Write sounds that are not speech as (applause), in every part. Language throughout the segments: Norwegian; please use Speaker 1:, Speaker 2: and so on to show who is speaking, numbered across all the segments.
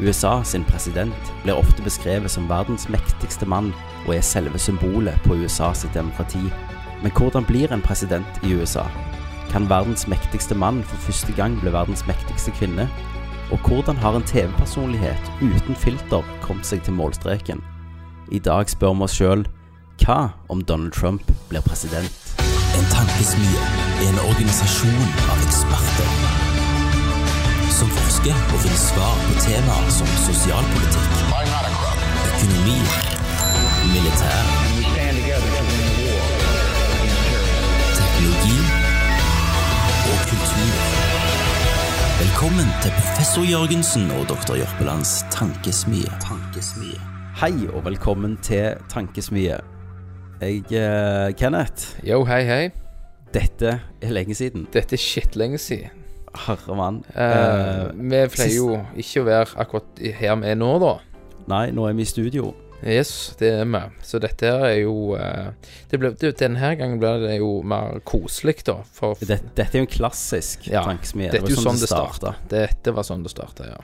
Speaker 1: USA sin president blir ofte beskrevet som verdens mektigste mann og er selve symbolet på USA sitt demokrati. Men hvordan blir en president i USA? Kan verdens mektigste mann for første gang bli verdens mektigste kvinne? Og hvordan har en TV-personlighet uten filter kommet seg til målstreken? I dag spør vi oss sjøl hva om Donald Trump blir president?
Speaker 2: En tankesmie er en organisasjon av eksperter som forsker og finner svar på temaer som sosialpolitikk, økonomi, militær, teknologi og kultur. Velkommen til professor Jørgensen og doktor Jørpelands tankesmie. tankesmie.
Speaker 1: Hei og velkommen til Tankesmie. Jeg, eh, Kenneth,
Speaker 3: Yo, hei, hei.
Speaker 1: dette er lenge siden.
Speaker 3: Dette er shit lenge siden.
Speaker 1: Herre mann.
Speaker 3: Eh,
Speaker 1: Eh,
Speaker 3: vi pleier jo ikke å være akkurat i- her vi er nå, da.
Speaker 1: nei, nå er vi i studio.
Speaker 3: Yes, det er vi. Så dette her er jo eh, det ble, det, Denne her gangen blir det jo mer koselig, da. For
Speaker 1: Dette, dette er jo en klassisk
Speaker 3: Ja,
Speaker 1: tankesmie.
Speaker 3: dette
Speaker 1: var
Speaker 3: er jo sånn det
Speaker 1: startet.
Speaker 3: starta. Dette var sånn det starta, ja.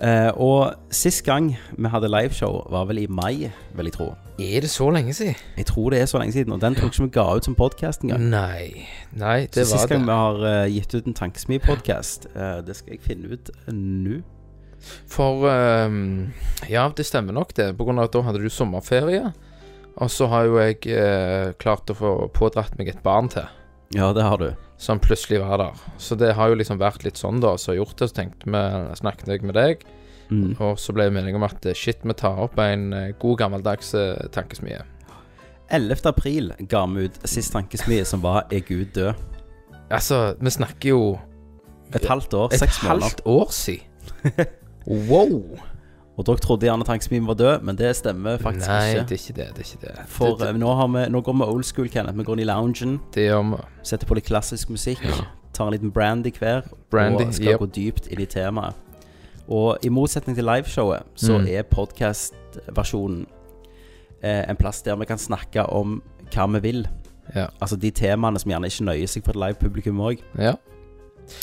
Speaker 1: Eh, og sist gang vi hadde liveshow, var vel i mai, vil jeg tro.
Speaker 3: Er det så lenge siden?
Speaker 1: Jeg tror det er så lenge siden, og den tror jeg ikke vi ga ut som podkast engang.
Speaker 3: Nei. Nei,
Speaker 1: Så
Speaker 3: Mm, det
Speaker 1: sist
Speaker 3: var
Speaker 1: gang
Speaker 3: det.
Speaker 1: vi har eh, gitt ut en tankesmie-podkast, det skal jeg finne ut eh, nå.
Speaker 3: For ehm, Ja, det stemmer nok det. På grunn av at da hadde du sommerferie. Og så har jo jeg eh, klart å få pådratt meg et barn til.
Speaker 1: Ja, det har du.
Speaker 3: som plutselig var der. Så det har jo liksom vært litt sånn, da. Så jeg har gjort det, så tenkte vi, snakket jeg med deg,
Speaker 1: Mm.
Speaker 3: og så ble vi enige om at eh, shit, vi tar opp en eh, god gammeldags eh, tankesmie.
Speaker 1: 11. april ga vi ut sist tankesmie, som var 'Er Gud død?'
Speaker 3: Altså, vi snakker jo
Speaker 1: Et halvt år,
Speaker 3: et
Speaker 1: seks måneder.
Speaker 3: halvt
Speaker 1: (laughs)
Speaker 3: år siden. Wow!
Speaker 1: Og dere trodde gjerne tankesmien var død, men det stemmer faktisk
Speaker 3: Nei,
Speaker 1: ikke.
Speaker 3: det er ikke det. Det er ikke det.
Speaker 1: For
Speaker 3: det,
Speaker 1: eh, nå, har vi, nå går vi old school, Kenneth. Vi går inn i loungen,
Speaker 3: det, det gjør vi.
Speaker 1: setter på litt klassisk musikk, tar en liten brandy hver,
Speaker 3: Brandy,
Speaker 1: og skal
Speaker 3: yep.
Speaker 1: gå dypt inn i temaet. Og i motsetning til liveshowet, så
Speaker 3: Mm.
Speaker 1: er podkastversjonen eh, en plass der vi kan snakke om hva vi vil.
Speaker 3: Ja.
Speaker 1: Altså de temaene som gjerne ikke nøyer seg for et live publikum òg.
Speaker 3: ja.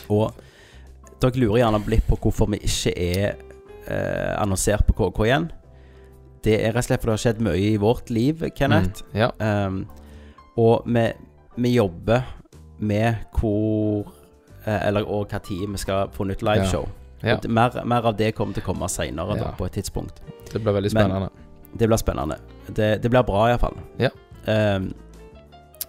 Speaker 1: Og dere lurer gjerne litt på hvorfor vi ikke er eh, annonsert på KK igjen. Det er rett og slett fordi det har skjedd mye i vårt liv, Kenneth.
Speaker 3: Mm, ja.
Speaker 1: Um, og vi, vi jobber med hvor eh, Eller og hva tid vi skal få nytt liveshow.
Speaker 3: Ja.
Speaker 1: Og det- Mer, mer av det kommer til å komme seinere,
Speaker 3: Ja.
Speaker 1: på et tidspunkt.
Speaker 3: Det blir veldig
Speaker 1: Men-
Speaker 3: spennende.
Speaker 1: Det blir spennende. Det, det blir bra, iallfall.
Speaker 3: Ja.
Speaker 1: Um,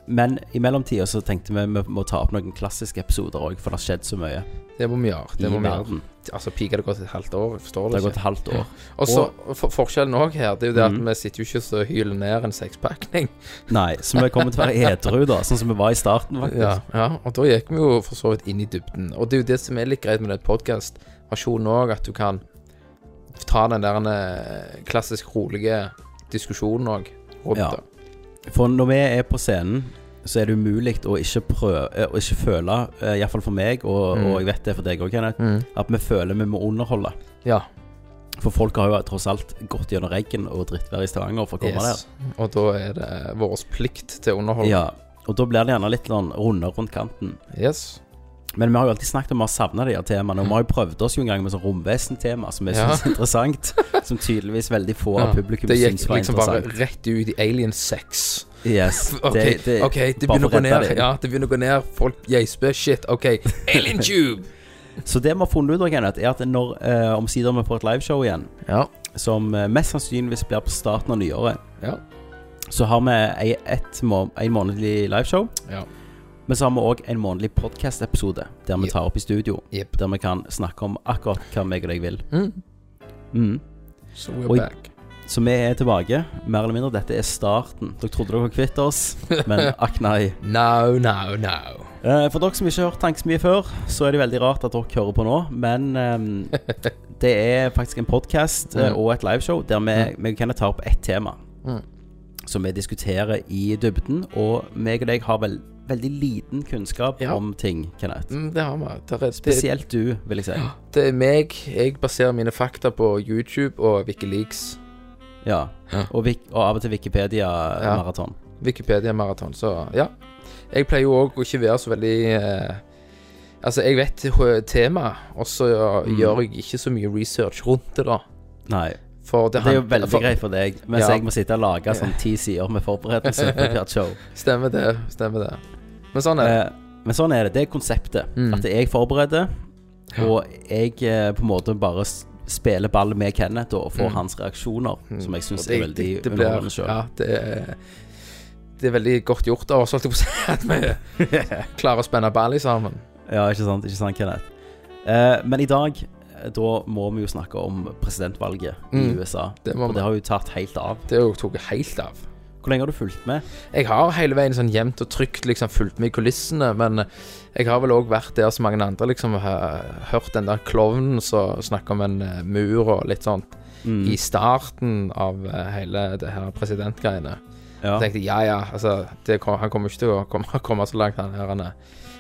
Speaker 1: men i mellomtida så tenkte vi vi må ta opp noen klassiske episoder òg, for det har skjedd så mye
Speaker 3: det må vi gjøre.
Speaker 1: i
Speaker 3: Det må vi gjøre.
Speaker 1: verden.
Speaker 3: Altså, pika det gått et halvt år, jeg forstår
Speaker 1: Det
Speaker 3: det
Speaker 1: har
Speaker 3: ikke.
Speaker 1: gått et halvt år.
Speaker 3: Og så for, forskjellen òg her, det er jo det at
Speaker 1: Mhm.
Speaker 3: vi sitter jo ikke så hyler ned en sekspakning.
Speaker 1: Nei, så vi kommer til å være edru, da, sånn som vi var i starten, (laughs) faktisk.
Speaker 3: Ja, ja, og da gikk vi jo for så vidt inn i dybden. Og det er jo det som er litt greit med den podkast-versjonen òg, at du kan ta den der eh, klassisk rolige diskusjonen òg rundt
Speaker 1: Ja.
Speaker 3: det.
Speaker 1: For når vi er på scenen, så er det umulig å ikke prøve eh, Å ikke føle, eh, iallfall for meg, og,
Speaker 3: Mm.
Speaker 1: og jeg vet det er for deg òg, Kenneth, at vi føler vi må underholde.
Speaker 3: Ja,
Speaker 1: For folk har jo tross alt gått gjennom regn og drittvær i Stavanger for å komme
Speaker 3: yes. Og da er det vår plikt til å
Speaker 1: der.
Speaker 3: underholde.
Speaker 1: Ja, og da blir det gjerne litt sånn runder rundt kanten.
Speaker 3: Yes.
Speaker 1: Men vi har jo alltid snakket om vi har savna de her temaene, og vi har jo prøvd oss jo en gang med sånn romvesentema som vi
Speaker 3: Ja.
Speaker 1: synes er interessant,
Speaker 3: (laughs)
Speaker 1: som tydeligvis veldig få av
Speaker 3: Ja,
Speaker 1: publikum
Speaker 3: Det gikk
Speaker 1: synes var
Speaker 3: liksom bare
Speaker 1: interessant.
Speaker 3: rett ut i Alien 6.
Speaker 1: Yes,
Speaker 3: (laughs) OK, det, ok, det
Speaker 1: bare
Speaker 3: begynner å
Speaker 1: for
Speaker 3: gå
Speaker 1: å redde
Speaker 3: ned.
Speaker 1: det.
Speaker 3: Ja, det begynner å gå ned. Folk geisper. Shit,
Speaker 1: (laughs)
Speaker 3: OK. Alien Tube!
Speaker 1: Så det vi har funnet ut, av, Kenneth, er at når eh, omsider vi får et liveshow igjen,
Speaker 3: ja.
Speaker 1: som eh, mest sannsynligvis blir på starten av nyåret.
Speaker 3: Ja.
Speaker 1: Så har vi ei, et må en månedlig liveshow,
Speaker 3: Ja.
Speaker 1: men så har vi òg en månedlig podkast-episode der vi
Speaker 3: Yep.
Speaker 1: tar opp i studio.
Speaker 3: Yep.
Speaker 1: Der vi kan snakke om akkurat hva meg og deg vil.
Speaker 3: Mm.
Speaker 1: Mm.
Speaker 3: So we're
Speaker 1: Oi.
Speaker 3: back.
Speaker 1: Så vi er tilbake, mer eller mindre. Dette er starten. Dere trodde dere var kvitt oss,
Speaker 3: (laughs)
Speaker 1: men akk nei.
Speaker 3: No, no, no.
Speaker 1: Eh, For dere som ikke har hørt Tankesmie før, så er det veldig rart at dere hører på nå, men
Speaker 3: (laughs)
Speaker 1: ehm, det er faktisk en podkast
Speaker 3: Mm.
Speaker 1: og et liveshow der vi, vi kan ta opp ett tema
Speaker 3: Mm.
Speaker 1: som vi diskuterer i dybden, og meg og deg har vel veldig liten kunnskap
Speaker 3: Ja.
Speaker 1: om ting, Kenneth.
Speaker 3: Mm, det har vi. Det er, det,
Speaker 1: Spesielt du, vil jeg si.
Speaker 3: det er meg. Jeg baserer mine fakta på YouTube og Wikileaks.
Speaker 1: Ja.
Speaker 3: Ja.
Speaker 1: Og, Wik og av og til Wikipedia-maraton.
Speaker 3: Wikipedia-maraton, så ja. Jeg pleier jo òg å ikke være så veldig eh, Altså, jeg vet h- temaet, og så
Speaker 1: Mm.
Speaker 3: gjør jeg ikke så mye research rundt det, da.
Speaker 1: Nei.
Speaker 3: For det,
Speaker 1: Det er jo
Speaker 3: handler-
Speaker 1: veldig
Speaker 3: for,
Speaker 1: greit for deg, mens
Speaker 3: Ja.
Speaker 1: jeg må sitte og lage sånn ti sider med forberedelse
Speaker 3: (laughs)
Speaker 1: for hvert show.
Speaker 3: Stemmer det. Stemmer det. Men sånn er det.
Speaker 1: Eh, men sånn er det. Det er konseptet.
Speaker 3: Mm.
Speaker 1: At jeg forbereder, og jeg eh, på en måte bare s- spiller ball med Kenneth og får
Speaker 3: Mm.
Speaker 1: hans reaksjoner, som jeg syns
Speaker 3: Og det-
Speaker 1: er veldig
Speaker 3: det- det blir-
Speaker 1: underholdende sjøl.
Speaker 3: Ja, det er, det er veldig godt gjort av oss, holdt jeg på å si, (laughs) at vi klarer å spenne ball i sammen.
Speaker 1: (laughs) Ja, ikke sant, ikke sant, Kenneth. Eh, men i dag, eh, da må vi jo snakke om presidentvalget
Speaker 3: Mm.
Speaker 1: i USA.
Speaker 3: Det må
Speaker 1: og
Speaker 3: vi.
Speaker 1: det har jo tatt helt av.
Speaker 3: Det er jo tok helt av.
Speaker 1: Hvor lenge har du fulgt med?
Speaker 3: Jeg har hele veien sånn jevnt og trygt liksom fulgt med i kulissene, men jeg har vel òg vært der som mange andre, liksom har hørt den der klovnen som snakker om en eh, mur og litt sånt
Speaker 1: Mm,
Speaker 3: i starten av eh, hele det her presidentgreiene.
Speaker 1: ja.
Speaker 3: Jeg tenkte ja ja, altså det, kom- han kommer ikke til å komme, (laughs) komme så langt, han her han er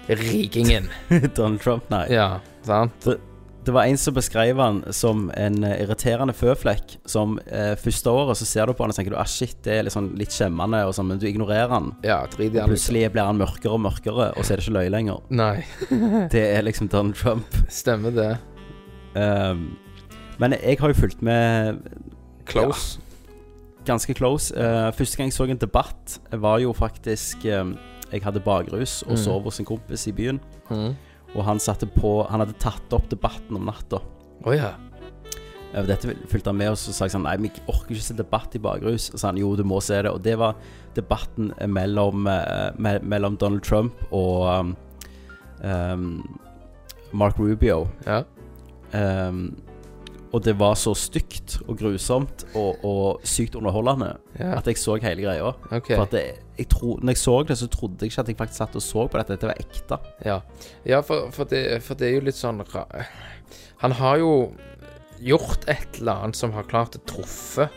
Speaker 1: (laughs)
Speaker 3: rikingen.
Speaker 1: Donald Trump, nei.
Speaker 3: Ja, sant?
Speaker 1: Det var en som beskrev han som en eh, irriterende føflekk. Som eh, første året så ser du på han og tenker du, ah shit, det er litt sånn litt skjemmende, og sånn, men du ignorerer han.
Speaker 3: Ja, drit i
Speaker 1: Og
Speaker 3: han. liksom.
Speaker 1: plutselig blir han mørkere og mørkere, og så er det ikke løye lenger.
Speaker 3: Nei,
Speaker 1: Det er liksom Donald Trump.
Speaker 3: stemmer det.
Speaker 1: Um, men jeg har jo fulgt med
Speaker 3: Close.
Speaker 1: ganske close. Eh, første gang jeg så en debatt, var jo faktisk eh, Jeg hadde bakrus og
Speaker 3: Mm.
Speaker 1: sov hos en kompis i byen,
Speaker 3: Å mm.
Speaker 1: og han satte på Han hadde tatt opp debatten om natta.
Speaker 3: Å ja.
Speaker 1: Eh, Dette fulgte han med, og så sa jeg sånn Nei, vi orker ikke se debatt i bakrus. Og så sa han jo, du må se det. Og det var debatten mellom, eh, me mellom Donald Trump og um, um, Mark Rubio.
Speaker 3: ja.
Speaker 1: Um, og det var så stygt og grusomt og, og sykt underholdende
Speaker 3: Ja,
Speaker 1: at jeg så hele greia.
Speaker 3: OK.
Speaker 1: For at det, jeg tro, når jeg så det, så trodde jeg ikke at jeg faktisk satt og så på dette. Dette var ekte.
Speaker 3: Ja, ja for, for, det, for det er jo litt sånn ra Han har jo gjort et eller annet som har klart å truffe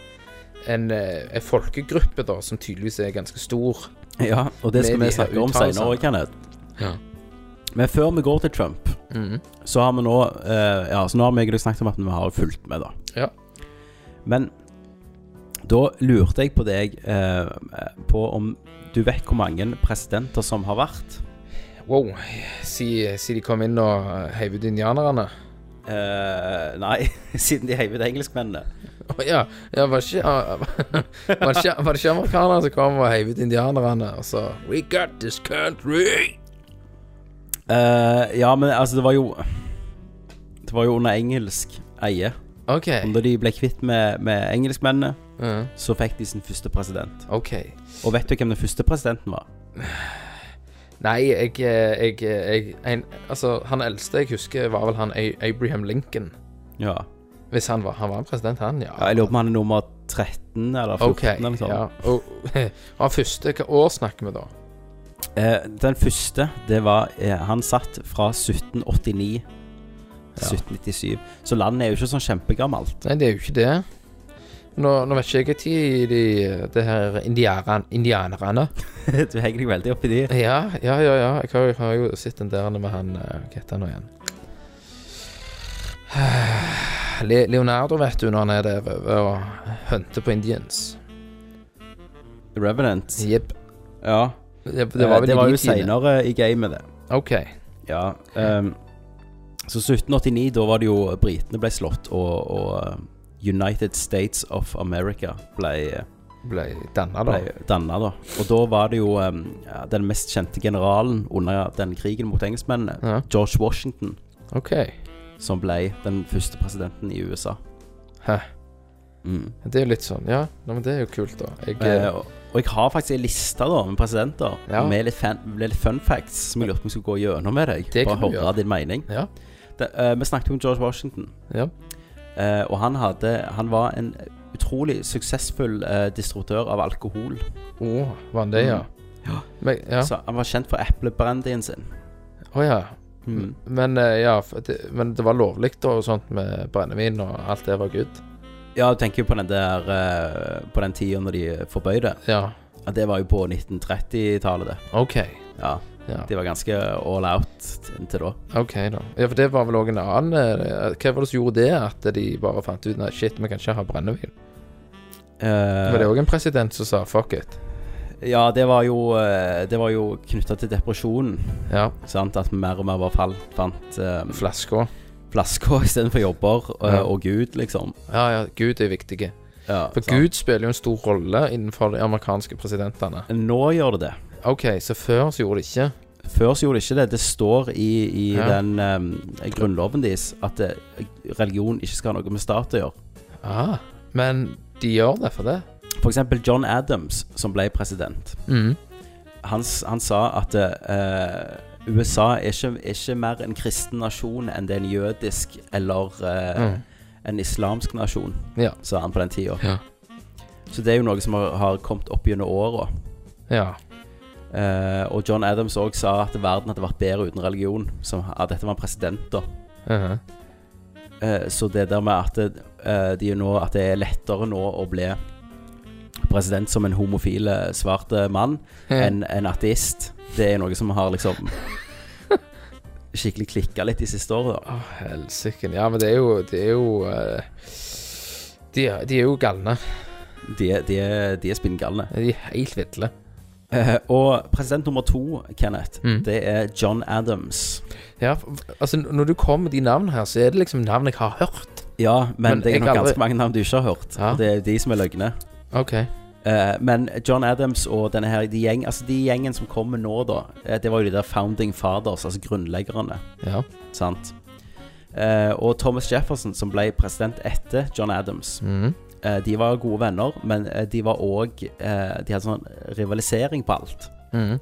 Speaker 3: en, eh, en folkegruppe, da, som tydeligvis er ganske stor.
Speaker 1: Ja, og det skal
Speaker 3: Med
Speaker 1: vi
Speaker 3: de her
Speaker 1: snakke om
Speaker 3: uttalelsene.
Speaker 1: senere òg, Kenneth.
Speaker 3: Ja.
Speaker 1: Men før vi går til Trump,
Speaker 3: Mhm.
Speaker 1: så har vi nå eh, Ja, så nå har vi egentlig snakket om at vi har fulgt med, da.
Speaker 3: Ja.
Speaker 1: Men da lurte jeg på deg eh, på om du vet hvor mange presidenter som har vært?
Speaker 3: Wow. Si, si de kom inn og eh, heiv ut indianerne.
Speaker 1: Eh, nei, (laughs) siden de heiv ut engelskmennene.
Speaker 3: Å ja, ja (laughs) var, det ikke, ah, var, det ikke, var det ikke amerikanerne som kom og heiv ut indianerne, og så We got this country!
Speaker 1: Eh, ja, men altså, det var jo Det var jo under engelsk eie.
Speaker 3: OK.
Speaker 1: Og Da de ble kvitt med, med engelskmennene,
Speaker 3: Mhm.
Speaker 1: så fikk de sin første president.
Speaker 3: OK.
Speaker 1: Og vet du hvem den første presidenten var?
Speaker 3: Nei, jeg, jeg, jeg en, Altså, han eldste jeg husker, var vel han A- Abraham Lincoln.
Speaker 1: Ja,
Speaker 3: Hvis han var, han var en president, han, ja.
Speaker 1: ja Jeg lurer på om han er nummer 13 eller 14.
Speaker 3: Ok,
Speaker 1: eller noe sånt.
Speaker 3: ja. Og, og (laughs) han første, hva år snakker vi da?
Speaker 1: Eh, den første, det var eh, Han satt fra 1789
Speaker 3: Ja.
Speaker 1: til 1797. Så landet er jo ikke sånn kjempegammelt. (laughs)
Speaker 3: Nei, det er jo ikke det. Nå, nå vet ikke jeg når de, det her indiaran,
Speaker 1: (laughs)
Speaker 3: indianerne
Speaker 1: du henger deg veldig opp i de.
Speaker 3: Ja, ja, ja. ja. Jeg har, jo- har jo sett den der med han eh, Hva heter han nå igjen? (sighs) Le, Leonardo, vet du, når han er der over og hunter på Indians.
Speaker 1: The Revenants.
Speaker 3: Jepp.
Speaker 1: Ja.
Speaker 3: Det,
Speaker 1: Det var,
Speaker 3: vel
Speaker 1: Eh, det
Speaker 3: i
Speaker 1: var
Speaker 3: de
Speaker 1: jo
Speaker 3: tidene.
Speaker 1: seinere i gamet, det.
Speaker 3: OK.
Speaker 1: Ja. ehm, så 1789, da var det jo Britene ble slått, og, og eh, United States of America ble,
Speaker 3: Ble danna, da.
Speaker 1: ble danna, da. Og da var det jo ehm, ja, den mest kjente generalen under den krigen mot engelskmennene,
Speaker 3: Ja,
Speaker 1: George Washington,
Speaker 3: OK.
Speaker 1: som ble den første presidenten i USA.
Speaker 3: Hæ.
Speaker 1: Mm.
Speaker 3: Det er jo litt sånn, ja. Nei, men det er jo kult, da. Jeg,
Speaker 1: Eh, og, og jeg har faktisk ei liste da med presidenter
Speaker 3: Ja.
Speaker 1: med litt, fan, med litt fun facts som jeg lurte på om jeg skulle gå gjennom med deg.
Speaker 3: Det
Speaker 1: Bare
Speaker 3: kan du
Speaker 1: høre
Speaker 3: gjøre.
Speaker 1: din mening.
Speaker 3: Ja.
Speaker 1: Det, eh, vi snakket jo om George Washington.
Speaker 3: ja.
Speaker 1: Eh, og han, hadde, han var en utrolig suksessfull eh, distributør av alkohol.
Speaker 3: Åh, eh, var han det, ja? Men, ja.
Speaker 1: Mm. Så han var kjent for eplebrandyien sin. Mm.
Speaker 3: Å ja. Men, eh, ja, for det, men det var lovlig da, og sånt med brennevin og alt det var good?
Speaker 1: Ja, du tenker jo på den der eh, På den tida når de forbød det.
Speaker 3: Ja.
Speaker 1: Ja, det var jo på 1930-tallet, det.
Speaker 3: OK.
Speaker 1: Ja,
Speaker 3: Ja,
Speaker 1: De var ganske all out inntil da.
Speaker 3: ok da. Ja, for det var vel òg en annen eh, Hva var det som gjorde det, at de bare fant ut Nei, shit, vi kan ikke ha brennevin?
Speaker 1: Eh,
Speaker 3: Var det òg en president som sa fuck it?
Speaker 1: Ja, det var jo, eh, det var jo knytta til depresjonen.
Speaker 3: Ja.
Speaker 1: Sant? At vi mer og mer bare fall, fant eh,
Speaker 3: Flaska.
Speaker 1: flasker (laughs) istedenfor jobber eh,
Speaker 3: Ja.
Speaker 1: og Gud, liksom.
Speaker 3: Ja, ja, Gud er viktig.
Speaker 1: Ja,
Speaker 3: For
Speaker 1: sant.
Speaker 3: Gud spiller jo en stor rolle innenfor de amerikanske presidentene.
Speaker 1: Nå gjør det det.
Speaker 3: OK, så før så gjorde det ikke.
Speaker 1: Før så gjorde det ikke det. Det står i, i
Speaker 3: Ja.
Speaker 1: den eh, grunnloven deres at eh, religion ikke skal ha noe med stat å gjøre.
Speaker 3: Ah, men de gjør det for det.
Speaker 1: For eksempel John Adams, som ble president.
Speaker 3: Mm.
Speaker 1: Han, s- han sa at eh, USA er ikke, er ikke mer en kristen nasjon enn det er en jødisk eller eh,
Speaker 3: Mm.
Speaker 1: en islamsk nasjon,
Speaker 3: Ja.
Speaker 1: sa han på den tida.
Speaker 3: Ja.
Speaker 1: Så det er jo noe som har, har kommet opp gjennom åra.
Speaker 3: ja.
Speaker 1: Eh, og John Adams òg sa at verden hadde vært bedre uten religion. Som, at dette var en president, da.
Speaker 3: Mhm.
Speaker 1: Eh, så det der med at det, eh, de nå, at det er lettere nå å bli president som en homofil eh, svart eh, mann enn en ateist, det er noe som har
Speaker 3: (laughs)
Speaker 1: liksom skikkelig klikka litt de siste åra, da.
Speaker 3: Å, helsike. Ja, men det er jo Det er jo eh, de, er- de er jo galne.
Speaker 1: De, er- de, er- de er spinngalne.
Speaker 3: De er helt ville.
Speaker 1: Eh, og president nummer to, Kenneth,
Speaker 3: Mm.
Speaker 1: det er John Adams.
Speaker 3: Ja, f- altså, når du kommer med de navnene her, så er det liksom navn jeg har hørt.
Speaker 1: Ja, men,
Speaker 3: Men
Speaker 1: det er
Speaker 3: jeg
Speaker 1: nok
Speaker 3: aldri-
Speaker 1: ganske mange navn du ikke har hørt.
Speaker 3: Ja.
Speaker 1: Og det er de som er løgne.
Speaker 3: OK.
Speaker 1: Eh, men John Adams og denne her de, gjeng, altså de gjengen som kommer nå, da, eh, det var jo de der founding fathers, altså grunnleggerne.
Speaker 3: Ja.
Speaker 1: Sant? Eh, og Thomas Jefferson, som ble president etter John Adams,
Speaker 3: Mhm.
Speaker 1: eh, de var gode venner, men eh, de var òg eh, De hadde sånn rivalisering på alt.
Speaker 3: Mhm.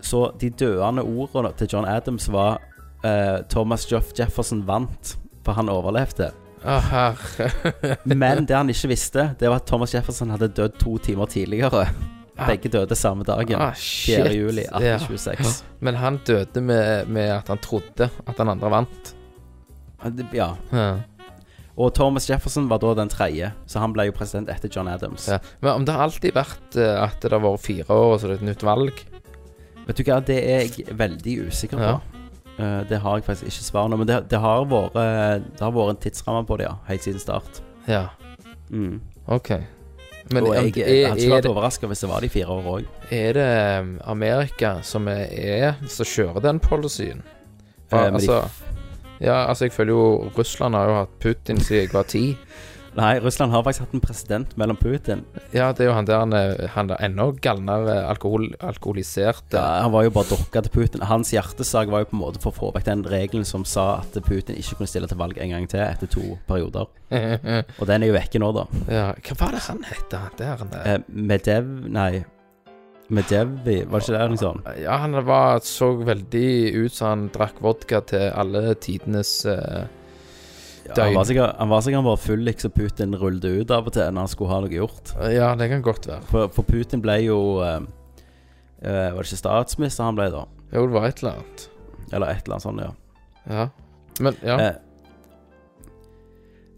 Speaker 1: Så de døende ordene til John Adams var eh, Thomas Jeff Jefferson vant, for han overlevde.
Speaker 3: Å, herre
Speaker 1: Men det han ikke visste, det var at Thomas Jefferson hadde dødd to timer tidligere. Begge døde samme dagen.
Speaker 3: Ah, shit.
Speaker 1: 4. juli
Speaker 3: Ja.
Speaker 1: 1826.
Speaker 3: Men han døde med, med at han trodde at den andre vant.
Speaker 1: Ja.
Speaker 3: Ja.
Speaker 1: Og Thomas Jefferson var da den tredje, så han ble jo president etter John Adams.
Speaker 3: Ja. Men om det har alltid vært eh, at det har vært fire år, og så er det et nytt valg
Speaker 1: Vet du hva, det er jeg veldig usikker på.
Speaker 3: Ja.
Speaker 1: Eh, det har jeg faktisk ikke svar nå, men det, det, har vært, eh, det har vært en tidsramme på det, ja. Helt siden start.
Speaker 3: Ja,
Speaker 1: Mm.
Speaker 3: OK. Men
Speaker 1: og
Speaker 3: om
Speaker 1: jeg,
Speaker 3: det
Speaker 1: jeg
Speaker 3: er,
Speaker 1: hadde ikke
Speaker 3: er,
Speaker 1: vært overraska hvis det var de fire år òg.
Speaker 3: det, er det eh, Amerika som er, er som kjører den policyen? For,
Speaker 1: Eh, men de-
Speaker 3: altså, ja, altså, jeg føler jo Russland har jo hatt Putin siden jeg var ti.
Speaker 1: Nei, Russland har faktisk hatt en president mellom Putin.
Speaker 3: Ja, det er jo han der han, er- han der ennå galnere alkohol, alkoholiserte.
Speaker 1: Ja, han var jo bare dokka til Putin. Hans hjertesak var jo på en måte for å få vekk den regelen som sa at Putin ikke kunne stille til valg en gang til etter to perioder. Og den er jo vekke nå, da.
Speaker 3: (laughs) ja. Hva var det han het, han der? Han der?
Speaker 1: Eh, Medev... Nei. Medevi, var det ikke det? Liksom?
Speaker 3: Ja, han var, så veldig ut som han drakk vodka til alle tidenes eh,
Speaker 1: Ja, han var sikkert han var sikkert bare full liksom Putin rullet ut av og til når han skulle ha noe gjort.
Speaker 3: Ja, det kan godt være.
Speaker 1: For, for Putin ble jo eh, eh, Var det ikke statsminister han ble, da?
Speaker 3: Jo, det var et eller annet.
Speaker 1: Eller et eller annet sånt, ja.
Speaker 3: Ja. Men ja.
Speaker 1: Eh,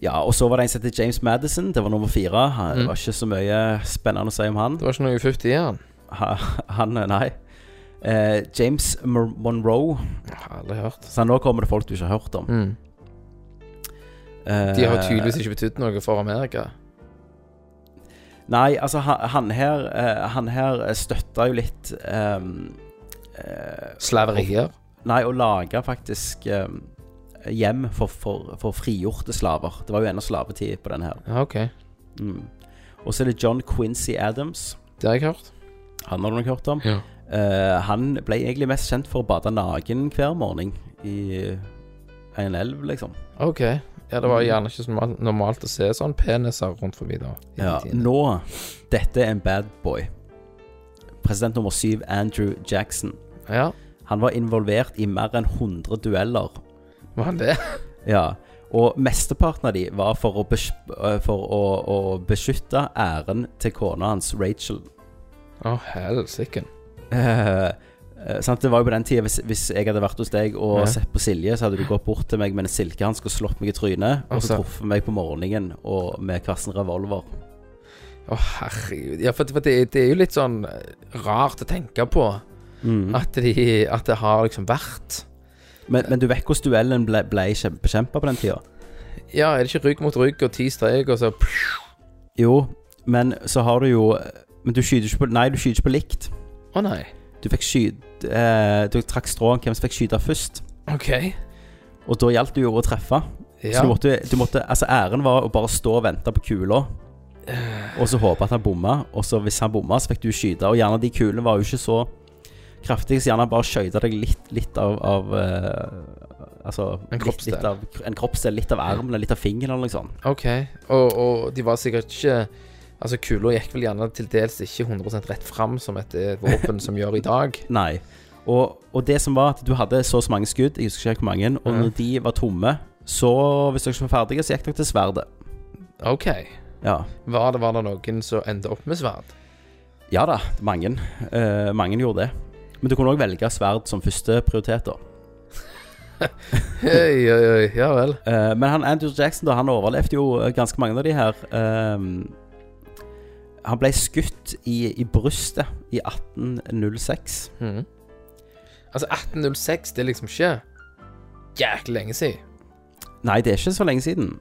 Speaker 1: ja, og så var det en som heter James Madison. Det var nummer fire. Han, Det
Speaker 3: Mm.
Speaker 1: var ikke så mye spennende å si om han.
Speaker 3: det var ikke noe ufutt i han.
Speaker 1: Ha, han nei. Eh, James Mer- Monroe.
Speaker 3: Jeg har aldri hørt.
Speaker 1: Så nå kommer det folk du ikke har hørt om.
Speaker 3: Mm.
Speaker 1: Eh,
Speaker 3: De har tydeligvis ikke betydd noe for Amerika.
Speaker 1: Nei, altså, han, han her eh, Han her støtta jo litt ehm, eh,
Speaker 3: Slaverier.
Speaker 1: Nei, å lage faktisk ehm, hjem for, for, for frigjorte slaver. Det var jo ennå slavetid på den her.
Speaker 3: Ja, OK.
Speaker 1: Mm. Og så er det John Quincy Adams.
Speaker 3: Det har jeg hørt.
Speaker 1: Han har du nok hørt om.
Speaker 3: Ja.
Speaker 1: Eh, han ble egentlig mest kjent for å bade naken hver morgen i en elv, liksom.
Speaker 3: OK. Ja, det var gjerne ikke så normal- normalt å se sånn peniser rundt forbi da. i
Speaker 1: Ja,
Speaker 3: den tiden.
Speaker 1: nå Dette er en bad boy. President nummer syv, Andrew Jackson.
Speaker 3: ja.
Speaker 1: Han var involvert i mer enn 100 dueller.
Speaker 3: Var han det?
Speaker 1: Ja. Og mesteparten av de var for å, besky eh, for å, å beskytte æren til kona hans, Rachel. (laughs)
Speaker 3: Å, helsike.
Speaker 1: Eh, eh, sant? Det var jo på den tida hvis, hvis jeg hadde vært hos deg og
Speaker 3: Ja.
Speaker 1: sett på Silje, så hadde du gått bort til meg med en silkehanske og slått meg i trynet, og så
Speaker 3: Altså.
Speaker 1: truffet meg på morgenen og med hver sin revolver.
Speaker 3: Å, herregud. Ja, for, for det, det er jo litt sånn rart å tenke på
Speaker 1: Mm.
Speaker 3: at, de, at det har liksom vært
Speaker 1: Men, men du vet hvordan duellen ble, ble kjem- bekjempet på den tida?
Speaker 3: Ja, er det ikke rygg mot rygg og ti strek, og så
Speaker 1: Jo, men så har du jo Men du skyter ikke på Nei, du skyter ikke på likt.
Speaker 3: Å nei.
Speaker 1: Du fikk skyte eh, Du trakk strået hvem som fikk skyte først.
Speaker 3: OK.
Speaker 1: Og da gjaldt det jo å treffe.
Speaker 3: Ja.
Speaker 1: Så du måtte, du måtte Altså, æren var å bare stå og vente på kula.
Speaker 3: Eh.
Speaker 1: Og så håpe at han bomma, og så hvis han bomma, så fikk du skyte. Og gjerne de kulene var jo ikke så kraftige, så gjerne bare skøyta deg litt, litt av, av eh, Altså
Speaker 3: En
Speaker 1: litt,
Speaker 3: kroppsdel.
Speaker 1: litt av, en kroppsdel. Litt av armen, eller litt av fingeren, eller noe sånt.
Speaker 3: OK. Og, og de var sikkert ikke Altså, kula gikk vel gjerne til dels ikke 100 rett fram, som et eh, våpen som gjør i dag.
Speaker 1: Nei. Og, og det som var at du hadde så og så mange skudd, jeg husker ikke hvor mange, og
Speaker 3: Ja.
Speaker 1: når de var tomme, så hvis dere ikke var ferdige, så gikk dere til sverdet.
Speaker 3: (laughs) OK.
Speaker 1: Ja.
Speaker 3: Var det, var det noen som endte opp med sverd?
Speaker 1: Ja da, mange. Eh, mange gjorde det. Men du kunne òg velge sverd som første prioritet. da.
Speaker 3: Hei, hei, hei. Ja vel.
Speaker 1: Eh, men han, Andrew Jackson da, han overlevde jo eh, ganske mange av de her. Ehm, han ble skutt i, i brystet i 1806.
Speaker 3: Mhm. Altså, 1806, det er liksom ikke jæklig lenge siden.
Speaker 1: Nei, det er ikke så lenge siden.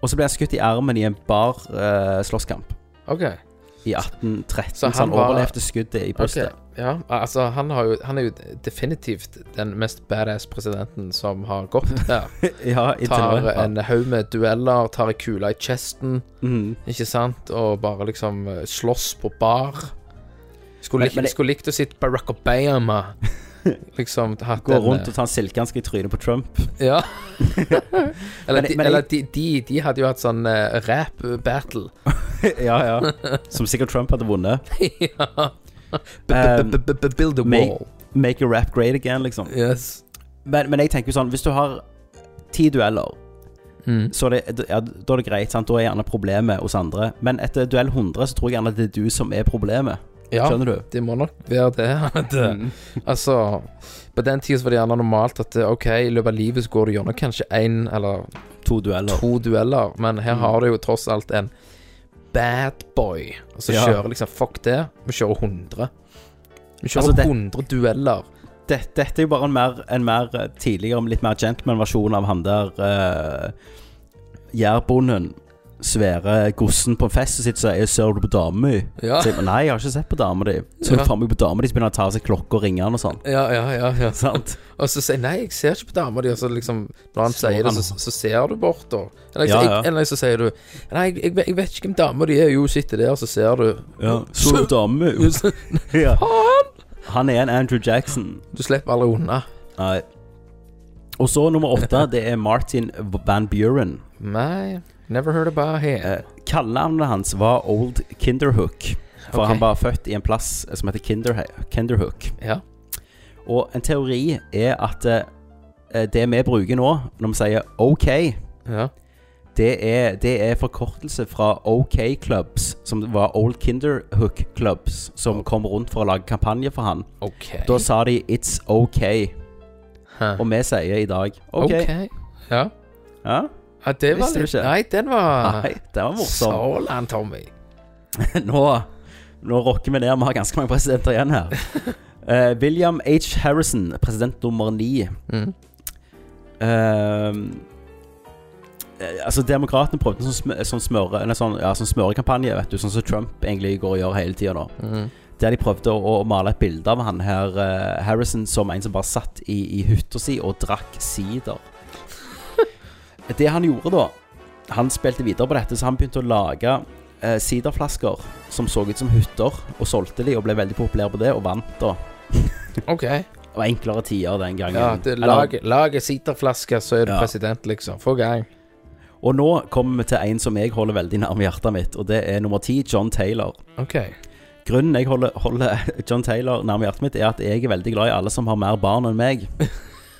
Speaker 1: Og så ble han skutt i armen i en bar eh, slåsskamp
Speaker 3: OK.
Speaker 1: i 1813.
Speaker 3: Så
Speaker 1: Så
Speaker 3: han
Speaker 1: han,
Speaker 3: var-
Speaker 1: overlevde skuddet i
Speaker 3: ok.
Speaker 1: brystet.
Speaker 3: Ja, altså, han, har jo, han er jo definitivt den mest badass presidenten som har
Speaker 1: (laughs)
Speaker 3: gått der.
Speaker 1: ja, inntil nå,
Speaker 3: Tar
Speaker 1: ja.
Speaker 3: en haug med dueller, tar ei kule i kjesten,
Speaker 1: Mhm.
Speaker 3: ikke sant, og bare liksom eh, slåss på bar. Skulle,
Speaker 1: Men-
Speaker 3: lik-
Speaker 1: men det-
Speaker 3: skulle likt å sitte Barack
Speaker 1: (laughs)
Speaker 3: Obama. Liksom hatt
Speaker 1: Gå
Speaker 3: en,
Speaker 1: rundt
Speaker 3: eh,
Speaker 1: og ta en silkehanske i trynet på Trump. (laughs)
Speaker 3: (laughs) Ja. eller
Speaker 1: Men-
Speaker 3: de,
Speaker 1: men-
Speaker 3: eller de, de, de hadde jo hatt sånn eh, rap battle.
Speaker 1: ja, ja. Som sikkert Trump hadde vunnet.
Speaker 3: ja.
Speaker 1: (laughs)
Speaker 3: (laughs)
Speaker 1: Um,
Speaker 3: Build a
Speaker 1: make-
Speaker 3: wall.
Speaker 1: Make a rap great again, liksom.
Speaker 3: Yes.
Speaker 1: Men, men jeg tenker jo sånn, hvis du har ti dueller,
Speaker 3: Mm.
Speaker 1: så er det, ja, da er det greit. sant? Da er gjerne problemet hos andre. Men etter duell 100 så tror jeg gjerne det er du som er problemet.
Speaker 3: Ja,
Speaker 1: Skjønner du?
Speaker 3: det må nok være det. (laughs) at, eh,
Speaker 1: Mm.
Speaker 3: altså, på den tida var det gjerne normalt at eh, OK, i løpet av livet så går du gjennom kanskje én eller
Speaker 1: To dueller.
Speaker 3: to dueller, men her
Speaker 1: Mm.
Speaker 3: har du jo tross alt en bad boy som
Speaker 1: Ja.
Speaker 3: kjører liksom Fuck det, vi kjører 100. Vi kjører
Speaker 1: Altså, det-
Speaker 3: 100 dueller.
Speaker 1: Dette, dette er jo bare en mer, en mer eh, tidligere, litt mer gentleman-versjon av han der uh, jærbonden. Svære gossen på en fest som sitter og sier 'Ser du på dama mi?'
Speaker 3: Ja,
Speaker 1: Sier, Nei, jeg har ikke sett på dama di. Så
Speaker 3: Ja.
Speaker 1: faen meg på dama di, så begynner han å ta av seg klokka og ringe han og sånn.
Speaker 3: ja, ja. ja, ja.
Speaker 1: Sant?
Speaker 3: Og så sier jeg, nei, jeg ser ikke på dama di. Og så liksom, når han
Speaker 1: Slår
Speaker 3: sier det,
Speaker 1: han.
Speaker 3: så, så ser du bort, da. Eller,
Speaker 1: Ja,
Speaker 3: så-
Speaker 1: ja.
Speaker 3: jeg- eller så sier du Nei, jeg, jeg, vet- jeg vet ikke hvem dama di er. Jo, sitter der, så ser du.
Speaker 1: Ja. Så du på dama mi?
Speaker 3: Så-
Speaker 1: (laughs) Ja. Han er en Andrew Jackson.
Speaker 3: Du slipper aldri unna.
Speaker 1: Nei. Og så nummer åtte, det er Martin Van Buren.
Speaker 3: Nei, never heard about him.
Speaker 1: Eh, Kallenavnet hans var Old Kinderhook. For
Speaker 3: Ok.
Speaker 1: han var født i en plass eh, som heter Kinder, Kinderhook.
Speaker 3: Ja.
Speaker 1: Og en teori er at eh, det vi bruker nå, når vi sier OK,
Speaker 3: ja.
Speaker 1: det er, det er forkortelse fra OK Clubs, som var Old Kinderhook Clubs, som kom rundt for å lage kampanje for han.
Speaker 3: OK.
Speaker 1: Da sa de 'It's OK',
Speaker 3: Hæ.
Speaker 1: og vi sier i dag OK.
Speaker 3: OK. Ja.
Speaker 1: Ja?
Speaker 3: ja, det var
Speaker 1: Visste du
Speaker 3: litt
Speaker 1: ikke?
Speaker 3: Nei, den var
Speaker 1: Nei, det var morsomt.
Speaker 3: Sånn, Tommy.
Speaker 1: (laughs) Nå, nå rocker vi ned, vi har ganske mange presidenter igjen her. Eh, William H. Harrison, president nummer ni. Eh,
Speaker 3: Mm.
Speaker 1: Ehm, eh, altså Demokratene prøvde en sånn, sm sånn, smøre, eller sånn, ja, sånn smørekampanje, vet du, sånn som Trump egentlig går og gjør hele tida nå.
Speaker 3: Mm.
Speaker 1: Der de prøvde å, å male et bilde av han her eh, Harrison som en som bare satt i, i hytta si og drakk
Speaker 3: (laughs)
Speaker 1: sider. Det han gjorde da Han spilte videre på dette, så han begynte å lage eh, siderflasker som så ut som hytter, og solgte de og ble veldig populær på det, og vant da.
Speaker 3: OK.
Speaker 1: Det var enklere tider den gangen.
Speaker 3: Ja, det-
Speaker 1: Eller-
Speaker 3: lag- lag en siterflaske, så er du
Speaker 1: Ja.
Speaker 3: president, liksom. Få gang.
Speaker 1: og nå kommer vi til en som jeg holder veldig nærme hjertet mitt, og det er nummer ti, John Taylor.
Speaker 3: OK.
Speaker 1: Grunnen jeg holder, holder (laughs) John Taylor nærme hjertet mitt, er at jeg er veldig glad i alle som har mer barn enn meg.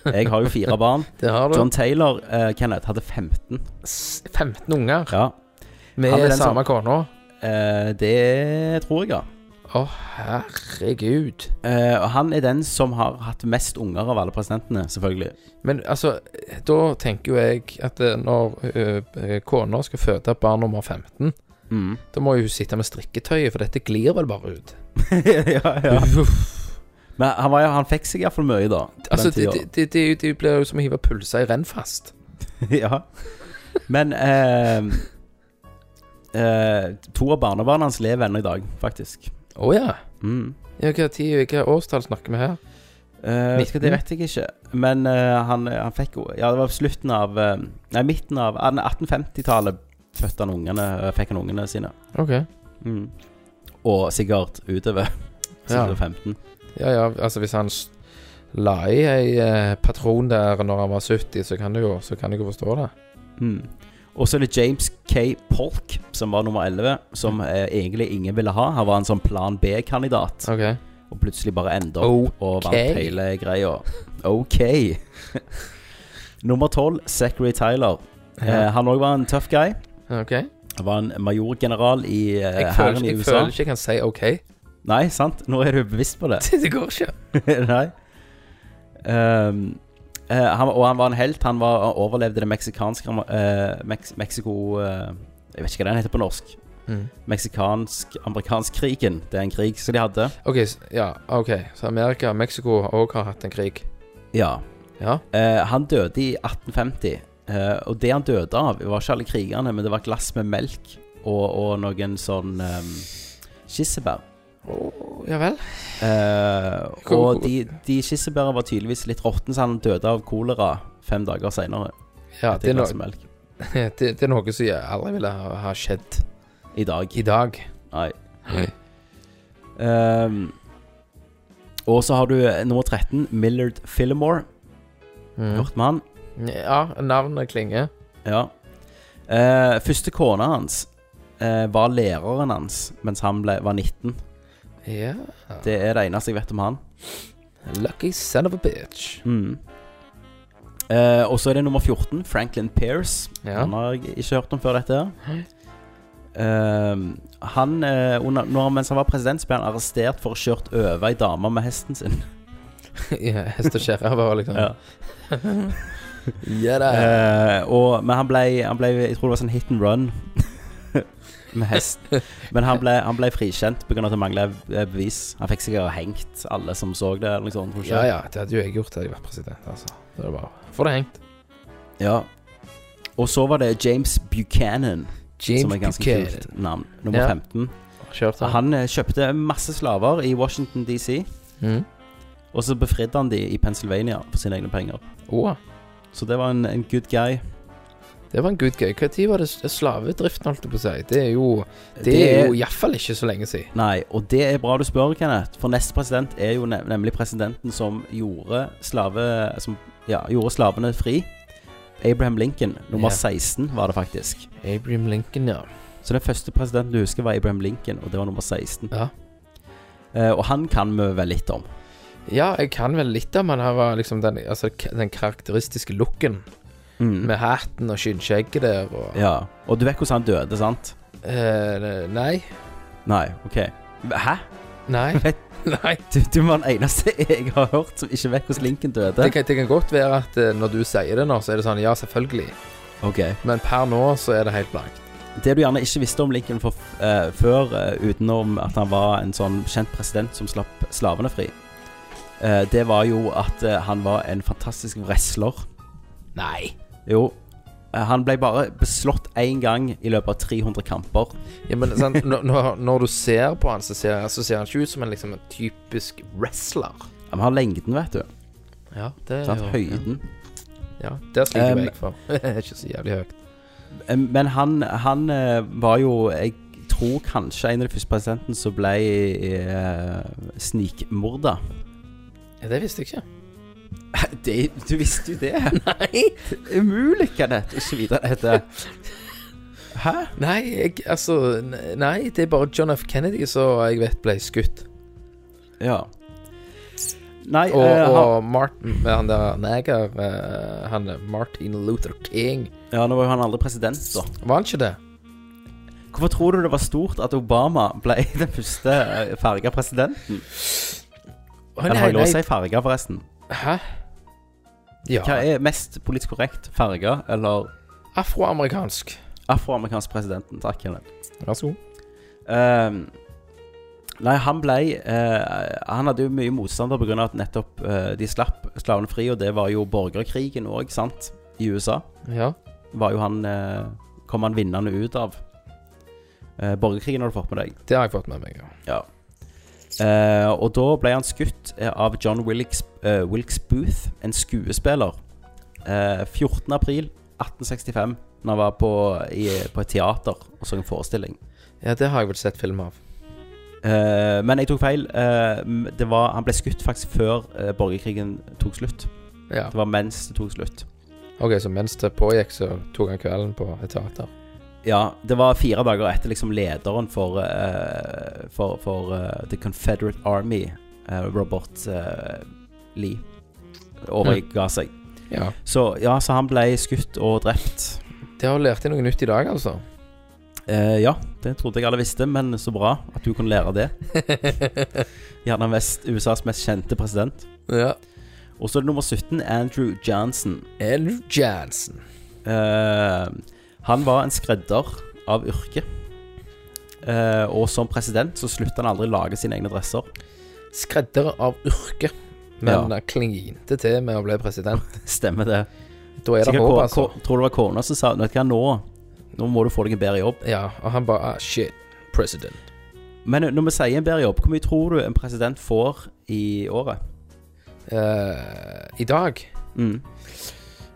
Speaker 1: Jeg har jo fire
Speaker 3: (laughs)
Speaker 1: barn.
Speaker 3: Det har du.
Speaker 1: John Taylor, eh, Kenneth, hadde 15.
Speaker 3: S- 15 unger.
Speaker 1: Ja, Han er
Speaker 3: Med
Speaker 1: den
Speaker 3: samme kona?
Speaker 1: eh, det tror jeg, ja.
Speaker 3: Å, herregud.
Speaker 1: Eh, og han er den som har hatt mest unger av alle presidentene, selvfølgelig.
Speaker 3: Men altså, da tenker jo jeg at eh, når eh, kona skal føde barn nummer 15,
Speaker 1: Mm.
Speaker 3: da må jo hun sitte med strikketøyet, for dette glir vel bare ut.
Speaker 1: (laughs) ja, ja.
Speaker 3: (laughs)
Speaker 1: Men han, var, jo- han fikk seg iallfall mye, da. på
Speaker 3: Altså, det
Speaker 1: den tida.
Speaker 3: det- det- det blir jo som å hive pølser i Rennfast.
Speaker 1: (laughs) ja. Men eh, eh, to av barnebarna hans lever ennå i dag, faktisk.
Speaker 3: Å ja.
Speaker 1: Mm.
Speaker 3: ja hva, tid, hva årstall snakker vi her?
Speaker 1: Eh,
Speaker 3: 19?
Speaker 1: det vet jeg ikke, men eh, han, han fikk jo Ja, det var slutten av eh, Nei, midten av ah, nei, 1850-tallet fødte han ungene, eh, fikk han ungene sine.
Speaker 3: OK.
Speaker 1: Mm. Og sikkert utover. (laughs)
Speaker 3: Ja.
Speaker 1: Sikkert 15.
Speaker 3: Ja, ja, altså hvis han s- la i ei eh, patron der når han var 70, så kan du jo, så kan jeg jo forstå det.
Speaker 1: Mm. Og så er det James K. Polk, som var nummer 11,
Speaker 3: Mm.
Speaker 1: som eh, egentlig ingen ville ha. Han var en sånn plan B-kandidat,
Speaker 3: OK.
Speaker 1: og plutselig bare enda opp og vant hele greia. OK. (laughs) nummer 12, Zachary Tyler. Eh,
Speaker 3: Ja.
Speaker 1: han òg var en tøff guy.
Speaker 3: OK.
Speaker 1: Han var en majorgeneral i eh,
Speaker 3: Jeg, føler,
Speaker 1: hæren
Speaker 3: ikke-
Speaker 1: i
Speaker 3: jeg
Speaker 1: USA.
Speaker 3: føler ikke jeg kan si OK. (laughs)
Speaker 1: Nei, sant? Nå er du bevisst på det. (laughs)
Speaker 3: Det går ikke.
Speaker 1: Nei. Ehm, eh, han, og han var en helt. Han, var, han overlevde det meksikanske eh, Mex Mexico eh, Jeg vet ikke hva den heter på norsk.
Speaker 3: Mm.
Speaker 1: Meksikansk-amerikansk-krigen. Det er en krig som de hadde.
Speaker 3: OK, s- ja, ok Så Amerika og Mexico òg har hatt en krig.
Speaker 1: Ja.
Speaker 3: Ja.
Speaker 1: Eh, han døde i 1850. eh, og det han døde av, var ikke alle krigerne, men det var et glass med melk og, og noen sånn ehm, Kirsebær.
Speaker 3: Oh, ja vel.
Speaker 1: Eh,
Speaker 3: Hvor-
Speaker 1: og de, de kirsebæra var tydeligvis litt råtne, så han døde av kolera fem dager seinere.
Speaker 3: Ja, det er, no
Speaker 1: melk.
Speaker 3: (laughs) det, det er noe som jeg aldri ville ha, ha skjedd
Speaker 1: I dag.
Speaker 3: i dag.
Speaker 1: Nei. Ehm, og så har du eh, nummer 13, Millard Fillimore.
Speaker 3: Mm.
Speaker 1: Hørt med han?
Speaker 3: Ja, navnet klinger.
Speaker 1: Ja. Eh, første kona hans eh, var læreren hans mens han ble, var 19.
Speaker 3: Ja.
Speaker 1: Det er det eneste jeg vet om han.
Speaker 3: Lucky son of a bitch.
Speaker 1: Mm. Eh, og så er det nummer 14, Franklin Pierce.
Speaker 3: Ja.
Speaker 1: Han har jeg ikke hørt om før dette. her.
Speaker 3: Nei.
Speaker 1: Eh, han, eh, under, når, mens han var president, så ble han arrestert for å ha kjørt over ei dame med hesten sin.
Speaker 3: (laughs) Ja, Hest og kjerre var liksom
Speaker 1: Ja.
Speaker 3: Ja da.
Speaker 1: Eh, og, men han ble, han ble Jeg tror det var sånn hit and run (laughs) med hest. Men han ble, han ble frikjent pga. at det manglet eh, bevis. Han fikk sikkert hengt alle som så det. Eller noe sånt, tror ikke
Speaker 3: Ja
Speaker 1: jeg.
Speaker 3: ja, det hadde jo jeg gjort hadde jeg vært president, altså. Det er bare Få det hengt.
Speaker 1: Ja. Og så var det James Buchanan, som er et ganske
Speaker 3: Buchanan.
Speaker 1: kult navn. Nummer
Speaker 3: Ja.
Speaker 1: 15.
Speaker 3: Kjørte han.
Speaker 1: Han eh, kjøpte masse slaver i Washington DC,
Speaker 3: Mm.
Speaker 1: og så befridde han de i Pennsylvania for sine egne penger.
Speaker 3: Åh,
Speaker 1: Så det var en, en good guy.
Speaker 3: det var en good guy. Hva tid var det s- slavedriften, holdt jeg på å si? Det er jo Det, er jo iallfall ikke så lenge siden.
Speaker 1: Nei, og det er bra du spør, Kenneth. For neste president er jo ne nemlig presidenten som gjorde, slave, som, ja, gjorde slavene fri. Abraham Lincoln. Nummer
Speaker 3: Ja.
Speaker 1: 16 var det faktisk.
Speaker 3: Abraham Lincoln, ja.
Speaker 1: Så den første presidenten du husker, var Abraham Lincoln, og det var nummer 16.
Speaker 3: Ja.
Speaker 1: Eh, og han kan vi vel litt om.
Speaker 3: Ja, jeg kan vel litt om han. Han var liksom den, altså, k- den karakteristiske looken. Med hatten og skinnskjegget der og
Speaker 1: Mm. Ja. Og du vet hvordan han døde, sant?
Speaker 3: eh, Nei.
Speaker 1: Nei, OK. Hæ?
Speaker 3: Nei.
Speaker 1: (laughs)
Speaker 3: (laughs)
Speaker 1: Vet-
Speaker 3: nei.
Speaker 1: Du, du var den eneste jeg har hørt som ikke vet hvordan Lincoln døde.
Speaker 3: Det kan, det kan godt være at eh, når du sier det nå, så er det sånn Ja, selvfølgelig.
Speaker 1: Ok
Speaker 3: Men per nå så er det helt blankt.
Speaker 1: Det du gjerne ikke visste om Lincoln for, eh, før, eh, utenom at han var en sånn kjent president som slapp slavene fri, eh, det var jo at eh, han var en fantastisk wrestler.
Speaker 3: Nei.
Speaker 1: Jo, eh, han ble bare beslått én gang i løpet av 300 kamper.
Speaker 3: Ja, men sånn, når, (laughs) når- når du ser på han, så ser, så ser han ikke ut som en liksom en typisk wrestler.
Speaker 1: Ja, Men han har lengden, vet du.
Speaker 3: Ja, det
Speaker 1: Sant? Høyden.
Speaker 3: Ja, Der sliter
Speaker 1: Um,
Speaker 3: jo jeg (laughs) for. ikke så jævlig høyt.
Speaker 1: Eh, Men han, han eh, var jo Jeg tror kanskje en av de første presidentene som ble eh, snikmorda.
Speaker 3: Ja, det visste jeg ikke.
Speaker 1: (laughs) Det, du visste jo det. (laughs) Nei Umulig, Kenneth. Ikke vite dette. Hæ?
Speaker 3: Nei, jeg, altså ne- Nei, det er bare John F. Kennedy som jeg vet ble skutt.
Speaker 1: Ja. Nei,
Speaker 3: Og,
Speaker 1: eh, han,
Speaker 3: og Martin Han der neger eh, Han er Martin Luther King.
Speaker 1: ja, nå var jo han aldri president, da.
Speaker 3: Var han ikke det?
Speaker 1: Hvorfor tror du det var stort at Obama ble (laughs) den første eh, farga presidenten?
Speaker 3: Å,
Speaker 1: Eller har jeg lov å si farga, forresten?
Speaker 3: Hæ? Ja.
Speaker 1: Hva er mest politisk korrekt? Farga eller
Speaker 3: Afroamerikansk.
Speaker 1: afroamerikansk presidenten? Takk, Kenneth.
Speaker 3: Vær så god.
Speaker 1: Ehm, Nei, han ble eh, Han hadde jo mye motstander pga. at nettopp eh, de slapp slavene fri, og det var jo borgerkrigen òg, sant? I USA.
Speaker 3: Ja.
Speaker 1: var jo han eh, Kom han vinnende ut av eh, Borgerkrigen har du fått med deg
Speaker 3: Det har jeg fått med meg, ja.
Speaker 1: Eh, og da ble han skutt eh, av John Wilkes, eh, Wilkes Booth, en skuespiller, eh, 14. april 1865, når han var på, i, på et teater og så en forestilling.
Speaker 3: Ja, det har jeg vel sett film av.
Speaker 1: Eh, men jeg tok feil. Eh, m- det var, han ble skutt faktisk før eh, borgerkrigen tok slutt.
Speaker 3: Ja.
Speaker 1: Det var mens det tok slutt.
Speaker 3: OK, så mens det pågikk, så tok han kvelden på et teater.
Speaker 1: Ja, det var fire dager etter liksom lederen for, eh, for, for eh, The Confederate Army, eh, Robert eh, Lee, overga seg.
Speaker 3: Ja.
Speaker 1: Så ja, så han ble skutt og drept.
Speaker 3: Det har lært deg noe nytt i dag, altså.
Speaker 1: (laughs) Eh, ja, det trodde jeg alle visste, men så bra at du kunne lære det. Gjerne mest, USAs mest kjente president.
Speaker 3: ja.
Speaker 1: Og så er det nummer 17, Andrew Johnson.
Speaker 3: Andrew Jansen.
Speaker 1: Eh, han var en skredder av yrke. Eh, og som president så slutta han aldri å lage sine egne dresser. (laughs)
Speaker 3: Skredder av yrke, men
Speaker 1: Ja.
Speaker 3: ja. klingte til med å bli president.
Speaker 1: Stemmer det.
Speaker 3: Da er det
Speaker 1: Sikkert
Speaker 3: håp,
Speaker 1: ko-
Speaker 3: altså.
Speaker 1: ko- tror det var kona som sa Vet du hva, nå, nå må du få deg en bedre jobb.
Speaker 3: Ja, og han bare ah, Shit, president.
Speaker 1: Men eh, når vi sier en bedre jobb, hvor mye tror du en president får i året?
Speaker 3: Eh, I dag
Speaker 1: Mm.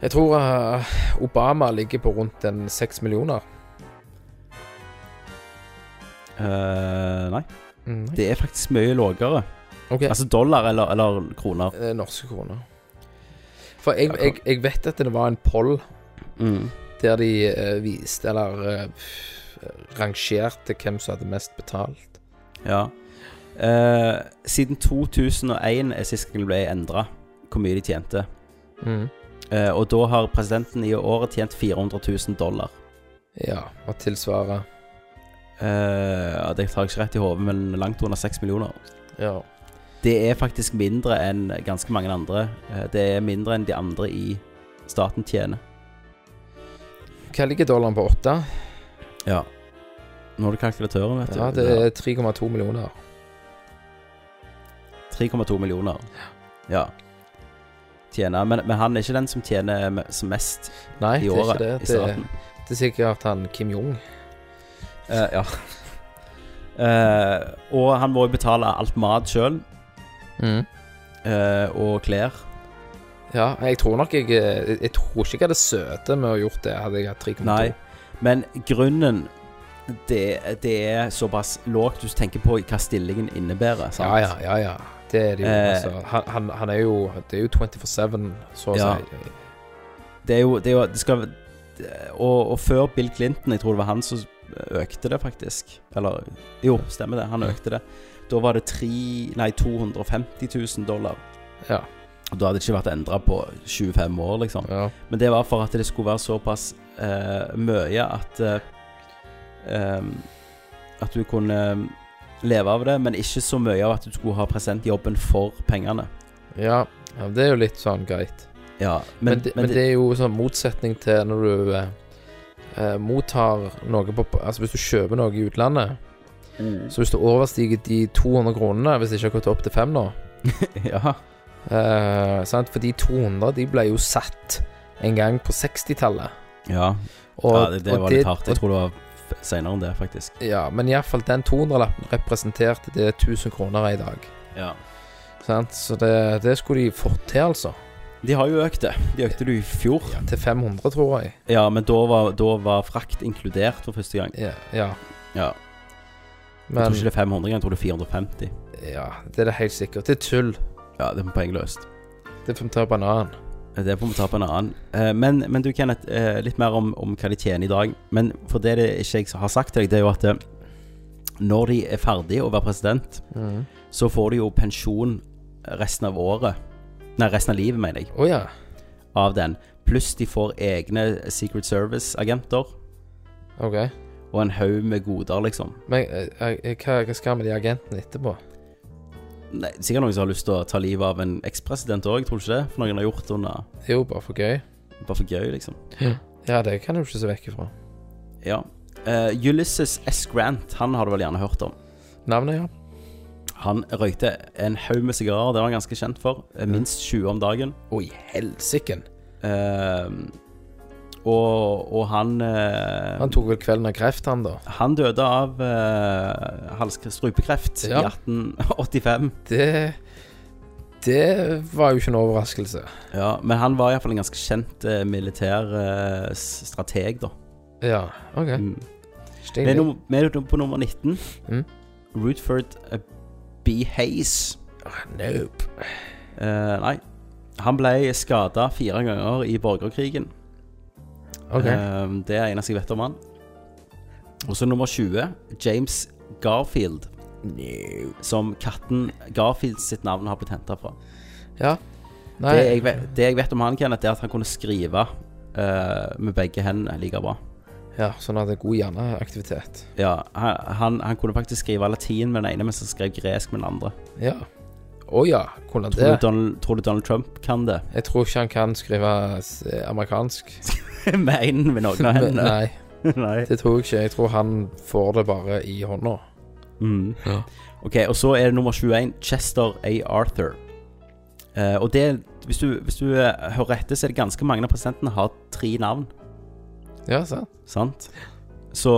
Speaker 3: Jeg tror eh, Obama ligger på rundt en seks millioner.
Speaker 1: Eh, nei,
Speaker 3: Mm,
Speaker 1: det er faktisk mye lavere.
Speaker 3: ok,
Speaker 1: Altså dollar eller, eller kroner.
Speaker 3: Eh, norske kroner. For jeg, jeg, jeg vet at det var en poll
Speaker 1: Mm.
Speaker 3: der de eh, viste, eller eh, rangerte, hvem som hadde mest betalt.
Speaker 1: Ja. Eh, siden 2001 er sist gang det ble endra hvor mye de tjente.
Speaker 3: Mm.
Speaker 1: Eh, og da har presidenten i året tjent 400 000 dollar.
Speaker 3: Ja, og tilsvarer
Speaker 1: Eh, ja, det tar jeg ikke rett i hodet, men langt under 6 millioner.
Speaker 3: Ja.
Speaker 1: Det er faktisk mindre enn ganske mange andre. Eh, det er mindre enn de andre i staten tjener.
Speaker 3: Hva ligger dollaren på åtte?
Speaker 1: Ja. Nå har du kalkulatøren, vet du.
Speaker 3: Ja, det er 3,2 millioner.
Speaker 1: 3,2 millioner. Ja. Tjener. Men, men han er ikke den som tjener me- som mest
Speaker 3: Nei,
Speaker 1: i
Speaker 3: det er
Speaker 1: året
Speaker 3: ikke det.
Speaker 1: i
Speaker 3: Det,
Speaker 1: staten.
Speaker 3: det er sikkert han Kim Jong.
Speaker 1: Eh, ja. Eh, og han må jo betale alt mat sjøl, Mm. og klær.
Speaker 3: Ja, jeg tror nok jeg Jeg, jeg tror ikke jeg hadde søte med å gjort det, hadde jeg hatt 3,2.
Speaker 1: Nei. Men grunnen det, det er såpass lågt hvis du tenker på hva stillingen innebærer. Sant?
Speaker 3: Ja, ja, ja, ja. Det er det jo.
Speaker 1: Eh,
Speaker 3: altså, han, han, han er jo Det er jo 24-7, så å
Speaker 1: Ja.
Speaker 3: si.
Speaker 1: Det er jo, det er jo det skal, og, og før Bill Clinton, jeg tror det var han som økte det, faktisk. Eller Jo, stemmer det. Han økte det. Da var det tre, nei, 250 000 dollar.
Speaker 3: Ja.
Speaker 1: Og da hadde det ikke vært endra på 25 år, liksom.
Speaker 3: ja.
Speaker 1: Men det var for at det skulle være såpass eh, mye at eh, em, At du kunne eh, leve av det, men ikke så mye av at du skulle ha presidentjobben for pengene.
Speaker 3: ja. ja det er jo litt sånn greit.
Speaker 1: Ja,
Speaker 3: Men, det- men det er jo sånn motsetning til når du eh, eh, mottar noe på Altså hvis du kjøper noe i utlandet,
Speaker 1: Mm.
Speaker 3: så hvis du overstiger de 200 kronene, hvis det ikke har gått opp til fem nå
Speaker 1: (laughs) Ja.
Speaker 3: eh, sant? For de 200, de ble jo satt en gang på 60-tallet.
Speaker 1: ja.
Speaker 3: Og-
Speaker 1: ja, det, det
Speaker 3: og
Speaker 1: var litt hardt. Jeg tror det var f- senere enn det, faktisk.
Speaker 3: Ja, men iallfall den 200-lappen representerte det 1000 kroner er i dag.
Speaker 1: Ja.
Speaker 3: Sant? Så det, det skulle de fått til, altså.
Speaker 1: De har jo økt det. De økte det i fjor. Ja,
Speaker 3: Til 500, tror jeg.
Speaker 1: men da var, da var frakt inkludert for første gang.
Speaker 3: Ja. ja.
Speaker 1: Ja. Jeg
Speaker 3: Men
Speaker 1: tror ikke det er 500 engang, jeg tror det er 450.
Speaker 3: ja, det er det helt sikkert. Det er tull.
Speaker 1: Ja, det er poengløst.
Speaker 3: Det får vi ta banan.
Speaker 1: Det får vi ta på en annen. Eh, Men, men du, Kenneth, eh, litt mer om, om hva de tjener i dag. Men for det, det ikke jeg har sagt til deg, det er jo at eh, når de er ferdige å være president,
Speaker 3: Mm.
Speaker 1: så får de jo pensjon resten av året. Nei, resten av livet, mener jeg.
Speaker 3: Å ja.
Speaker 1: av den. Pluss de får egne Secret Service-agenter
Speaker 3: Ok.
Speaker 1: og en haug med goder, liksom.
Speaker 3: Men eh, eh, hva, hva skal vi med de agentene etterpå?
Speaker 1: Nei, sikkert noen som har lyst til å ta livet av en ekspresident òg, tror du ikke det? For noen har gjort det under
Speaker 3: Det er jo bare for gøy.
Speaker 1: bare for gøy, liksom.
Speaker 3: Ja, det kan du ikke se vekk ifra.
Speaker 1: Ja. Eh, Ulysses S. Grant, han har du vel gjerne hørt om.
Speaker 3: Navnet, ja.
Speaker 1: Han røykte en haug med sigarer, det var han ganske kjent for. Eh, Minst 20 om dagen.
Speaker 3: Å, i helsiken.
Speaker 1: Eh, Og, og han, eh,
Speaker 3: Han tok vel kvelden av kreft, han, da.
Speaker 1: han døde av eh, hals- strupekreft
Speaker 3: Ja.
Speaker 1: i 1885.
Speaker 3: Det Det var jo ikke en overraskelse.
Speaker 1: Ja, men han var iallfall en ganske kjent eh, militær eh, s- strateg, da.
Speaker 3: Ja, OK.
Speaker 1: Mm. Vi er
Speaker 3: Stilig.
Speaker 1: num- vi er num- på nummer 19.
Speaker 3: Mm.
Speaker 1: Rutherford eh, B. Hayes.
Speaker 3: Ah, Nope.
Speaker 1: Eh, nei. Han ble skada fire ganger i borgerkrigen.
Speaker 3: OK.
Speaker 1: Eh, det er det eneste jeg vet om han. Og så nummer 20, James Garfield. Som katten Garfield sitt navn har blitt henta fra.
Speaker 3: Ja. Nei,
Speaker 1: Det jeg, vet, det jeg vet om han, Kenneth, er at han kunne skrive eh, med begge hendene like bra.
Speaker 3: ja, sånn at det er god hjerneaktivitet.
Speaker 1: Ja, han, han, han kunne faktisk skrive latin med den ene, mens han skrev gresk med den andre.
Speaker 3: Ja. Å ja, kunne han
Speaker 1: Tror du,
Speaker 3: det?
Speaker 1: Donald, tror du Donald Trump kan
Speaker 3: (laughs)
Speaker 1: det?
Speaker 3: Jeg tror ikke han kan skrive s- amerikansk.
Speaker 1: med én ved noen av
Speaker 3: Men,
Speaker 1: hendene?
Speaker 3: (laughs) nei,
Speaker 1: (laughs) Nei.
Speaker 3: det tror jeg ikke. Jeg tror han får det bare i hånda.
Speaker 1: Mm.
Speaker 3: Ja.
Speaker 1: Ok, og så er det nummer 21 Chester A. Arthur Eh, Og det, hvis du, hvis du eh, hører etter Så er det ganske mange av presidentene har tre navn
Speaker 3: Ja, sant?
Speaker 1: Sant? Så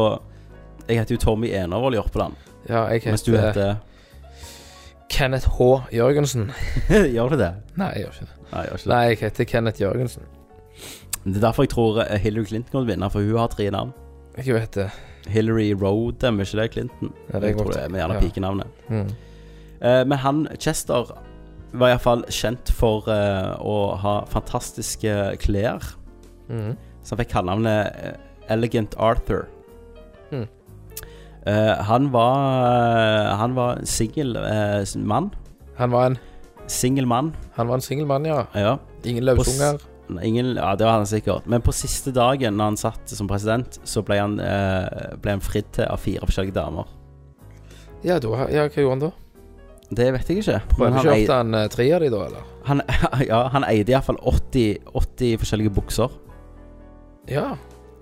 Speaker 1: jeg heter jo Tommy Enervold i Jørpeland
Speaker 3: Ja, jeg
Speaker 1: Mens du
Speaker 3: heter
Speaker 1: heter (laughs)
Speaker 3: Kenneth H. Jørgensen.
Speaker 1: Gjør du det?
Speaker 3: Nei, jeg gjør ikke det.
Speaker 1: Nei, jeg gjør ikke det
Speaker 3: Nei, jeg heter Kenneth Jørgensen.
Speaker 1: Det er derfor jeg tror eh, Hillary Clinton kommer til å vinne For hun har tre navn
Speaker 3: Jeg vet det.
Speaker 1: Hillary Rodem, er ikke det Clinton?
Speaker 3: Ja, det er
Speaker 1: jeg tror
Speaker 3: godt.
Speaker 1: det er med gjerne
Speaker 3: Ja.
Speaker 1: pikenavnet
Speaker 3: Mm.
Speaker 1: Eh, Men han, Chester Var i hvert fall kjent for eh, Å ha fantastiske klær
Speaker 3: Mm.
Speaker 1: Så han fikk kallenavnet eh, Elegant Arthur.
Speaker 3: Mm.
Speaker 1: Eh, han var eh, Han var en singel eh, s- mann.
Speaker 3: Han var en,
Speaker 1: Singel mann,
Speaker 3: han var en singel mann, ja.
Speaker 1: ja.
Speaker 3: Ingen løsunger.
Speaker 1: Ingen, ja. Det var han sikkert. Men på siste dagen når han satt som president, så ble han, eh, ble han fridd til av fire forskjellige damer.
Speaker 3: Ja, da, ja, hva gjorde han da?
Speaker 1: Det vet jeg ikke. men
Speaker 3: Prøvde
Speaker 1: han,
Speaker 3: ikke
Speaker 1: eide,
Speaker 3: han eh, tre av de da, eller?
Speaker 1: han, (laughs) ja, han eide iallfall 80, 80 forskjellige bukser.
Speaker 3: Ja.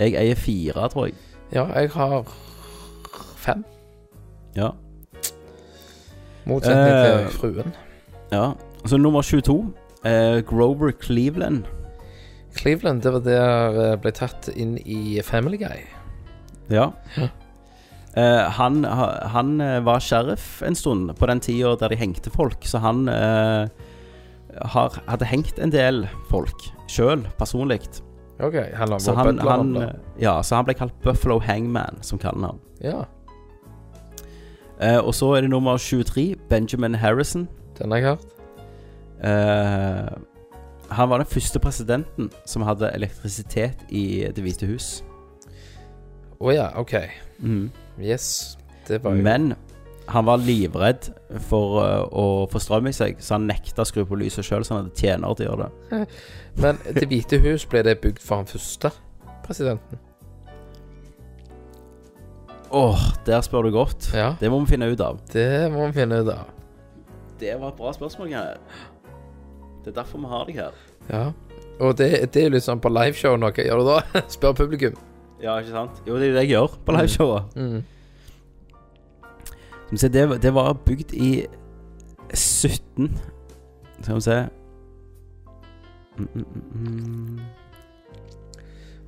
Speaker 1: Jeg eier fire, tror jeg.
Speaker 3: Ja, jeg har fem.
Speaker 1: Ja.
Speaker 3: Motsetning
Speaker 1: Eh,
Speaker 3: til fruen.
Speaker 1: ja. Så nummer 22, eh, Grover Cleveland.
Speaker 3: Cleveland, det var der eh, ble tatt inn i Family Guy.
Speaker 1: Ja.
Speaker 3: Ja.
Speaker 1: Eh, han, ha- han eh, var sheriff en stund på den tida der de hengte folk, så han eh, har, hadde hengt en del folk sjøl, personlig.
Speaker 3: Ok, han var
Speaker 1: Så han, han,
Speaker 3: butleren da.
Speaker 1: eh, ja, så han ble kalt Buffalo Hangman, som kaller han.
Speaker 3: Ja,
Speaker 1: Eh, og så er det nummer 23, Benjamin Harrison.
Speaker 3: den har jeg hørt.
Speaker 1: Eh, han var den første presidenten som hadde elektrisitet i Det hvite hus.
Speaker 3: Å ja, ok.
Speaker 1: Mhm.
Speaker 3: Yes. Det var jo
Speaker 1: Men han var livredd for eh, å få strøm i seg, så han nekta å skru på lyset sjøl, så han hadde tjener til å gjøre det.
Speaker 3: Men Det hvite hus, ble det bygd for han første presidenten?
Speaker 1: Åh, der spør du godt.
Speaker 3: Ja,
Speaker 1: Det må vi finne ut av.
Speaker 3: det må vi finne ut av.
Speaker 1: Det var et bra spørsmål, Kenneth. Det er derfor vi har deg her.
Speaker 3: Ja. Og det, det er jo litt sånn på liveshow nå, hva gjør du da? (laughs) Spør publikum.
Speaker 1: Ja, ikke sant? Jo, det er jo det jeg gjør på liveshowet.
Speaker 3: Mm.
Speaker 1: Skal vi se, det, det var bygd i 17 Skal vi se mm, mm, mm, mm.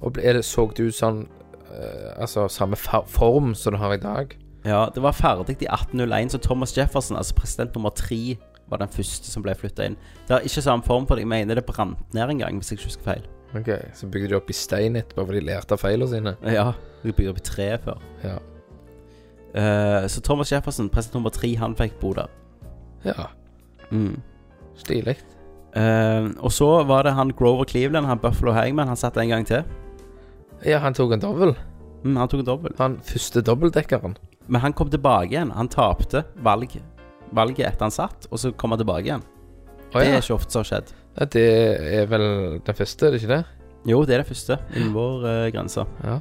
Speaker 3: Og ble- er det, så det ut sånn eh, Altså samme fa- form som du har i dag?
Speaker 1: Ja, det var ferdig i 1801, så Thomas Jefferson, altså president nummer tre, var den første som ble flytta inn. Det har ikke samme form for det. Jeg mener det brant ned en gang, hvis jeg ikke husker feil.
Speaker 3: Ok, Så bygde de opp i stein etterpå, for de lærte av feilene sine.
Speaker 1: Ja, det bygde opp i tre før.
Speaker 3: Ja.
Speaker 1: Eh, så Thomas Jefferson, president nummer tre, han fikk bo der.
Speaker 3: ja.
Speaker 1: Mm.
Speaker 3: Stilig.
Speaker 1: Eh, og så var det han Grover Cleveland, han Buffalo Hangman, han satt en gang til.
Speaker 3: Ja, han tok en dobbel.
Speaker 1: Mm, han tok en dobbel.
Speaker 3: Han første dobbeltdekkeren.
Speaker 1: Men han kom tilbake igjen. Han tapte valg, valget etter han satt, og så kom han tilbake igjen.
Speaker 3: Å
Speaker 1: Det
Speaker 3: ja.
Speaker 1: er ikke ofte som har skjedd.
Speaker 3: ja. Det er vel den første, er det ikke det?
Speaker 1: Jo, det er det første innen vår uh, grense.
Speaker 3: Ja.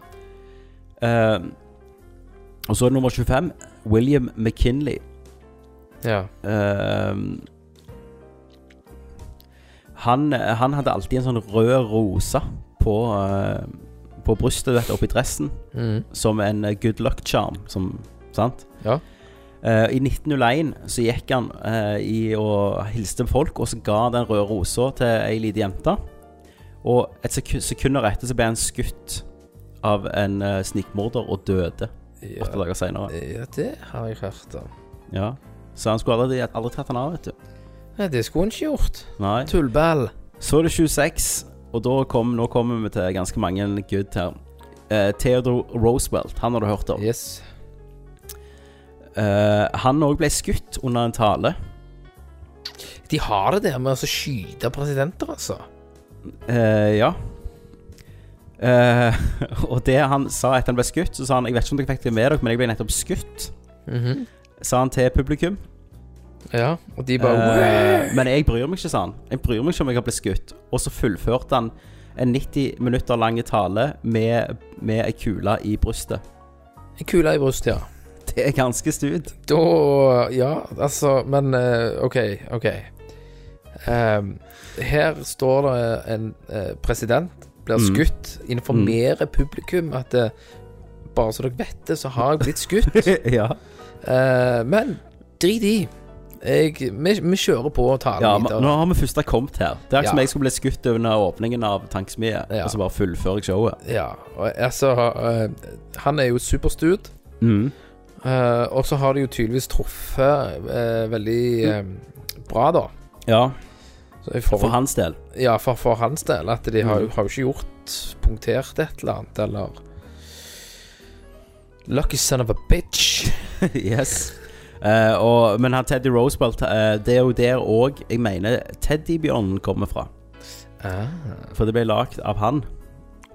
Speaker 1: Eh, og så er det nummer 25, William McKinley.
Speaker 3: ja.
Speaker 1: Eh, han, han hadde alltid en sånn rød rose på, eh, på brystet du vet, oppi dressen,
Speaker 3: Mm.
Speaker 1: som en eh, good luck charm. Som, sant?
Speaker 3: Ja.
Speaker 1: Eh, I 1901 så gikk han eh, i og hilste folk, og så ga han den røde rosa til ei lita jente. Og et sekund, sekunder etter så ble han skutt av en eh, snikmorder og døde
Speaker 3: Ja,
Speaker 1: åtte dager seinere.
Speaker 3: ja, det har jeg hørt om.
Speaker 1: Ja. Så han skulle aldri, aldri tatt han av, vet du.
Speaker 3: Nei, det skulle hun ikke gjort.
Speaker 1: Nei.
Speaker 3: Tullball.
Speaker 1: Så er det 26, og da kom, nå kommer vi til ganske mange good her. Eh, Theodore Roosevelt, han har du hørt om.
Speaker 3: Yes.
Speaker 1: Eh, han òg ble skutt under en tale.
Speaker 3: De har det der med å skyte presidenter, altså.
Speaker 1: Eh, ja. Eh, (laughs) og det han sa etter han ble skutt, så sa han Jeg vet ikke om dere fikk det med dere, men jeg ble nettopp skutt. Mhm. Sa han til publikum.
Speaker 3: Ja, og de bare
Speaker 1: Eh, men jeg bryr meg ikke, sa han. Jeg bryr meg ikke om jeg har blitt skutt. Og så fullførte han en 90 minutter lang tale med, med ei kule i brystet.
Speaker 3: Kula i brystet, ja.
Speaker 1: (laughs) Det er ganske stud.
Speaker 3: Da Ja, altså, men eh, OK, OK. Ehm, her står det en eh, president blir
Speaker 1: Mm.
Speaker 3: skutt. Informerer publikum at eh, bare så dere vet det, så har jeg blitt skutt.
Speaker 1: (laughs)
Speaker 3: (laughs)
Speaker 1: ja.
Speaker 3: Eh, men drit i. Jeg, vi, vi kjører på og tar
Speaker 1: ja
Speaker 3: den
Speaker 1: men,
Speaker 3: videre.
Speaker 1: nå har vi først kommet her. Det er ikke som
Speaker 3: Ja.
Speaker 1: jeg skulle blitt skutt under åpningen av Tankesmie,
Speaker 3: Ja.
Speaker 1: og så bare fullfører jeg showet.
Speaker 3: Ja, og, altså eh, Han er jo superstud.
Speaker 1: Mm.
Speaker 3: eh, og så har de jo tydeligvis truffet eh, veldig eh, bra, da.
Speaker 1: Ja,
Speaker 3: Så i
Speaker 1: Mm. for
Speaker 3: forhold
Speaker 1: hans (laughs) del.
Speaker 3: Ja, for, for hans del. At de har, jo-
Speaker 1: Mhm.
Speaker 3: har jo ikke gjort punktert et eller annet, eller Lucky son of a bitch.
Speaker 1: yes. Eh, og, men han Teddy Roosevelt, eh, det er jo der òg jeg mener Teddybjørnen kommer fra.
Speaker 3: Ah.
Speaker 1: For det ble lagd av han.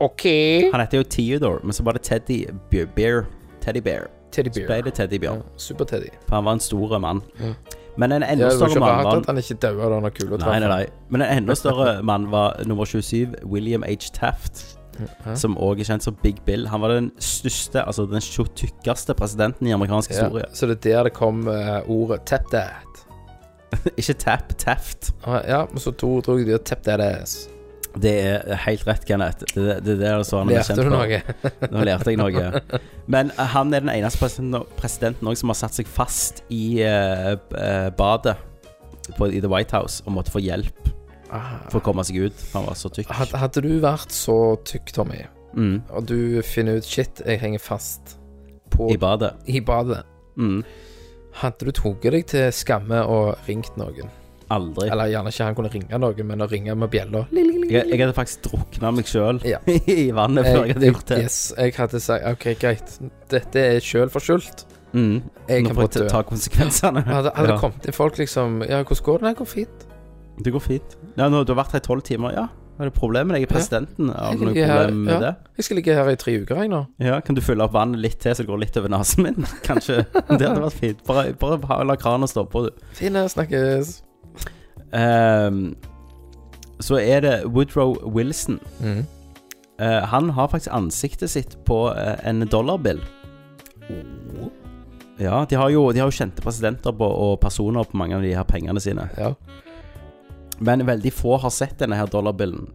Speaker 3: OK.
Speaker 1: Han heter jo Theodore, men så var det Teddy Be- Bear. Teddy Bear.
Speaker 3: Teddy
Speaker 1: Så ble
Speaker 3: Bear.
Speaker 1: det Teddy Bjørn,
Speaker 3: Ja, Super-Teddy.
Speaker 1: for han var en stor mann.
Speaker 3: Ja.
Speaker 1: Men en enda
Speaker 3: Ja, det var
Speaker 1: større
Speaker 3: ikke
Speaker 1: mann
Speaker 3: rart at
Speaker 1: var
Speaker 3: han ikke daua da han kula
Speaker 1: Nei, nei, nei. Men en enda
Speaker 3: (laughs)
Speaker 1: større mann var nummer 27, William H. Taft, som òg er kjent som Big Bill. Han var den største, altså den tjo- tykkeste presidenten i amerikansk historie. (laughs)
Speaker 3: Ja, så det er der det kom eh, ordet 'tap that'.
Speaker 1: Ikke Tapp, Taft.
Speaker 3: Ah, Ja, men så to tror jeg de har 'tap that ass'.
Speaker 1: Det er helt rett, Kenneth. Det, det, det er det som han er
Speaker 3: Lærte
Speaker 1: kjent for.
Speaker 3: du noe?
Speaker 1: Nå lærte jeg noe. Men eh, han er den eneste presiden- presidenten også som har satt seg fast i eh, eh, badet på, i The White House og måtte få hjelp
Speaker 3: Ah.
Speaker 1: for å komme seg ut. for Han var så tykk.
Speaker 3: Had- Hadde du vært så tykk, Tommy,
Speaker 1: Mm,
Speaker 3: og du finner ut 'shit, jeg henger fast' på,
Speaker 1: I badet.
Speaker 3: i badet
Speaker 1: Mm,
Speaker 3: Hadde du tatt deg til skamme og ringt noen?
Speaker 1: aldri.
Speaker 3: Eller gjerne ikke han kunne ringe noen, men å ringe med bjella
Speaker 1: Jeg, jeg hadde faktisk drukna meg sjøl
Speaker 3: Ja.
Speaker 1: (laughs) i vannet før jeg hadde gjort det.
Speaker 3: Eh, Yes, jeg hadde sagt OK, greit, dette er sjølforskyldt.
Speaker 1: Mm,
Speaker 3: Jeg
Speaker 1: nå får
Speaker 3: kan bare
Speaker 1: jeg ta-
Speaker 3: dø.
Speaker 1: ta konsekvensene.
Speaker 3: Hadde, hadde
Speaker 1: Ja.
Speaker 3: kommet inn folk liksom Ja, hvordan går det? Nei, går fint.
Speaker 1: Det går fint. Ja, nå, du har vært her i tolv timer. Ja, hva er det problemet? Jeg er presidenten. Har du noe
Speaker 3: Jeg er her,
Speaker 1: problem med
Speaker 3: ja.
Speaker 1: det?
Speaker 3: Jeg skal ligge her i tre uker, jeg nå.
Speaker 1: Ja, kan du fylle opp vannet litt til så det går litt over nesen min? (laughs) Kanskje. Det hadde vært fint. Bare, bare ha- la krana stå på, du.
Speaker 3: Fine, snakkes.
Speaker 1: Ehm, så er det Woodrow Wilson.
Speaker 3: Mm.
Speaker 1: Eh, han har faktisk ansiktet sitt på eh, en dollarbill. Ja, de har, jo, de har jo kjente presidenter på, og personer på mange av de her pengene sine.
Speaker 3: Ja.
Speaker 1: Men veldig få har sett denne her dollarbillen.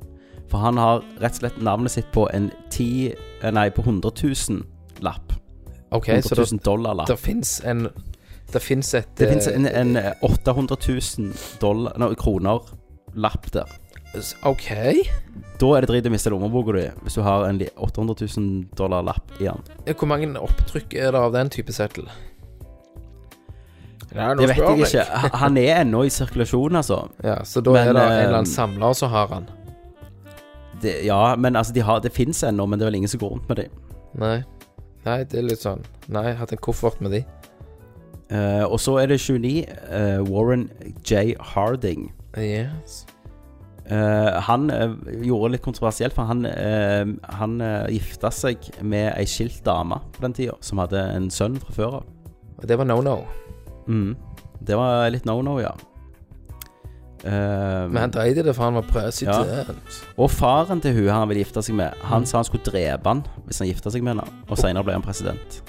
Speaker 1: For han har rett og slett navnet sitt på en 10 eh, Nei, på 100 000-lapp.
Speaker 3: OK,
Speaker 1: 100
Speaker 3: så det,
Speaker 1: 000 dollar-lapp.
Speaker 3: det fins en Det fins et
Speaker 1: Det finnes
Speaker 3: eh,
Speaker 1: en, en 800 000 dollar, nei, kroner lapp der.
Speaker 3: OK.
Speaker 1: Da er det drit å miste lommeboka di hvis du har en li- 800 000 dollar lapp i den.
Speaker 3: Hvor mange opptrykk er det av den type settel? Nei,
Speaker 1: Det
Speaker 3: nå
Speaker 1: vet
Speaker 3: spør
Speaker 1: jeg
Speaker 3: meg.
Speaker 1: ikke. Ha- Han er ennå i sirkulasjon, altså.
Speaker 3: Ja, så da
Speaker 1: Men,
Speaker 3: er det en
Speaker 1: eh,
Speaker 3: eller annen samler som har han.
Speaker 1: Det, ja, men altså, de har, det fins ennå, men det er vel ingen som går rundt med dem.
Speaker 3: Nei. Nei, det er litt sånn Nei, jeg har hatt en koffert med de.
Speaker 1: Eh, og så er det 29, eh, Warren J. Harding.
Speaker 3: Yes.
Speaker 1: Eh, han eh, gjorde litt kontroversielt, for han, eh, han eh, gifta seg med ei skilt dame på den tida, som hadde en sønn fra før av.
Speaker 3: Og det var no-no.
Speaker 1: Mm. Det var litt no-no, ja. Ehm,
Speaker 3: Men han dreide det, for han var president.
Speaker 1: og faren til hun han ville gifte seg med, han
Speaker 3: Mm.
Speaker 1: sa han skulle drepe han hvis han gifta seg med henne. Og senere ble han president.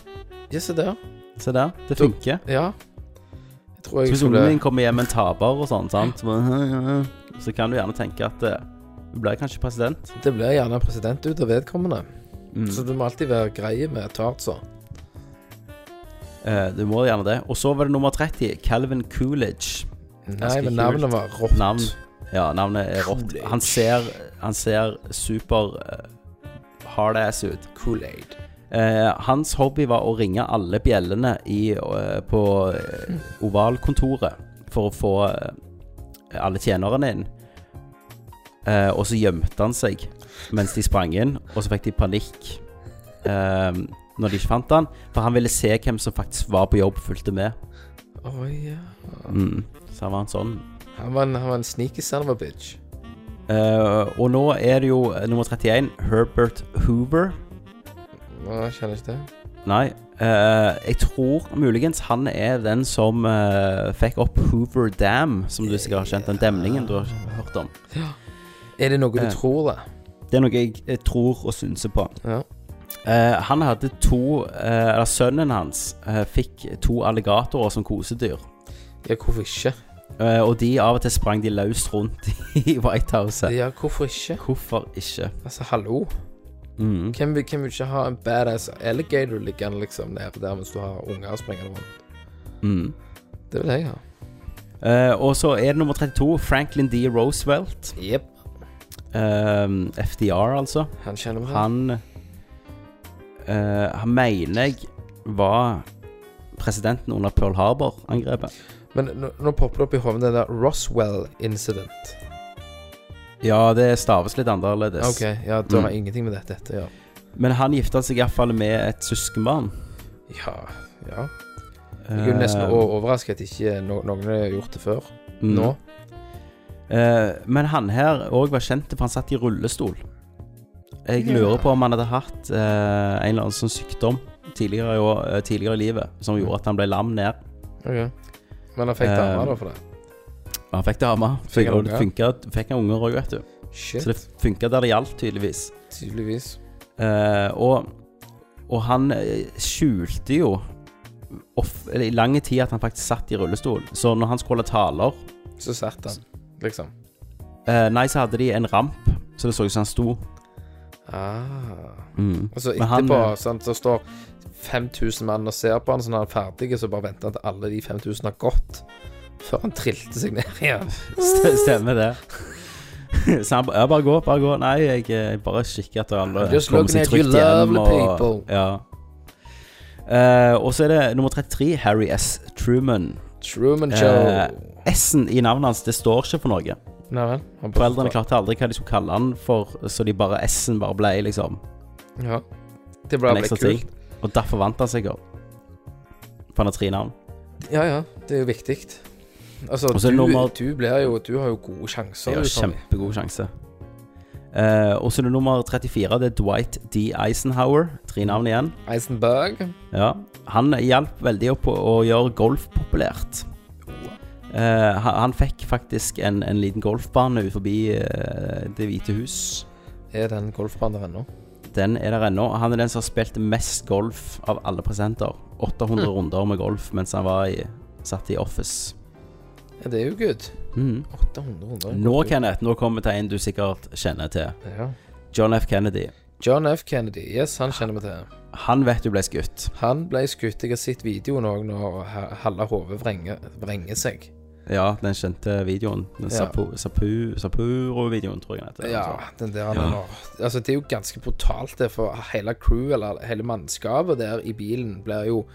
Speaker 3: Ja, se der.
Speaker 1: Se der, det
Speaker 3: Du-
Speaker 1: funker.
Speaker 3: Ja. Jeg tror
Speaker 1: Så
Speaker 3: jeg
Speaker 1: hvis ungen din
Speaker 3: skulle
Speaker 1: kommer hjem med en taper og sånn, sant? så bare- så kan du gjerne tenke at eh, du blir kanskje president.
Speaker 3: Det blir gjerne president ut av vedkommende.
Speaker 1: Mm.
Speaker 3: Så du må alltid være grei med tartser.
Speaker 1: Eh, du må gjerne det. Og så var det nummer 30, Calvin Coolidge.
Speaker 3: Nei,
Speaker 1: Ganske
Speaker 3: men navnet
Speaker 1: kult.
Speaker 3: var rått.
Speaker 1: Navn. Ja, navnet er rått.
Speaker 3: Coolidge.
Speaker 1: Han ser, Han ser super eh, hard-ass ut.
Speaker 3: Kool-Aid.
Speaker 1: Eh, hans hobby var å ringe alle bjellene i, eh, på eh, ovalkontoret for å få eh, alle tjenerne inn. Eh, og så gjemte han seg mens de sprang inn, og så fikk de panikk eh, når de ikke fant han, for han ville se hvem som faktisk var på jobb, fulgte med.
Speaker 3: Å ja.
Speaker 1: Mm. Så han var en sånn.
Speaker 3: Han var en, han var en sneaky son of a bitch.
Speaker 1: Eh, og nå er det jo eh, nummer 31, Herbert Hoover.
Speaker 3: Nå kjenner jeg ikke det.
Speaker 1: Nei. eh, jeg tror muligens han er den som eh, fikk opp Hoover Dam, som du sikkert har kjent, den demningen du har hørt om.
Speaker 3: Er det noe du
Speaker 1: Eh.
Speaker 3: tror, da?
Speaker 1: Det er noe jeg, jeg tror og synser på.
Speaker 3: Ja.
Speaker 1: Eh, han hadde to eh, Eller sønnen hans eh, fikk to alligatorer som kosedyr.
Speaker 3: ja, hvorfor ikke?
Speaker 1: Eh, og de av og til sprang de løst rundt (laughs) i Whitehouset.
Speaker 3: Ja, hvorfor ikke?
Speaker 1: Hvorfor ikke?
Speaker 3: Altså, hallo.
Speaker 1: Mm.
Speaker 3: Hvem vil, hvem vil ikke ha en badass alligator liggende liksom nede der mens du har unger springende rundt?
Speaker 1: Mm.
Speaker 3: Det vil jeg ha.
Speaker 1: Eh, og så er det nummer 32, Franklin D. Roosevelt.
Speaker 3: Jepp.
Speaker 1: Eh, FDR, altså.
Speaker 3: Han kjenner vi.
Speaker 1: Han eh, Han mener jeg var presidenten under Pearl Harbor-angrepet.
Speaker 3: Men nå, nå popper det opp i hodet det der Roswell incident.
Speaker 1: Ja, det staves litt annerledes.
Speaker 3: OK, ja, det har
Speaker 1: Mm.
Speaker 3: ingenting med dette dette å gjøre.
Speaker 1: Men han gifta seg iallfall med et søskenbarn.
Speaker 3: Ja, ja. Jeg er jo nesten o- overrasket at ikke no noen har gjort det før.
Speaker 1: Eh. Mm.
Speaker 3: Nå.
Speaker 1: Eh, men han her òg var kjent for han satt i rullestol. Jeg lurer på om han hadde hatt eh, en eller annen sånn sykdom tidligere i, år, eh, tidligere i livet
Speaker 3: Mm.
Speaker 1: som gjorde at han ble lam ned.
Speaker 3: OK. Men han fikk
Speaker 1: Eh.
Speaker 3: dame da for det.
Speaker 1: Og han fikk dame.
Speaker 3: Fikk han
Speaker 1: og det
Speaker 3: unger?
Speaker 1: funket- Fikk han unger òg, vet du. Så
Speaker 3: Shit.
Speaker 1: det funka der det gjaldt, tydeligvis.
Speaker 3: Tydeligvis.
Speaker 1: Eh, og, og han eh, skjulte jo off, eller, i lang tid at han faktisk satt i rullestol. Så når han skulle holde taler
Speaker 3: Så satt han, liksom.
Speaker 1: eh, Nei, så hadde de en ramp, så det så ut som han sto.
Speaker 3: Ah.
Speaker 1: Mm. (laughs)
Speaker 3: Og så
Speaker 1: Men han,
Speaker 3: etterpå
Speaker 1: eh,
Speaker 3: sant, så står 5000 mann og ser på han så når han er ferdig, så bare venter han til alle de 5000 har gått. Før han trilte seg ned igjen.
Speaker 1: St- Stemmer det. (laughs) så han bare ja, bare gå, bare gå. Nei, jeg, eh, bare kikker etter alle.
Speaker 3: Just
Speaker 1: kommer
Speaker 3: looking
Speaker 1: seg
Speaker 3: at you
Speaker 1: trygt hjem,
Speaker 3: lovely
Speaker 1: og-
Speaker 3: people.
Speaker 1: Ja. Eh, og så er det nummer 33, Harry S. Truman.
Speaker 3: Truman Show.
Speaker 1: Eh. S-en i navnet hans, det står ikke for noe.
Speaker 3: Nei vel. han bare-
Speaker 1: Foreldrene klarte aldri hva de skulle kalle han for, så de bare S-en bare ble liksom
Speaker 3: Ja. Det ble
Speaker 1: en
Speaker 3: ble
Speaker 1: ekstra
Speaker 3: kult.
Speaker 1: ting. Og derfor vant han seg jo. For han har tre navn.
Speaker 3: Ja, ja. Det er jo viktig. Altså,
Speaker 1: Og så er
Speaker 3: du,
Speaker 1: nummer-
Speaker 3: du blir jo Du har jo gode sjanser.
Speaker 1: Så de
Speaker 3: du,
Speaker 1: har
Speaker 3: Tommy.
Speaker 1: kjempegod sjanse. Eh, og så er det nummer 34, det er Dwight D. Eisenhower. Tre navn igjen.
Speaker 3: Eisenberg.
Speaker 1: Ja. Han hjalp veldig opp å, å gjøre golf populært. Eh, han, han fikk faktisk en, en liten golfbane ut forbi eh, Det hvite hus.
Speaker 3: Er den golfbanen der ennå?
Speaker 1: Den er der ennå. Han er den som har spilt mest golf av alle presenter. 800
Speaker 3: Hmm.
Speaker 1: runder med golf mens han var i, satt i office.
Speaker 3: Ja, det er jo good.
Speaker 1: Mhm.
Speaker 3: 800 100.
Speaker 1: Nå, Kenneth, nå kommer vi til en du sikkert kjenner til.
Speaker 3: ja.
Speaker 1: John F. Kennedy.
Speaker 3: John F. Kennedy. Yes, han kjenner vi til.
Speaker 1: Han vet du ble skutt.
Speaker 3: Han ble skutt. Jeg har sett videoen òg når he- halve hodet vrenger, vrenger seg.
Speaker 1: Ja, den kjente videoen. Den
Speaker 3: Ja.
Speaker 1: Sapu, Sapu, Sapuro-videoen, tror jeg den heter.
Speaker 3: Ja, den der han har Altså, det er jo ganske brutalt, det, for hele crew, eller hele mannskapet der i bilen, blir jo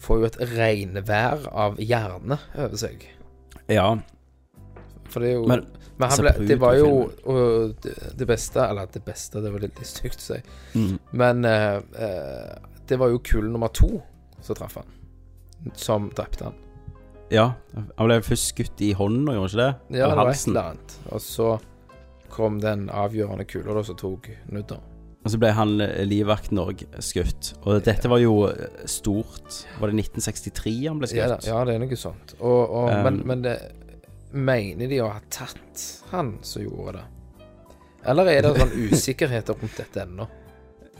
Speaker 3: Får jo et regnvær av hjerne over seg.
Speaker 1: ja.
Speaker 3: For det er jo
Speaker 1: Men-
Speaker 3: Men, han
Speaker 1: så
Speaker 3: ble,
Speaker 1: brut
Speaker 3: det var
Speaker 1: i
Speaker 3: jo
Speaker 1: filmen.
Speaker 3: og det, det beste Eller det beste, det var litt, litt stygt å si.
Speaker 1: Mm.
Speaker 3: Men eh, eh, det var jo kule nummer to som traff han. Som drepte han.
Speaker 1: ja. Han ble først skutt i hånden, og gjorde han ikke det?
Speaker 3: Ja,
Speaker 1: Eller
Speaker 3: det var et
Speaker 1: halsen.
Speaker 3: eller annet. Og så kom den avgjørende kula da som tok nudder.
Speaker 1: Og så ble han eh, livvakten òg skutt. Og dette var jo eh, stort. Var det 1963 han ble skutt?
Speaker 3: Ja, da, ja, det er noe sånt. Og, og,
Speaker 1: Um,
Speaker 3: men, men det, mener de å ha tatt han som gjorde det? Eller er det sånn usikkerhet rundt dette ennå?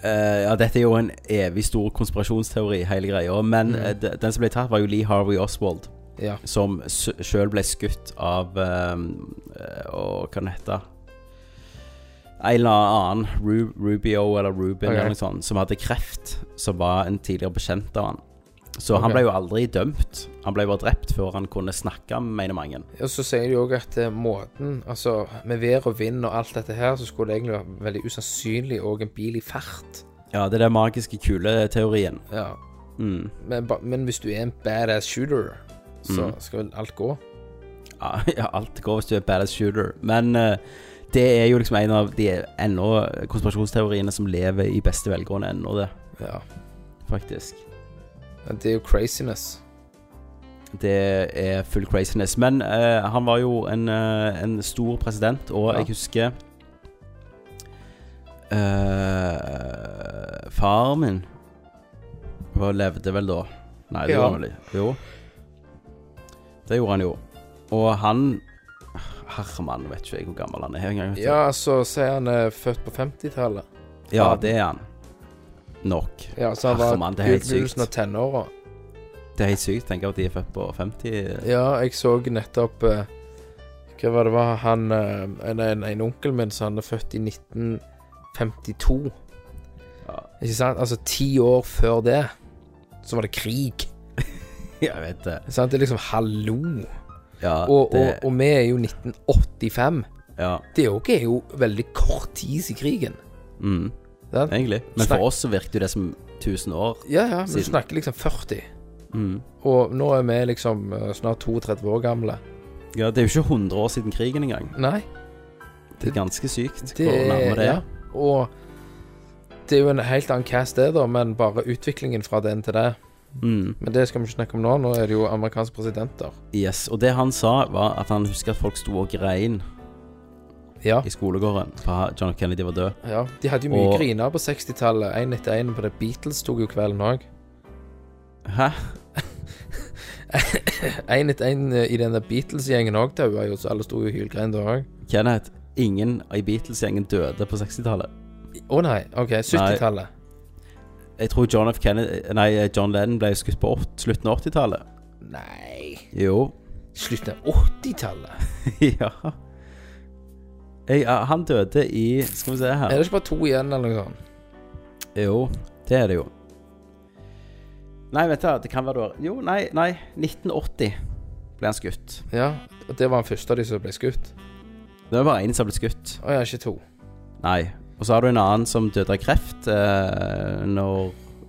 Speaker 1: Eh, ja, dette er jo en evig stor konspirasjonsteori, hele greia. Men eh, de- den som ble tatt, var jo Lee Harvey Oswald,
Speaker 3: Ja.
Speaker 1: som s- sjøl ble skutt av eh, eh, Å, hva den heter En eller annen Ru Rubio eller Rubin
Speaker 3: Ok.
Speaker 1: eller noe sånt, som hadde kreft, som var en tidligere bekjent av han. Så han
Speaker 3: Ok.
Speaker 1: ble jo aldri dømt. Han ble bare drept før han kunne snakke, mener mange.
Speaker 3: Og så sier de òg at eh, måten Altså, med vær og vind og alt dette her, så skulle det egentlig være veldig usannsynlig òg en bil i fart.
Speaker 1: Ja, det er den magiske kuleteorien.
Speaker 3: Ja.
Speaker 1: Mm.
Speaker 3: Men, ba- men hvis du er en badass shooter, så skal vel alt gå.
Speaker 1: Ja, (laughs) ja, alt går hvis du er badass shooter. Men eh, det er jo liksom en av de ennå konspirasjonsteoriene som lever i beste velgående ennå, det,
Speaker 3: Ja.
Speaker 1: faktisk.
Speaker 3: Men Det er jo craziness.
Speaker 1: Det er full craziness. Men eh, han var jo en, eh, en stor president, og
Speaker 3: Ja.
Speaker 1: jeg husker eh, Faren min var, levde vel da? Nei, det
Speaker 3: Ja.
Speaker 1: gjorde han vel ikke. Jo. Det gjorde han jo. Og han Herman, vet ikke jeg hvor gammel han er. engang, vet du.
Speaker 3: Ja, så sier han er født på 50-tallet.
Speaker 1: ja, det er han. Nok.
Speaker 3: Ja, så han var
Speaker 1: Herman, det er helt sykt.
Speaker 3: begynnelsen av tenåra.
Speaker 1: Det er helt sykt. Tenker at de er født på 50.
Speaker 3: Ja, jeg så nettopp eh, Hva var det var han eh, en, en, en onkel min som han er født i 1952.
Speaker 1: Ja.
Speaker 3: Ikke sant? Altså ti år før det, så var det krig.
Speaker 1: (laughs) Jeg vet det.
Speaker 3: Ikke Sant? Det er liksom hallo.
Speaker 1: Ja,
Speaker 3: Og,
Speaker 1: det,
Speaker 3: og, og vi er jo 1985.
Speaker 1: ja.
Speaker 3: Det òg er jo veldig kort tid siden krigen.
Speaker 1: Mm.
Speaker 3: Sant?
Speaker 1: egentlig. Men
Speaker 3: Snakk-
Speaker 1: for oss så virket jo det som 1000 år.
Speaker 3: Ja, ja, men du
Speaker 1: Siden.
Speaker 3: snakker liksom 40.
Speaker 1: Mm.
Speaker 3: Og nå er vi liksom eh, snart 32 år gamle.
Speaker 1: Ja, det er jo ikke 100 år siden krigen engang.
Speaker 3: Nei.
Speaker 1: Det er ganske sykt
Speaker 3: Det
Speaker 1: hvor nærme
Speaker 3: er
Speaker 1: det
Speaker 3: ja.
Speaker 1: er.
Speaker 3: Og det er jo en helt annen cast, det, da, men bare utviklingen fra den til det.
Speaker 1: Mm.
Speaker 3: Men det skal vi ikke snakke om nå. Nå er det jo amerikanske presidenter.
Speaker 1: Yes. Og det han sa, var at han husker at folk sto og grein
Speaker 3: Ja.
Speaker 1: i skolegården fra John F. Kennedy var død.
Speaker 3: ja. De hadde jo mye
Speaker 1: Og-
Speaker 3: griner på 60-tallet. Én etter én på det. Beatles tok jo kvelden òg.
Speaker 1: Hæ?
Speaker 3: Én etter én i den der Beatles-gjengen òg daua jo, så alle sto jo og hylgrein da òg.
Speaker 1: Kenneth, ingen i Beatles-gjengen døde på 60-tallet.
Speaker 3: Å nei. OK. 70-tallet.
Speaker 1: Jeg tror John F. Kennedy Nei, John Lennon ble skutt på ått- slutten av 80-tallet.
Speaker 3: Nei.
Speaker 1: Jo.
Speaker 3: Slutten av 80-tallet?
Speaker 1: (laughs) ja. Jeg, ja, han døde i Skal vi se her.
Speaker 3: Er det ikke bare to igjen, eller noe sånt?
Speaker 1: Jo, det er det jo. Nei, vent da, det kan være du har Jo, nei, nei. 1980 ble han skutt.
Speaker 3: Ja. Og det var den første av de som ble skutt?
Speaker 1: Det var bare én som ble skutt.
Speaker 3: Å ja, ikke to.
Speaker 1: Nei. Og så har du en annen som døde av kreft eh, når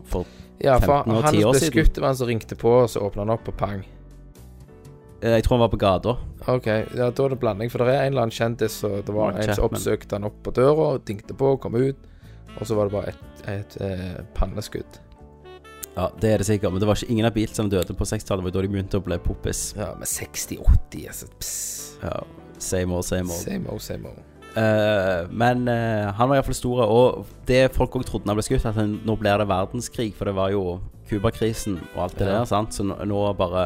Speaker 1: for,
Speaker 3: Ja, for
Speaker 1: 15 og 10
Speaker 3: han som
Speaker 1: år
Speaker 3: ble
Speaker 1: siden.
Speaker 3: skutt, det var han som ringte på, og så åpna han opp, og pang.
Speaker 1: eh, Jeg tror han var på gata.
Speaker 3: Ok, ja, da er det blanding, for det er en eller annen kjendis, og det var
Speaker 1: Mark
Speaker 3: en som
Speaker 1: Chapman.
Speaker 3: oppsøkte han opp på døra, og dingte på, kom ut, og så var det bare et, et, eh, panneskudd.
Speaker 1: Ja, det er det sikkert. Men det var ikke ingen av Beatlesene døde på 60-tallet. Det var da de begynte å bli poppis.
Speaker 3: Ja, men 60-80, altså, pss.
Speaker 1: Ja, same old, same old.
Speaker 3: Same old, same old.
Speaker 1: Eh, men eh, han var iallfall stor, og det folk òg trodde da han ble skutt, at han, nå blir det verdenskrig, for det var jo Cuba-krisen og alt det
Speaker 3: Ja.
Speaker 1: der, sant, så nå, nå bare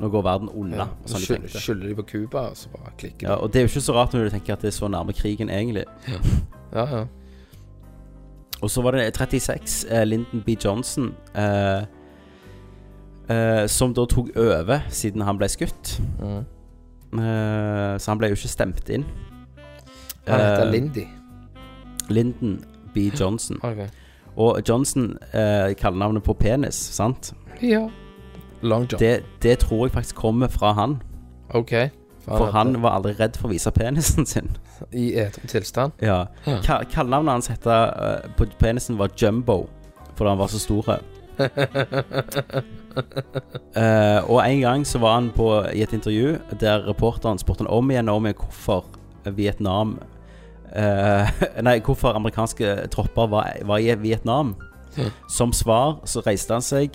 Speaker 1: Nå går verden unna,
Speaker 3: Ja, og så
Speaker 1: sånn de
Speaker 3: skyld-
Speaker 1: tenkte.
Speaker 3: skylder de på Cuba, og så bare klikker
Speaker 1: Ja,
Speaker 3: de.
Speaker 1: og det er jo ikke så rart når du tenker at det er så nærme krigen, egentlig.
Speaker 3: Ja, ja.
Speaker 1: Og så var det 36, eh, Lyndon B. Johnson, eh, eh, som da tok over siden han ble skutt.
Speaker 3: Mm.
Speaker 1: Eh, så han ble jo ikke stemt inn.
Speaker 3: Han heter
Speaker 1: Eh,
Speaker 3: Lindy.
Speaker 1: Lyndon B. Johnson.
Speaker 3: Ok.
Speaker 1: Og Johnson eh, kaller navnet på penis, sant?
Speaker 3: Ja. Long John.
Speaker 1: Det, det tror jeg faktisk kommer fra han.
Speaker 3: Ok.
Speaker 1: For han var aldri redd for å vise penisen sin. (laughs)
Speaker 3: heter- I edru tilstand. (laughs)
Speaker 1: Ja.
Speaker 3: Ja.
Speaker 1: Ka- Kallenavnet hans hette, eh, på penisen var Jumbo, fordi han var så stor. Eh, og en gang så var han på, i et intervju der reporteren spurte han om igjen og om igjen hvorfor Vietnam eh, (laughs) Nei, hvorfor amerikanske tropper var, var i Vietnam. Som svar så reiste han seg,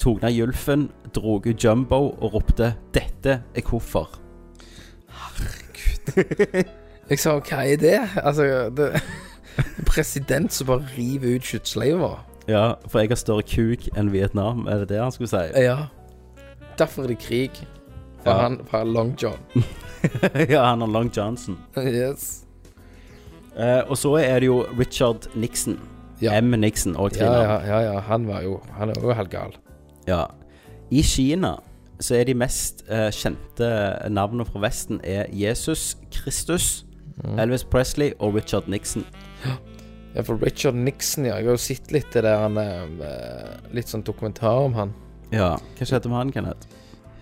Speaker 1: tok ned gylfen, dro ut Jumbo og ropte 'Dette er hvorfor'.
Speaker 3: Jeg sa, hva er det? Altså, det... (laughs) En president som bare river ut skytsleiver.
Speaker 1: Ja, for jeg har større kuk enn Vietnam, er det det han skulle
Speaker 3: (laughs)
Speaker 1: si?
Speaker 3: Ja. Derfor er det krig. For
Speaker 1: Ja.
Speaker 3: han fra Long John.
Speaker 1: ja, han har Long Johnson.
Speaker 3: yes.
Speaker 1: Eh, og så er det jo Richard Nixon.
Speaker 3: Ja.
Speaker 1: M. Nixon og
Speaker 3: Ja,
Speaker 1: Trina. Ja,
Speaker 3: ja, ja, ja. Han var jo Han er jo halvgal.
Speaker 1: I Kina så er de mest eh, kjente navnene fra Vesten er Jesus, Kristus,
Speaker 3: Mm.
Speaker 1: Elvis Presley og Richard Nixon.
Speaker 3: Ja, for Richard Nixon, ja. Jeg har jo sett litt det der han eh, Litt sånn dokumentar om han.
Speaker 1: Ja. Hva skjedde med han, Kenneth?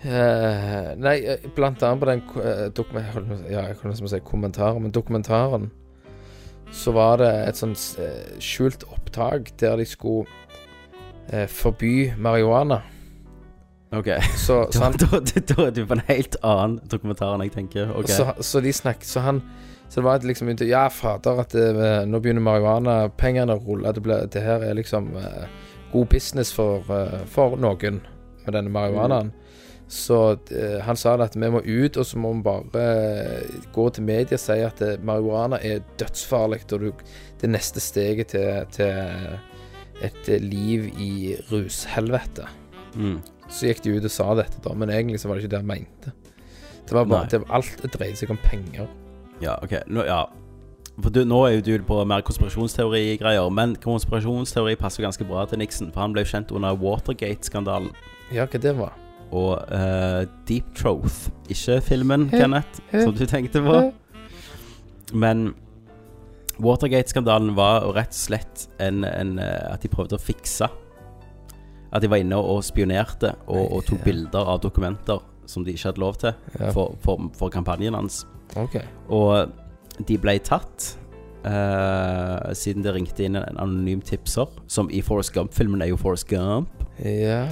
Speaker 3: Eh, nei, eh, blant annet på den ko- eh, dokum jeg holdt på å si- ja, jeg kunne nesten si kommentaren, men dokumentaren så var det et sånt eh, skjult opptak der de skulle eh, forby marihuana.
Speaker 1: Ok. (laughs)
Speaker 3: Så, så,
Speaker 1: Da,
Speaker 3: han,
Speaker 1: da, da, da er du på en helt annen dokumentar enn jeg tenker. Ok.
Speaker 3: så, så de snakket Så han Så det var et liksom inntil- Ja, fader, at det, eh, nå begynner marihuanapengene å rulle. Det, ble, det her er liksom eh, god business for, eh, for noen med denne marihuanaen. Så eh, han sa det at vi må ut, og så må vi bare eh, gå til media og si at eh, marihuana er dødsfarlig, og du, det neste steget til, til et eh, liv i rushelvete.
Speaker 1: Mm.
Speaker 3: Så gikk de ut og sa dette, da, men egentlig så var det ikke det han mente. Det var bare,
Speaker 1: Nei.
Speaker 3: det var alt det dreide seg om penger.
Speaker 1: Ja, ok. Nå, ja. For du, nå er jo du på mer konspirasjonsteori-greier, men konspirasjonsteori passer jo ganske bra til Nixon, for han ble jo kjent under Watergate-skandalen.
Speaker 3: Ja, hva det var?
Speaker 1: og eh, Deep Troth. Ikke filmen,
Speaker 3: Hæ?
Speaker 1: Kenneth,
Speaker 3: Hæ?
Speaker 1: som du tenkte på. Men Watergate-skandalen var rett og slett en, en, eh, at de prøvde å fikse. At de var inne og spionerte og, og tok
Speaker 3: Ja.
Speaker 1: bilder av dokumenter som de ikke hadde lov til
Speaker 3: Ja,
Speaker 1: for, for, for kampanjen hans.
Speaker 3: ok.
Speaker 1: Og de ble tatt. eh, siden det ringte inn en anonym tipser, som i Forrest Gump-filmen er jo Forrest Gump.
Speaker 3: Ja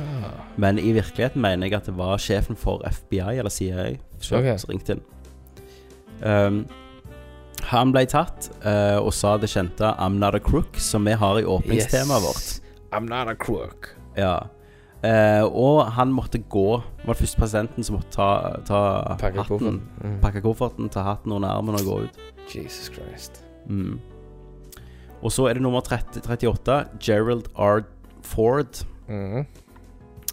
Speaker 1: Men i virkeligheten mener jeg at det var sjefen for FBI eller CIA selv
Speaker 3: Ok.
Speaker 1: som ringte inn. Um, han ble tatt eh, og sa det kjente 'I'm not a crook', som vi har i åpningstemaet vårt.
Speaker 3: I'm not a crook.
Speaker 1: Ja. Eh, og han måtte gå. Det var først presidenten som måtte ta, ta hatten.
Speaker 3: Pakke kofferten. Mm.
Speaker 1: Pakke kofferten, ta hatten under armen og gå ut.
Speaker 3: Jesus Christ.
Speaker 1: Mm. Og så er det nummer 30, 38, Gerald R. Ford.
Speaker 3: Mm.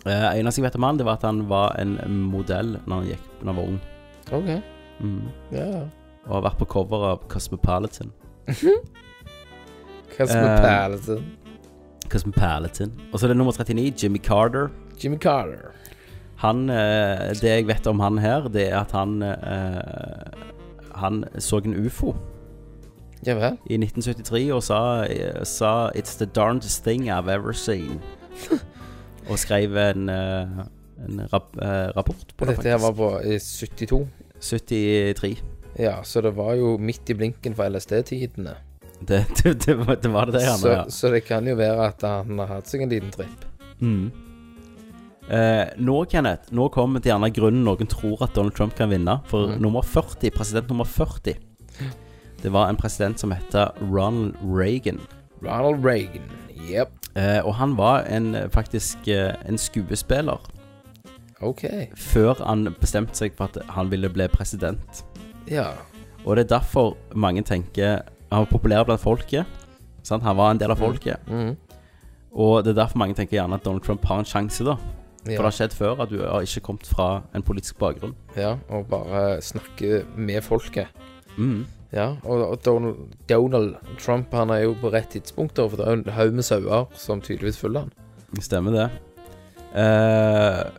Speaker 1: Eh, eneste jeg vet om han, det var at han var en modell når han, gikk, når han var ung.
Speaker 3: Ok,
Speaker 1: Mm.
Speaker 3: ja.
Speaker 1: Og har vært på cover av Cosmopolitan.
Speaker 3: Hva som er
Speaker 1: Eh.
Speaker 3: perlete?
Speaker 1: Cosmopolitan. Og så er det nummer 39, Jimmy Carter.
Speaker 3: Jimmy Carter.
Speaker 1: Han, eh, Det jeg vet om han her, det er at han eh, Han så en ufo
Speaker 3: Ja vel?
Speaker 1: i 1973 og sa, eh, sa 'It's the darndest thing I've ever
Speaker 3: (laughs)
Speaker 1: seen'. og skrev en, eh, en rap, eh, rapport på det,
Speaker 3: Dette her
Speaker 1: faktisk.
Speaker 3: var på i 72.
Speaker 1: 73.
Speaker 3: Ja, så det var jo midt i blinken for LSD-tidene.
Speaker 1: Det, det, det, var- det var det, han
Speaker 3: Så,
Speaker 1: ja.
Speaker 3: så det kan jo være at han har hatt seg en liten tripp.
Speaker 1: Mm. Eh, nå, Kenneth, nå kommer til gjerne grunnen noen tror at Donald Trump kan vinne. For
Speaker 3: Mhm.
Speaker 1: nummer 40, president nummer 40 Det var en president som het Ronald Reagan.
Speaker 3: Ronald Reagan. Yep.
Speaker 1: Eh, og han var en, faktisk eh, en skuespiller
Speaker 3: Ok.
Speaker 1: før han bestemte seg for at han ville bli president.
Speaker 3: Ja.
Speaker 1: Og det er derfor mange tenker Han var populær blant folket. Sant? Han var en del av folket.
Speaker 3: Mm.
Speaker 1: Og det er derfor mange tenker gjerne at Donald Trump har en sjanse, da. For det
Speaker 3: Ja.
Speaker 1: har skjedd før at du har ikke kommet fra en politisk bakgrunn.
Speaker 3: ja. Og bare snakke med folket.
Speaker 1: Mm.
Speaker 3: Ja, og og Donald, Donald Trump han er jo på rett tidspunkt, da, for det er jo en haug med sauer som tydeligvis følger han.
Speaker 1: Stemmer det. Eh,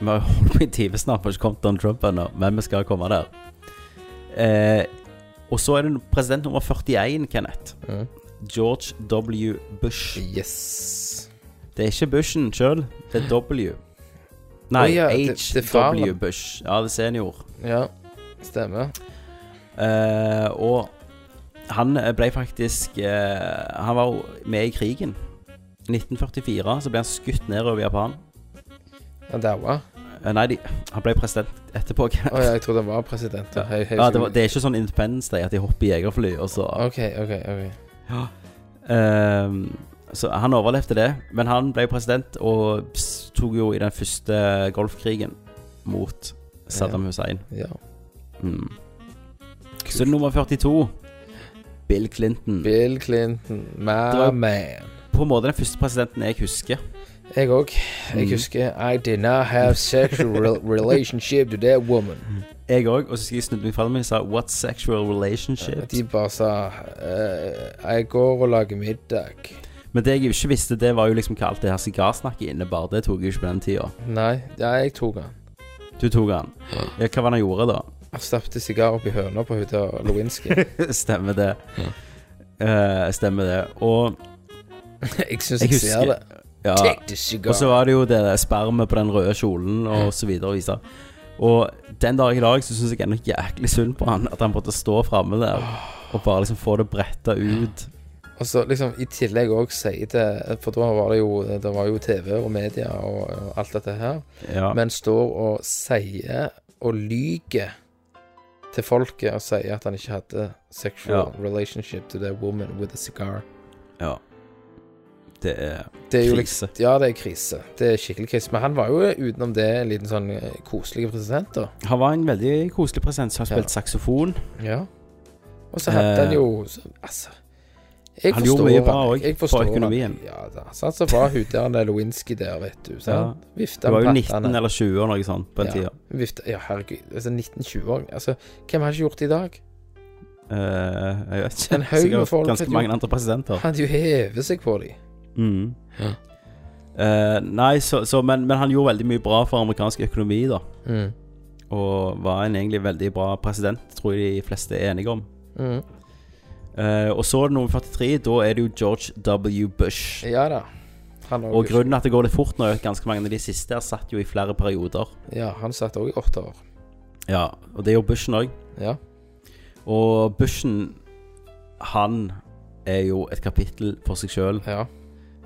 Speaker 1: vi har holdt på i time snart, vi har ikke kommet til Donald Trump ennå, men vi skal komme der. Eh, og så er det president nummer 41, Kenneth.
Speaker 3: Mhm.
Speaker 1: George W. Bush.
Speaker 3: Yes.
Speaker 1: Det er ikke Bushen sjøl, det er W. Nei,
Speaker 3: Å ja, det- det er faren.
Speaker 1: H.W. Bush. Ja, det er senior.
Speaker 3: Ja, stemmer.
Speaker 1: Eh, og han ble faktisk eh, Han var jo med i krigen. 1944 så ble han skutt nedover Japan.
Speaker 3: Han daua.
Speaker 1: Eh, Nei, de, han ble president etterpå.
Speaker 3: Å ja, jeg trodde han var president. da. Jeg- jeg-
Speaker 1: Ja, det, var, det er ikke sånn Independence Day at de hopper i jegerfly og så
Speaker 3: OK, OK. ok
Speaker 1: Ehm, Så han overlevde det, men han ble president og s- tok jo i den første golfkrigen mot Saddam Hussein.
Speaker 3: Ja.
Speaker 1: Mm. Så nummer 42, Bill Clinton.
Speaker 3: Bill Clinton, my
Speaker 1: Det var-
Speaker 3: man.
Speaker 1: På en måte den første presidenten jeg husker.
Speaker 3: Jeg òg. Jeg
Speaker 1: Mm.
Speaker 3: husker I did not have sexual
Speaker 1: (laughs)
Speaker 3: rel- relationship to that woman.
Speaker 1: Jeg òg. Og så skal jeg snudde meg fra meg og sa 'What sexual relationships?'
Speaker 3: De bare sa eh, Jeg går og lager middag.
Speaker 1: Men det jeg jo ikke visste, det var jo liksom hva alt det her sigarsnakket innebar. Det tok jeg jo ikke på den tida.
Speaker 3: Nei, ja, jeg tok han.
Speaker 1: Du tok han. Ja, hva var det han gjorde da?
Speaker 3: Han stappet sigar opp i høna på hun der
Speaker 1: (laughs)
Speaker 3: Lewinsky.
Speaker 1: stemmer det. Eh, stemmer det. Og
Speaker 3: Jeg syns
Speaker 1: Jeg
Speaker 3: jeg, ser
Speaker 1: husker-
Speaker 3: det.
Speaker 1: Ja.
Speaker 3: Take the cigar.
Speaker 1: Og så var det jo det der spermet på den røde kjolen og så videre. Og, videre. og den dag i dag så syns jeg ennå jæklig synd på han. At han måtte stå framme der og bare liksom få det bretta ut.
Speaker 3: Og så liksom i tillegg òg sier det For da var det jo, det var jo TV og media og, og alt dette her.
Speaker 1: Ja.
Speaker 3: Men står og sier og lyger til folket og sier at han ikke hadde sexual relationship to the woman with a cigar.
Speaker 1: ja. Det er
Speaker 3: Det er jo
Speaker 1: Krise.
Speaker 3: Liksom, ja, det er krise. Det er skikkelig krise. Men han var jo utenom det en liten sånn eh, koselig president, da.
Speaker 1: Han var en veldig koselig present som har
Speaker 3: Ja.
Speaker 1: spilt saksofon.
Speaker 3: Ja. Og så hadde
Speaker 1: Eh,
Speaker 3: han jo så, Altså. Jeg
Speaker 1: han gjorde
Speaker 3: forstår
Speaker 1: mye bra
Speaker 3: han,
Speaker 1: også,
Speaker 3: jeg forstår
Speaker 1: for
Speaker 3: han.
Speaker 1: økonomien.
Speaker 3: Ja, da, sant, så var hun der den Lewinsky der, vet du. Sant? Vifta
Speaker 1: Det var jo
Speaker 3: med
Speaker 1: 19
Speaker 3: pattene.
Speaker 1: eller 20 eller noe sånt på den
Speaker 3: ja,
Speaker 1: tida.
Speaker 3: vifta, ja, herregud. Altså, 1920-åring. Altså, hvem har ikke gjort det i dag?
Speaker 1: Eh, jeg vet ikke.
Speaker 3: En haug med
Speaker 1: Sikkert
Speaker 3: folk
Speaker 1: ganske
Speaker 3: hadde
Speaker 1: mange
Speaker 3: jo-
Speaker 1: andre presidenter.
Speaker 3: Han hadde jo hevet seg på dem.
Speaker 1: Mm.
Speaker 3: Ja.
Speaker 1: Eh, nei, så, så men, men han gjorde veldig mye bra for amerikansk økonomi, da.
Speaker 3: Mm.
Speaker 1: Og var en egentlig veldig bra president, tror jeg de fleste er enige om.
Speaker 3: Mm.
Speaker 1: Eh, og så er det nummer 43, da er det jo George W. Bush.
Speaker 3: Ja da. Han
Speaker 1: Og
Speaker 3: også-
Speaker 1: grunnen til at det går litt fort nå, er at ganske mange av de siste her satt jo i flere perioder.
Speaker 3: Ja, han satt også i åtte år.
Speaker 1: Ja, og det gjorde Bushen òg.
Speaker 3: Ja.
Speaker 1: Og Bushen, han er jo et kapittel for seg sjøl,
Speaker 3: ja.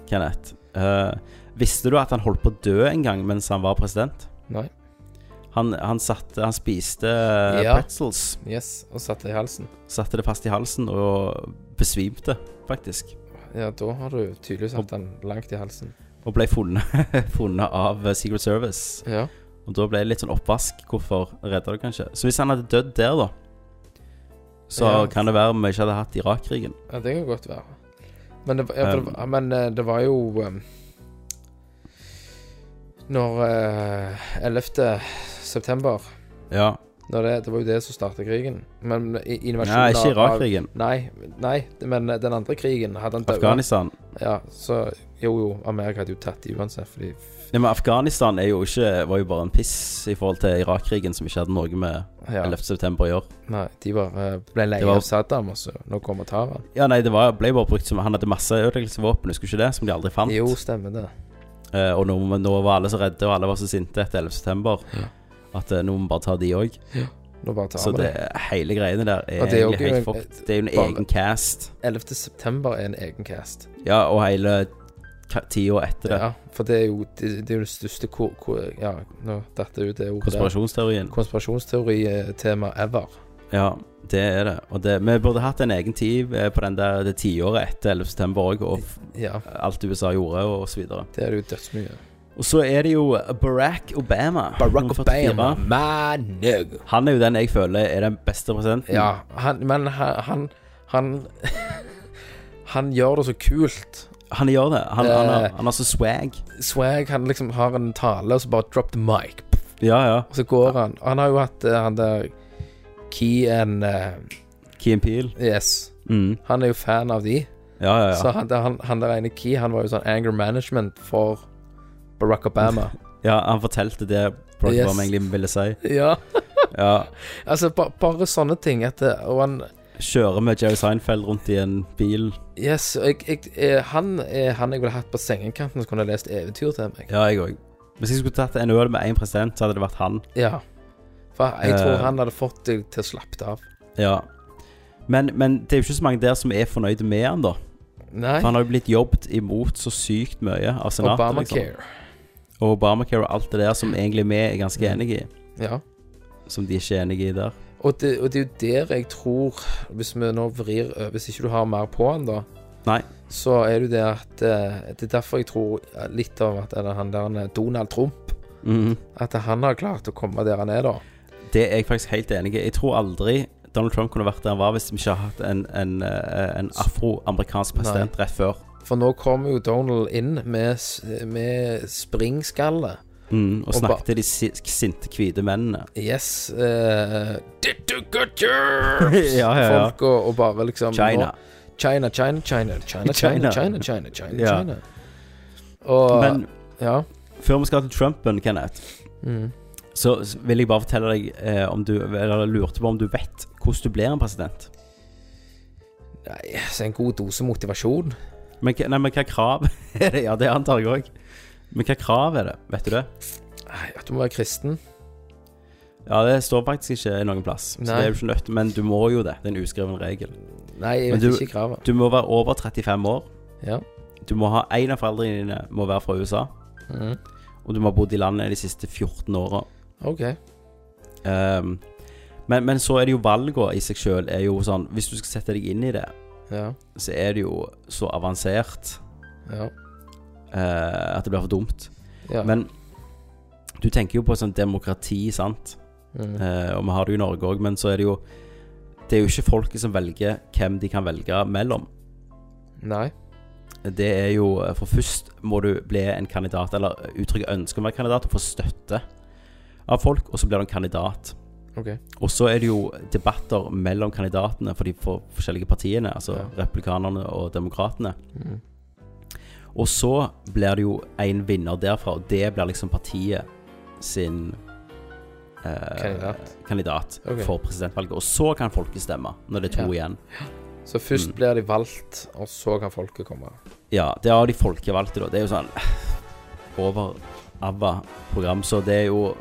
Speaker 1: Kenneth. Eh, visste du at han holdt på å dø en gang mens han var president?
Speaker 3: Nei.
Speaker 1: Han, han, satte, han spiste eh,
Speaker 3: Ja.
Speaker 1: pretzels,
Speaker 3: Yes. Og satt det i halsen.
Speaker 1: satte det fast i halsen og besvimte, faktisk.
Speaker 3: Ja, da har du tydeligvis hatt han langt i halsen.
Speaker 1: Og ble funnet, (laughs) funnet av eh, Secret Service.
Speaker 3: Ja.
Speaker 1: Og da ble det litt sånn oppvask. Hvorfor redda det kanskje? Så hvis han hadde dødd der, da, så
Speaker 3: Ja.
Speaker 1: kan det være vi ikke hadde hatt Irak-krigen.
Speaker 3: ja, det kan godt være. Men det, var-
Speaker 1: Um.
Speaker 3: ja, for det, var- men eh, det var jo eh, Når eh, 11. september
Speaker 1: Ja.
Speaker 3: når det, det var jo det som startet krigen. Men i- invasjonen
Speaker 1: Nei, ikke
Speaker 3: av- av-
Speaker 1: Irak-krigen.
Speaker 3: Nei, nei, men eh, den andre krigen hadde han dødd.
Speaker 1: Afghanistan.
Speaker 3: Ja, så jo, jo, Amerika hadde jo tatt de uansett, fordi
Speaker 1: Nei, men Afghanistan er jo ikke, var jo bare en piss i forhold til Irak-krigen, som ikke hadde noe med
Speaker 3: ja,
Speaker 1: 11. september å gjøre.
Speaker 3: Nei, de bare eh, ble lei
Speaker 1: Det var-
Speaker 3: av Saddam, og så nå kommer og tar han.
Speaker 1: Ja, nei, det var, ble bare brukt som Han hadde masse ødeleggelsesvåpen, husker du ikke det? Som de aldri fant.
Speaker 3: Jo, stemmer det.
Speaker 1: Eh, og nå, men nå var alle så redde, og alle var så sinte etter 11. september. At eh, nå må vi bare ta de òg.
Speaker 3: Nå bare tar
Speaker 1: Så
Speaker 3: vi
Speaker 1: det,
Speaker 3: det.
Speaker 1: hele greiene der er,
Speaker 3: Og det er jo
Speaker 1: egentlig
Speaker 3: ikke
Speaker 1: helt
Speaker 3: en-
Speaker 1: fucked. Det er jo en
Speaker 3: bare-
Speaker 1: egen cast.
Speaker 3: 11. september er en egen cast.
Speaker 1: Ja, og hele ka- tida etter det.
Speaker 3: Ja, for det er jo det, det, er jo det største ko, ko, Ja, nå datt det ut det ordet. der.
Speaker 1: Konspirasjonsteorien.
Speaker 3: Konspirasjonsteori-tema ever.
Speaker 1: Ja, det er det. Og det, vi burde hatt en egen tid eh, på den der, det tiåret etter 11. september òg, og f-
Speaker 3: Ja,
Speaker 1: alt USA gjorde, og så videre.
Speaker 3: det er det jo dødsmye.
Speaker 1: Og så er det jo Barack Obama. nummer 44.
Speaker 3: my nigga.
Speaker 1: Han er jo den jeg føler er den beste presidenten.
Speaker 3: Ja, han, men han Han, han, (laughs) han gjør det så kult.
Speaker 1: Han gjør det. Han, han, har,
Speaker 3: Eh.
Speaker 1: han har så swag.
Speaker 3: Swag han liksom har en tale, og så bare drop the mic.
Speaker 1: Ja, ja.
Speaker 3: Og så går han. Og han har jo hatt eh, han der Key and eh,
Speaker 1: Key and Peel.
Speaker 3: Yes.
Speaker 1: Mm.
Speaker 3: Han er jo fan av de.
Speaker 1: Ja, ja, ja.
Speaker 3: Så han, der- han, han der ene Key, han var jo sånn anger management for Barack Obama.
Speaker 1: ja. Han fortalte det Barack
Speaker 3: Yes.
Speaker 1: Obama egentlig ville si.
Speaker 3: ja.
Speaker 1: (laughs) Ja.
Speaker 3: Altså, ba, bare sånne ting. At, det- og han
Speaker 1: Kjøre med Jerry Seinfeld rundt i en bil.
Speaker 3: Yes. og Jeg, jeg, eh, han er han jeg ville hatt på sengekanten, som kunne jeg lest eventyr til meg.
Speaker 1: Ja, jeg òg. Hvis jeg skulle tatt en øl med én president, så hadde det vært han.
Speaker 3: Ja. For jeg tror
Speaker 1: Eh.
Speaker 3: han hadde fått deg til å slappe av.
Speaker 1: Ja. Men, men det er jo ikke så mange der som er fornøyde med han, da.
Speaker 3: Nei.
Speaker 1: For han har jo blitt jobbet imot så sykt mye av senatet. liksom.
Speaker 3: Obamacare.
Speaker 1: Og Obamacare og alt det der som egentlig vi er ganske
Speaker 3: Mm.
Speaker 1: enige i.
Speaker 3: Ja.
Speaker 1: Som de ikke er enige i der.
Speaker 3: Og det, og det er jo der jeg tror, hvis vi nå vrir ø, Hvis ikke du har mer på han, da,
Speaker 1: Nei.
Speaker 3: så er det jo det at eh, Det er derfor jeg tror eh, litt av at eller han der eh, Donald Trump
Speaker 1: Mhm.
Speaker 3: At han har klart å komme der han er, da.
Speaker 1: Det er jeg faktisk helt enig i. Jeg tror aldri Donald Trump kunne vært der han var hvis vi ikke hadde hatt en, en, eh, en afroamerikansk president rett før.
Speaker 3: For nå kommer jo Donald inn med, s- med springskalle.
Speaker 1: Mm, og
Speaker 3: Og ba-
Speaker 1: snakket til de si- sinte, hvite mennene.
Speaker 3: Yes. eh, Did you get your
Speaker 1: (laughs) Ja, ja, ja.
Speaker 3: Folk og, og bare liksom
Speaker 1: China.
Speaker 3: China, China, China, China, China,
Speaker 1: (laughs) China.
Speaker 3: China, China, China,
Speaker 1: Ja.
Speaker 3: China. Og
Speaker 1: Men
Speaker 3: Ja.
Speaker 1: før vi skal til Trumpen, Kenneth,
Speaker 3: Mm.
Speaker 1: så s- vil jeg bare fortelle deg eh, om du Eller lurte på om du vet hvordan du blir en president.
Speaker 3: Nei, så en god dose motivasjon.
Speaker 1: Men, hva- nei, men hva krav (laughs) er det? Ja, det antar jeg òg. Men hva krav er det? Vet du det?
Speaker 3: Nei, at du må være kristen.
Speaker 1: Ja, det står faktisk ikke noen plass. Så
Speaker 3: Nei.
Speaker 1: det er jo ikke nødt, men du må jo det. Det er en uskreven regel.
Speaker 3: Nei, jeg
Speaker 1: Men
Speaker 3: vet
Speaker 1: du-
Speaker 3: ikke kravet.
Speaker 1: Du må være over 35 år.
Speaker 3: Ja.
Speaker 1: Du må ha En av foreldrene dine må være fra USA.
Speaker 3: Mm.
Speaker 1: Og du må ha bodd i landet de siste 14 åra.
Speaker 3: OK.
Speaker 1: Ehm, men, men så er det jo valgene i seg sjøl er jo sånn Hvis du skal sette deg inn i det,
Speaker 3: Ja.
Speaker 1: så er det jo så avansert
Speaker 3: Ja.
Speaker 1: eh, at det blir for dumt.
Speaker 3: ja.
Speaker 1: Men du tenker jo på sånn demokrati, sant.
Speaker 3: mm.
Speaker 1: Eh, og vi har det jo i Norge òg, men så er det jo Det er jo ikke folket som velger hvem de kan velge mellom.
Speaker 3: Nei.
Speaker 1: Det er jo eh, For først må du bli en kandidat, eller uttrykke ønske om å være kandidat, og få støtte av folk, og så blir du en kandidat.
Speaker 3: OK.
Speaker 1: Og så er det jo debatter mellom kandidatene for de for forskjellige partiene, altså
Speaker 3: Ja.
Speaker 1: republikanerne og demokratene.
Speaker 3: Mm.
Speaker 1: Og så blir det jo en vinner derfra, og det blir liksom partiet sin eh,
Speaker 3: Kandidat.
Speaker 1: kandidat
Speaker 3: Ok.
Speaker 1: for presidentvalget. Og så kan folket stemme, når det er to
Speaker 3: Ja.
Speaker 1: igjen.
Speaker 3: Så først
Speaker 1: Mm.
Speaker 3: blir de valgt, og så kan folket komme.
Speaker 1: Ja, det har de folkevalgte, da. Det er jo sånn (sighs) eh, over ABBA program, så det er jo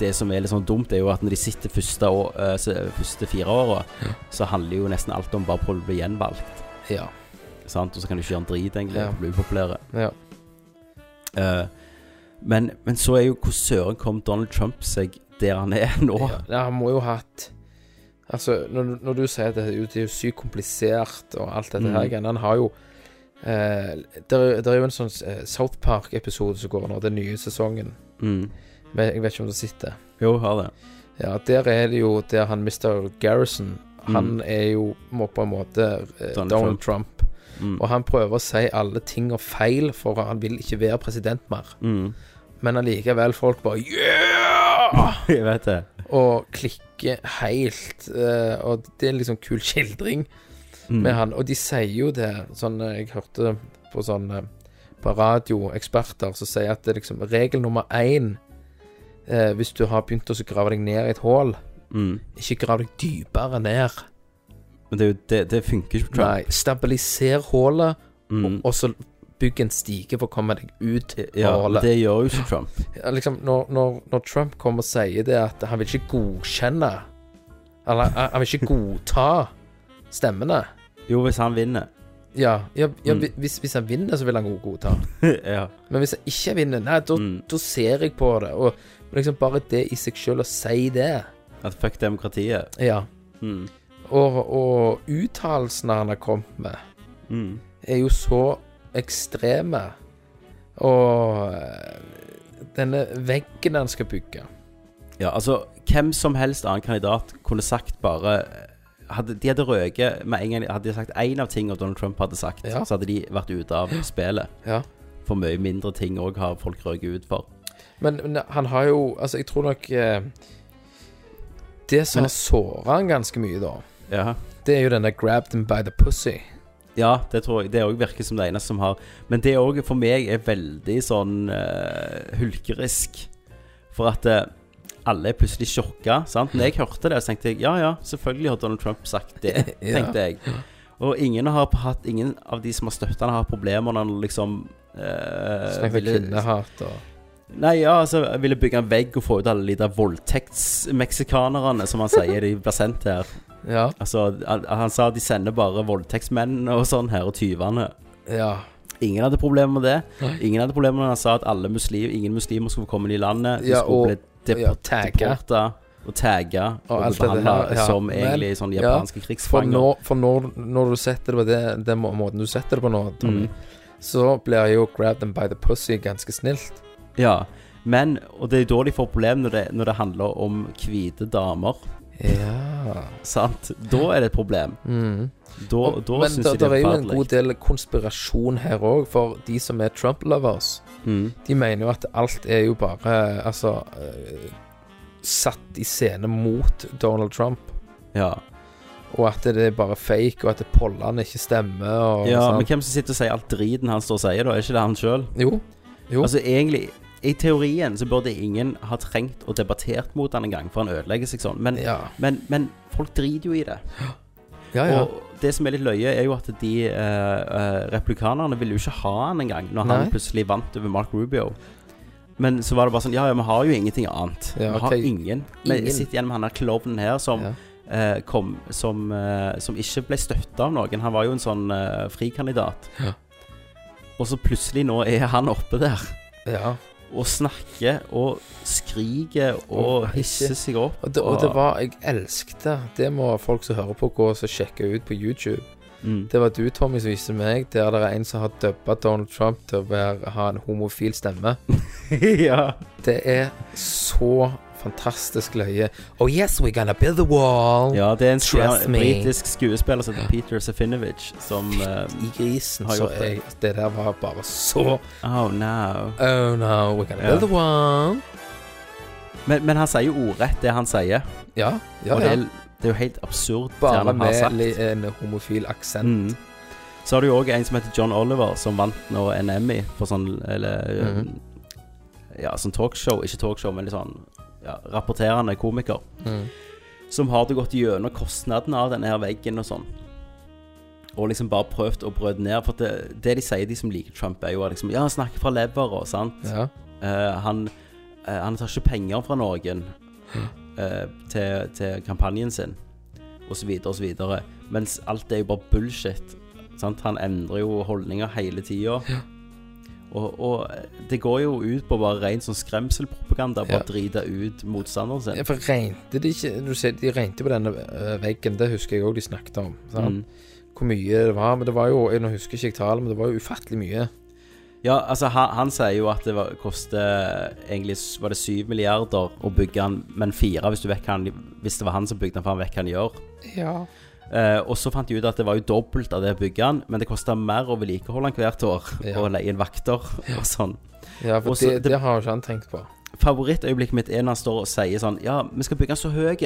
Speaker 1: det som er litt sånn dumt, er jo at når de sitter første, år, eh, så- første fire åra,
Speaker 3: Ja.
Speaker 1: så handler jo nesten alt om bare prøve å bli gjenvalgt.
Speaker 3: Ja.
Speaker 1: Sant? Og så kan du ikke gjøre en drit, egentlig.
Speaker 3: Ja.
Speaker 1: og Bli upopulære.
Speaker 3: Ja.
Speaker 1: Eh, men, men så er jo hvor søren kom Donald Trump seg der han er nå?
Speaker 3: Ja, Nei, han må jo ha hatt Altså, når, du- når du sier at det, er jo- det er jo sykt komplisert og alt dette her
Speaker 1: Mhm.
Speaker 3: igjen Han har jo eh, der, der er jo en sånn eh, South Park-episode som går nå, den nye sesongen.
Speaker 1: Mm.
Speaker 3: Men jeg vet ikke om du sitter.
Speaker 1: Jo, har det.
Speaker 3: Ja, der er det jo der han Mr. Garrison Han
Speaker 1: Mm.
Speaker 3: er jo må på en måte eh,
Speaker 1: Donald
Speaker 3: Donald, Trump.
Speaker 1: Mm.
Speaker 3: Og han prøver å si alle ting og feil, for han vil ikke være president mer. (laughs)
Speaker 1: Mm.
Speaker 3: Men allikevel, folk bare Yeah!
Speaker 1: Jeg vet det.
Speaker 3: og klikker helt. eh, og det er en liksom kul skildring
Speaker 1: Mm.
Speaker 3: med han. Og de sier jo det, sånn eh, jeg hørte på sånn eh, på radioeksperter som sier at det er liksom regel nummer én eh, hvis du har begynt å så grave deg ned i et hull,
Speaker 1: Mm.
Speaker 3: ikke grav deg dypere ned.
Speaker 1: Men det, er jo, det, det funker ikke på Trump.
Speaker 3: Nei, stabiliser hullet,
Speaker 1: Mm.
Speaker 3: og så bygg en stige for å komme deg ut.
Speaker 1: Ja,
Speaker 3: og
Speaker 1: men
Speaker 3: holde.
Speaker 1: det gjør jo ikke Trump.
Speaker 3: Ja, liksom, når, når, når Trump kommer og sier det at han vil ikke godkjenne Eller eh, han han vil ikke godta stemmene
Speaker 1: Jo, hvis han vinner.
Speaker 3: Ja, ja, ja
Speaker 1: Mm.
Speaker 3: hvis, hvis han vinner, så vil han go- godta.
Speaker 1: (laughs) ja.
Speaker 3: Men hvis han ikke vinner, nei, da
Speaker 1: Mm.
Speaker 3: da ser jeg på det. Og liksom bare det i seg sjøl, å si det
Speaker 1: At fuck demokratiet.
Speaker 3: Ja.
Speaker 1: Mm.
Speaker 3: Og, og uttalelsene han har kommet med,
Speaker 1: Mm.
Speaker 3: er jo så ekstreme. Og eh, denne veggen han skal bygge
Speaker 1: Ja, altså, hvem som helst annen kandidat kunne sagt bare eh, hadde, De hadde røket med en gang Hadde de sagt én av tingene Donald Trump hadde sagt,
Speaker 3: Ja.
Speaker 1: så hadde de vært ute av spillet.
Speaker 3: Ja.
Speaker 1: For mye mindre ting òg har folk røket ut for.
Speaker 3: Men, men han har jo Altså, jeg tror nok eh, Det som
Speaker 1: Men-
Speaker 3: har såra han ganske mye, da,
Speaker 1: Ja.
Speaker 3: det er jo den der 'grabbed him by the pussy'.
Speaker 1: Ja, det tror jeg. Det òg virker som det eneste som har Men det òg for meg er veldig sånn eh, hulkerisk. For at eh, alle er plutselig sjokka. sant? Når jeg hørte det, så tenkte jeg ja, ja, selvfølgelig har Donald Trump sagt det.
Speaker 3: (laughs) Ja.
Speaker 1: tenkte jeg. Og ingen, har hatt, ingen av de som har støtta han, har hatt problemer når han liksom eh,
Speaker 3: Snakker
Speaker 1: ville-
Speaker 3: kvinnehat og
Speaker 1: Nei, ja, altså, jeg ville bygge en vegg og få ut alle de der voldtektsmeksikanerne, som han sier (laughs) de blir sendt her.
Speaker 3: Ja.
Speaker 1: Altså, han, han sa de sender bare voldtektsmennene og sånn her, og tyvene.
Speaker 3: Ja.
Speaker 1: Ingen hadde problemer med det.
Speaker 3: Nei.
Speaker 1: Ingen hadde problemer med at han sa at alle muslim, ingen muslimer skulle komme inn i landet. De
Speaker 3: Ja,
Speaker 1: skulle
Speaker 3: og-
Speaker 1: bli dep
Speaker 3: ja, tagge.
Speaker 1: deporta og tagga og,
Speaker 3: Og alt
Speaker 1: og
Speaker 3: dette
Speaker 1: behandla
Speaker 3: her, ja.
Speaker 1: som
Speaker 3: Men-
Speaker 1: egentlig sånn japanske
Speaker 3: For,
Speaker 1: krigsfanger.
Speaker 3: når, for når, når du setter det på det, den må- måten du setter det på nå, Tommy,
Speaker 1: Mm.
Speaker 3: så blir jo 'grabbed him by the pussy' ganske snilt.
Speaker 1: Ja. Men Og det er da de får problemer når det, når det handler om hvite damer.
Speaker 3: Ja
Speaker 1: Sant? Da er det et problem.
Speaker 3: mm.
Speaker 1: Da,
Speaker 3: Og-
Speaker 1: da
Speaker 3: Men
Speaker 1: syns
Speaker 3: da
Speaker 1: jeg det
Speaker 3: der er
Speaker 1: er
Speaker 3: jo en god
Speaker 1: forferdelig.
Speaker 3: del konspirasjon her òg, for de som er Trump-lovers.
Speaker 1: Mm.
Speaker 3: De mener jo at alt er jo bare Altså eh, Satt i scene mot Donald Trump.
Speaker 1: Ja.
Speaker 3: Og at det er bare fake, og at pollene ikke stemmer. Og
Speaker 1: ja.
Speaker 3: sånn.
Speaker 1: Men hvem som sitter og sier alt driten han står og sier, da? Er ikke det han sjøl?
Speaker 3: Jo. Jo.
Speaker 1: Altså egentlig I teorien så burde ingen ha trengt å debattert mot han en gang, for han ødelegger seg sånn. Men,
Speaker 3: ja.
Speaker 1: men, men folk driter jo i det.
Speaker 3: Ja, ja.
Speaker 1: Og det som er litt løye, er jo at de eh, eh, republikanerne ville jo ikke ha han engang, når
Speaker 3: Nei.
Speaker 1: han plutselig vant over Mark Rubio. Men så var det bare sånn Ja, ja, vi har jo ingenting annet.
Speaker 3: Ja,
Speaker 1: vi har
Speaker 3: ok.
Speaker 1: ingen. Vi
Speaker 3: Ingen.
Speaker 1: sitter igjen med han der klovnen her som
Speaker 3: Ja.
Speaker 1: eh, kom som, eh, som ikke ble støtta av noen. Han var jo en sånn eh, frikandidat.
Speaker 3: Ja.
Speaker 1: Og så plutselig nå er han oppe der
Speaker 3: ja.
Speaker 1: og snakker og skriker og
Speaker 3: Og
Speaker 1: hisser seg opp.
Speaker 3: Og, det, og det var Jeg elsket det. Det må folk som hører på, gå og så sjekke ut på YouTube.
Speaker 1: mm.
Speaker 3: (laughs) Det var du, Tommy, som viste meg der det er en som har dubba Donald Trump til å være, ha en homofil stemme.
Speaker 1: ja.
Speaker 3: Det er så fantastisk løye. Oh yes, we're gonna build the wall.
Speaker 1: Ja, det er en
Speaker 3: Trust
Speaker 1: skue-
Speaker 3: me.
Speaker 1: britisk skuespiller som heter Peter Sefinovic som eh,
Speaker 3: I grisen,
Speaker 1: Har
Speaker 3: så
Speaker 1: gjort det.
Speaker 3: jeg, det der var bare så
Speaker 1: Oh no.
Speaker 3: Oh no, we're gonna
Speaker 1: Ja.
Speaker 3: build the wall.
Speaker 1: Men, men han sier jo ordrett det han sier,
Speaker 3: Ja, ja,
Speaker 1: og det
Speaker 3: ja.
Speaker 1: er, det er jo helt absurd det
Speaker 3: Bare
Speaker 1: han har
Speaker 3: med
Speaker 1: sagt.
Speaker 3: li- en homofil aksent.
Speaker 1: Mm. Så har du jo òg en som heter John Oliver, som vant nå en Emmy for sånn Eller eh,
Speaker 3: Mhm.
Speaker 1: Ja, sånn talkshow. Ikke talkshow, men litt sånn ja, rapporterende komiker.
Speaker 3: Mm.
Speaker 1: Som har gått gjennom kostnadene av denne her veggen og sånn. Og liksom bare prøvd å brøde ned. For det, det de sier, de som liker Trump, er jo at liksom, Ja, han snakker fra leveren, sant.
Speaker 3: Ja.
Speaker 1: Eh, han, eh, han tar ikke penger fra noen eh, til, til kampanjen sin, osv., osv. Mens alt er jo bare bullshit. Sant? Han endrer jo holdninger hele tida. Og, og det går jo ut på bare ren sånn skremselpropaganda. Bare
Speaker 3: Ja.
Speaker 1: drite ut motstanderen
Speaker 3: Ja,
Speaker 1: sin.
Speaker 3: for regnte de ikke Du sier de regnte på denne eh, veggen, det husker jeg òg de snakket om. Sant?
Speaker 1: Mm.
Speaker 3: Hvor mye det var. Men det var jo jeg- Nå husker ikke jeg tallet, men det var jo ufattelig mye.
Speaker 1: Ja, altså han, han sier jo at det var- koster eh, Egentlig s- var det syv milliarder å bygge han, men fire hvis, du vet hva han, hvis det var han som bygde han, for han vet hva han gjør.
Speaker 3: Ja.
Speaker 1: Eh, og så fant de ut at det var jo dobbelt av det å bygge den, men det kosta mer å vedlikeholde den hvert år.
Speaker 3: Ja.
Speaker 1: Og leie inn vakter og sånn.
Speaker 3: Ja, for
Speaker 1: Og så
Speaker 3: det,
Speaker 1: det-
Speaker 3: det har jo ikke han tenkt på.
Speaker 1: Favorittøyeblikket mitt er når han står og sier sånn Ja, vi skal bygge den så høy.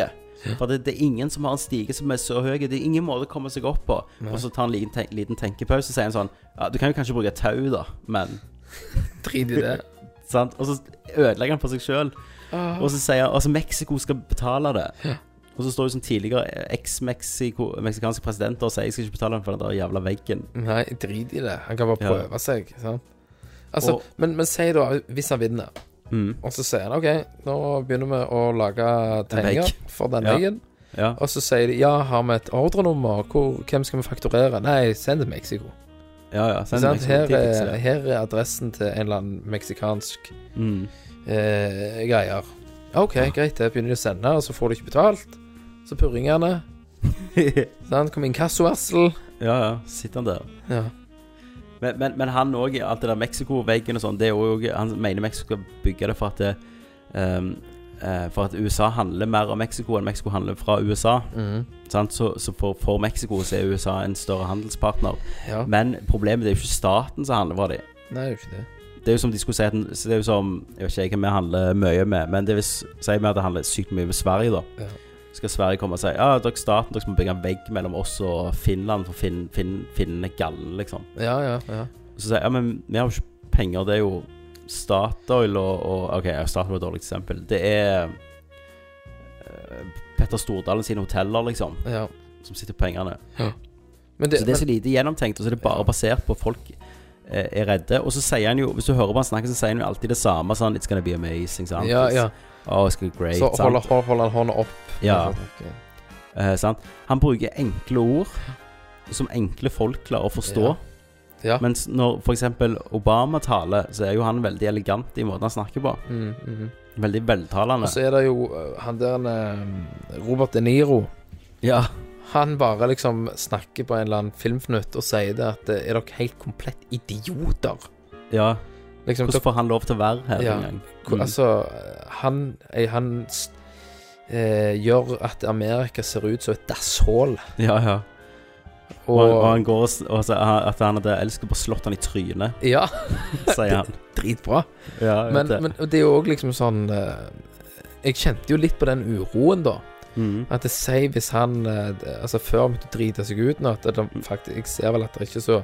Speaker 1: For det, det er ingen som har en stige som er så høy. Det er ingen måte å komme seg opp på. Og så tar han en liten, ten liten tenkepause og sier han sånn Ja, du kan jo kanskje bruke tau, da, men
Speaker 3: Drit i det.
Speaker 1: Sant? Og så ødelegger han for seg sjøl. Og så sier han Altså, Mexico skal betale det. Og så står jo som tidligere eks-meksikanske presidenter og sier jeg skal ikke betale den for den der jævla veggen.
Speaker 3: (laughs) Nei, drit i det. Han kan bare
Speaker 1: Ja.
Speaker 3: prøve seg. Sant? Altså,
Speaker 1: Og-
Speaker 3: men, men si da, hvis han vinner,
Speaker 1: Mm.
Speaker 3: og så sier han OK, nå begynner vi å lage tegninger
Speaker 1: vegg.
Speaker 3: for den
Speaker 1: Ja.
Speaker 3: veggen.
Speaker 1: Ja.
Speaker 3: Og så sier de ja, har vi et ordrenummer? Hvor, hvem skal vi fakturere? Nei, send til Mexico.
Speaker 1: Ja, ja. Send
Speaker 3: Sant?
Speaker 1: meg
Speaker 3: Her,
Speaker 1: sånn
Speaker 3: eh,
Speaker 1: tips,
Speaker 3: er, her er adressen til en eller annen meksikansk
Speaker 1: ja. Mm. (laughs)
Speaker 3: eh, greier. OK, greit, det begynner de å sende, og så får de ikke betalt. Så purringene. Sant? Kom inkassovarsel.
Speaker 1: ja, ja. Sitter han der.
Speaker 3: Ja.
Speaker 1: Men, men, men han òg, alt det der Mexico-veggen og sånn, det er òg Han mener Mexico skal bygge det for at det, ehm, eh, For at USA handler mer av Mexico enn Mexico handler fra USA.
Speaker 3: Mhm.
Speaker 1: Sant? Så, så for, for Mexico så er USA en større handelspartner.
Speaker 3: ja.
Speaker 1: Men problemet det er jo ikke staten som handler fra dem.
Speaker 3: Nei, det er jo ikke det.
Speaker 1: Det er jo som de skulle si at den- så Det er jo som Jeg vet ikke hvem vi handler mye med, men det vil s- si vi at det handler sykt mye med Sverige, da.
Speaker 3: Ja.
Speaker 1: Skal Sverige komme og si ja, dere staten dere må bygge en vegg mellom oss og Finland for finn, finn, finnene er galne, liksom.
Speaker 3: Ja, ja, ja.
Speaker 1: Så sier jeg ja, men vi har jo ikke penger, det er jo Statoil og, og OK, ja, Statoil er et dårlig eksempel. Det er eh, Petter Stordalen sine hoteller, liksom,
Speaker 3: ja.
Speaker 1: som sitter på pengene.
Speaker 3: Men det,
Speaker 1: Så det er så lite gjennomtenkt, og så er det bare basert på folk eh, er redde. Og så sier han jo, hvis du hører på han snakke, så sier han jo alltid det samme. Sånn, It's gonna be amazing.
Speaker 3: men,
Speaker 1: Sant?
Speaker 3: ja, ja.
Speaker 1: Oh, it's gonna be great.
Speaker 3: Så
Speaker 1: sant?
Speaker 3: holder, hold- holder han hånda opp.
Speaker 1: ja.
Speaker 3: Ok.
Speaker 1: Eh, sant? Han bruker enkle ord som enkle folk klarer å forstå.
Speaker 3: Ja.
Speaker 1: Mens når f.eks. Obama taler, så er jo han veldig elegant i måten han snakker på.
Speaker 3: Mhm, mhm.
Speaker 1: Veldig veltalende.
Speaker 3: Og så er det jo eh, han der eh, Robert De Niro.
Speaker 1: Ja.
Speaker 3: Han bare liksom snakker på en eller annen filmfnutt og sier det at eh, er dere helt komplett idioter?
Speaker 1: ja.
Speaker 3: Liksom,
Speaker 1: Hvordan
Speaker 3: dere,
Speaker 1: får han lov til å være her
Speaker 3: Ja.
Speaker 1: engang?
Speaker 3: hvor-
Speaker 1: Mm.
Speaker 3: altså, eh, han, eh, han s- eh, gjør at Amerika ser ut som et dasshull.
Speaker 1: Ja, ja. Og, han- og
Speaker 3: Og
Speaker 1: han går og, s- og så, at han hadde elsket på slått han i trynet,
Speaker 3: Ja,
Speaker 1: sier
Speaker 3: (laughs)
Speaker 1: han.
Speaker 3: dritbra.
Speaker 1: Ja, jeg vet
Speaker 3: Men,
Speaker 1: det.
Speaker 3: men det er jo òg liksom sånn eh, Jeg kjente jo litt på den uroen, da.
Speaker 1: Mm.
Speaker 3: At det sier hvis han eh, d- Altså før han begynte å drite seg ut nå, at det
Speaker 1: Mm.
Speaker 3: faktisk, Jeg ser vel at det er ikke så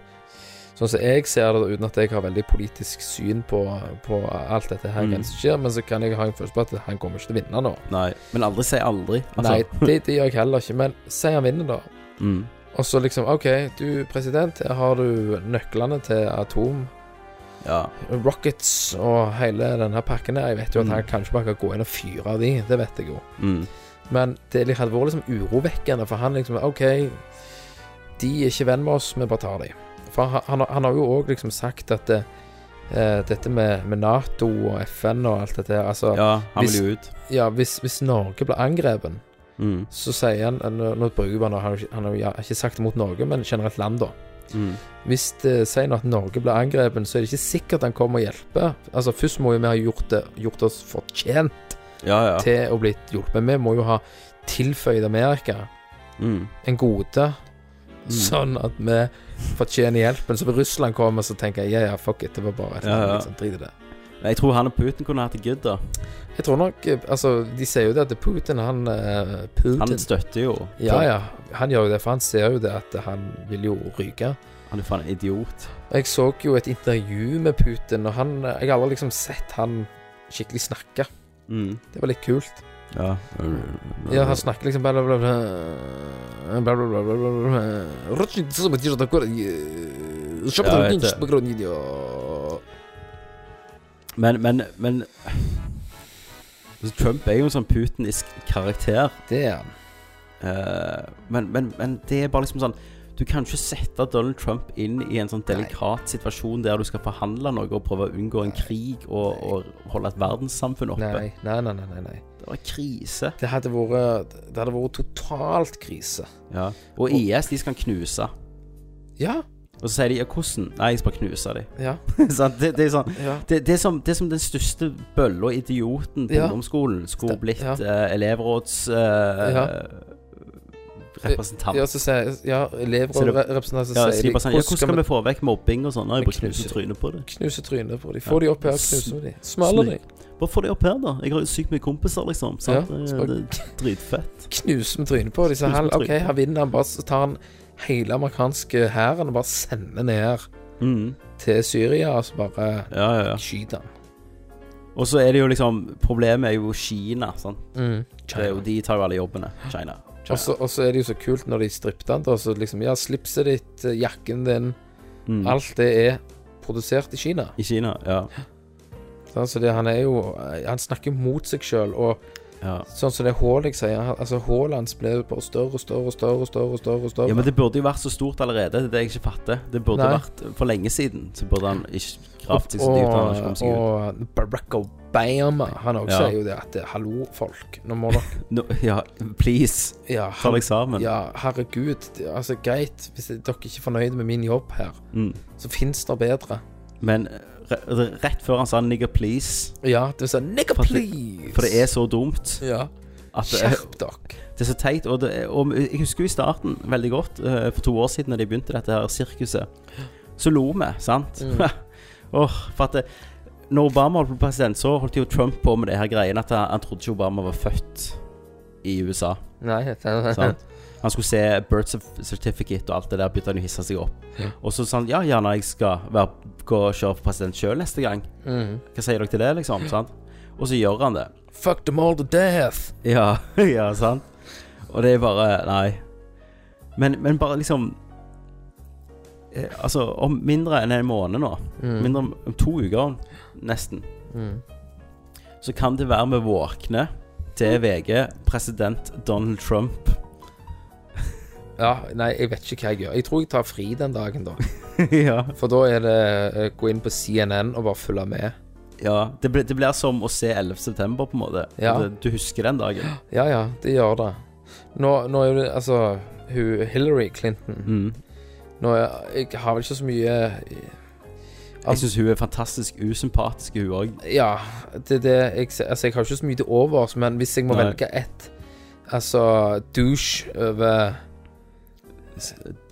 Speaker 3: Sånn som jeg ser det, uten at jeg har veldig politisk syn på, på alt dette her
Speaker 1: Mm.
Speaker 3: greiene som skjer, men så kan jeg ha en følelse på at han kommer ikke til å vinne nå.
Speaker 1: Nei, men aldri si aldri. Altså,
Speaker 3: Nei, det, det gjør jeg heller ikke, men si han vinner, da.
Speaker 1: Mm.
Speaker 3: Og så liksom OK, du president, her har du nøklene til atom
Speaker 1: Ja.
Speaker 3: rockets og hele denne pakken der. Jeg vet jo at
Speaker 1: Mm.
Speaker 3: han kanskje bare kan gå inn og fyre av de, det vet jeg jo.
Speaker 1: Mm.
Speaker 3: Men det litt- hadde vært liksom urovekkende, for han liksom OK, de er ikke venn med oss, vi bare tar de. For han, han, har- han har jo òg liksom sagt at det, eh, dette med, med Nato og FN og alt dette her Altså, ja,
Speaker 1: ja, han
Speaker 3: Hvis-
Speaker 1: vil jo ut.
Speaker 3: hvis, hvis Norge blir angrepet,
Speaker 1: Mm.
Speaker 3: så sier han Nå nå bruker jeg bare noe, han har jo ikke- han har jo ikke sagt det mot Norge, men generelt land, da.
Speaker 1: Mm.
Speaker 3: Hvis det sier nå at Norge blir angrepet, så er det ikke sikkert han kommer og hjelper. Altså, først må jo vi ha gjort, det, gjort oss fortjent
Speaker 1: Ja, ja.
Speaker 3: til å bli hjulpet. Vi må jo ha tilføyd Amerika
Speaker 1: Mm.
Speaker 3: en gode,
Speaker 1: Mm.
Speaker 3: sånn at vi fortjener hjelpen. Så hvis Russland kommer, så tenker jeg ja, ja, fuck it, det var bare et eller
Speaker 1: Ja,
Speaker 3: annet.
Speaker 1: ja.
Speaker 3: Liksom, drit i det.
Speaker 1: Jeg tror han og Putin kunne hatt det good, da.
Speaker 3: Jeg tror nok eh, Altså, de sier jo det at Putin, han eh, Putin
Speaker 1: Han støtter jo.
Speaker 3: Ja, ja, han gjør jo det, for han ser jo det at han vil jo ryke.
Speaker 1: Han er faen en idiot.
Speaker 3: Jeg så jo et intervju med Putin, og han Jeg har aldri liksom sett han skikkelig snakke.
Speaker 1: Mm.
Speaker 3: Det var litt kult.
Speaker 1: Ja.
Speaker 3: Ja, han snakker liksom bla, bla, bla, bla, bla, bla, bla, bla, bla, bla. Ручник, ты сама держи такой, э, шёпотом
Speaker 1: Ja, vet
Speaker 3: кинешь
Speaker 1: det.
Speaker 3: по груди, ja.
Speaker 1: Men, men, men altså, Trump er jo en sånn Putin-isk karakter.
Speaker 3: Det er han.
Speaker 1: Eh, men, men, men det er bare liksom sånn Du kan ikke sette Donald Trump inn i en sånn delikat situasjon der du skal forhandle noe og prøve å unngå en krig og, og holde et verdenssamfunn oppe.
Speaker 3: Nei, nei, nei, nei, nei, nei.
Speaker 1: Det var krise.
Speaker 3: Det hadde vært Det hadde vært totalt krise.
Speaker 1: Ja. Og IS, de skal han knuse.
Speaker 3: Ja,
Speaker 1: Og så sier de ja, 'hvordan'? Nei, jeg skal bare knuse (laughs) de.
Speaker 3: ja,
Speaker 1: Sånn, det, det er sånn
Speaker 3: ja.
Speaker 1: det, det, er som, det er som den største bølla idioten på
Speaker 3: Ja.
Speaker 1: ungdomsskolen skulle
Speaker 3: Ste-
Speaker 1: blitt
Speaker 3: ja.
Speaker 1: eh, elevråds eh, representant.
Speaker 3: Ja, så sier Ja, elever
Speaker 1: Så
Speaker 3: og
Speaker 1: det-
Speaker 3: re- representanter
Speaker 1: Ja, så
Speaker 3: sier
Speaker 1: de bare sånn, ja, hvordan skal vi få vekk mobbing og sånn? Nei,
Speaker 3: Vi
Speaker 1: bare knuser
Speaker 3: knuser.
Speaker 1: trynet på det.
Speaker 3: knuse trynet på dem?
Speaker 1: Ja.
Speaker 3: Få de opp her,
Speaker 1: Sn-
Speaker 3: knuse dem. Smaller
Speaker 1: snu-
Speaker 3: dem.
Speaker 1: Bare få de opp her, da. Jeg har jo sykt mye kompiser, liksom.
Speaker 3: Ja,
Speaker 1: Sant? det,
Speaker 3: så
Speaker 1: det
Speaker 3: bare-
Speaker 1: er dritfett.
Speaker 3: knuse med trynet på dem. Så
Speaker 1: Knuse
Speaker 3: han,
Speaker 1: med
Speaker 3: OK,
Speaker 1: trynet.
Speaker 3: her vinner han. Bare så tar han hele amerikanske hæren og bare sender ned
Speaker 1: Mm.
Speaker 3: til Syria, og så bare
Speaker 1: Ja, ja, ja.
Speaker 3: skyter han.
Speaker 1: Og så er det jo liksom Problemet er jo Kina, sant. Mm. Det er jo,
Speaker 3: China.
Speaker 1: de tar jo alle jobbene. China. China.
Speaker 3: Og så- Og så er det jo så kult når de strippet han, da. Så liksom, ja, slipset ditt, eh, jakken din,
Speaker 1: Mm.
Speaker 3: alt det er produsert i Kina.
Speaker 1: I Kina, ja.
Speaker 3: Så altså det, han er jo eh, Han snakker mot seg sjøl, og
Speaker 1: ja.
Speaker 3: sånn som det hullet jeg sier han- Altså, hullet hans ble jo bare større og større og større og større. og større, og større.
Speaker 1: Ja, men det burde jo vært så stort allerede. Det er det jeg ikke fatter. Det burde
Speaker 3: Nei.
Speaker 1: vært for lenge siden. Så burde han ikke gravd seg så dypt. Han har ikke kommet seg ut.
Speaker 3: og Barack Obama, han også
Speaker 1: Ja.
Speaker 3: sier jo det at eh, Hallo, folk. Nå må dere
Speaker 1: (laughs) Nå- ja, please,
Speaker 3: Ja,
Speaker 1: ta deg sammen.
Speaker 3: ja, herregud. det- Altså, greit, hvis dere ikke er fornøyde med min jobb her,
Speaker 1: Mm.
Speaker 3: så fins det bedre.
Speaker 1: Men re rett før han sa 'nigger please',
Speaker 3: Ja, det vil si Nigga,
Speaker 1: For at det-
Speaker 3: please!
Speaker 1: for det er så dumt
Speaker 3: Ja.
Speaker 1: at det er,
Speaker 3: Skjerp dere.
Speaker 1: det er så teit. Og, det, er- og jeg husker jo i starten veldig godt, eh, for to år siden, da de begynte dette her sirkuset, så lo vi, sant? (laughs) Åh, for at det, når Obama holdt på president, så holdt jo Trump på med det her greien at han, han trodde ikke Obama var født i USA.
Speaker 3: Nei, det er (laughs)
Speaker 1: Sant? Han skulle se Birth Cer- Certificate og alt det der, begynte han å hisse seg opp.
Speaker 3: Ja.
Speaker 1: Og så sa han ja, gjerne jeg skal være, gå og kjøre for president sjøl neste gang.
Speaker 3: Mhm.
Speaker 1: Hva sier dere til det, liksom? Sant? Og så gjør han det.
Speaker 3: Fuck them all to death.
Speaker 1: Ja, (laughs) ja, sant? Og det er bare Nei. Men, men bare liksom eh, Altså, om mindre enn en måned nå, mindre om, om to uker nesten,
Speaker 3: Mm.
Speaker 1: så kan det være vi våkner til VG, president Donald Trump.
Speaker 3: Ja, nei, jeg vet ikke hva jeg gjør. Jeg tror jeg tar fri den dagen, da.
Speaker 1: ja.
Speaker 3: For da er det eh, gå inn på CNN og bare følge med.
Speaker 1: Ja, det, blir- det blir som å se 11. september, på en måte.
Speaker 3: Ja.
Speaker 1: Du, du husker den dagen.
Speaker 3: Ja, ja, det gjør det. Nå, nå er det altså hun Hillary Clinton
Speaker 1: Mm.
Speaker 3: Nå er, Jeg har vel ikke så mye
Speaker 1: Jeg syns hun er fantastisk usympatisk, hun òg.
Speaker 3: Ja, det er det jeg ser. Altså, jeg har ikke så mye til overs, men hvis jeg må
Speaker 1: Nei.
Speaker 3: velge ett Altså douche over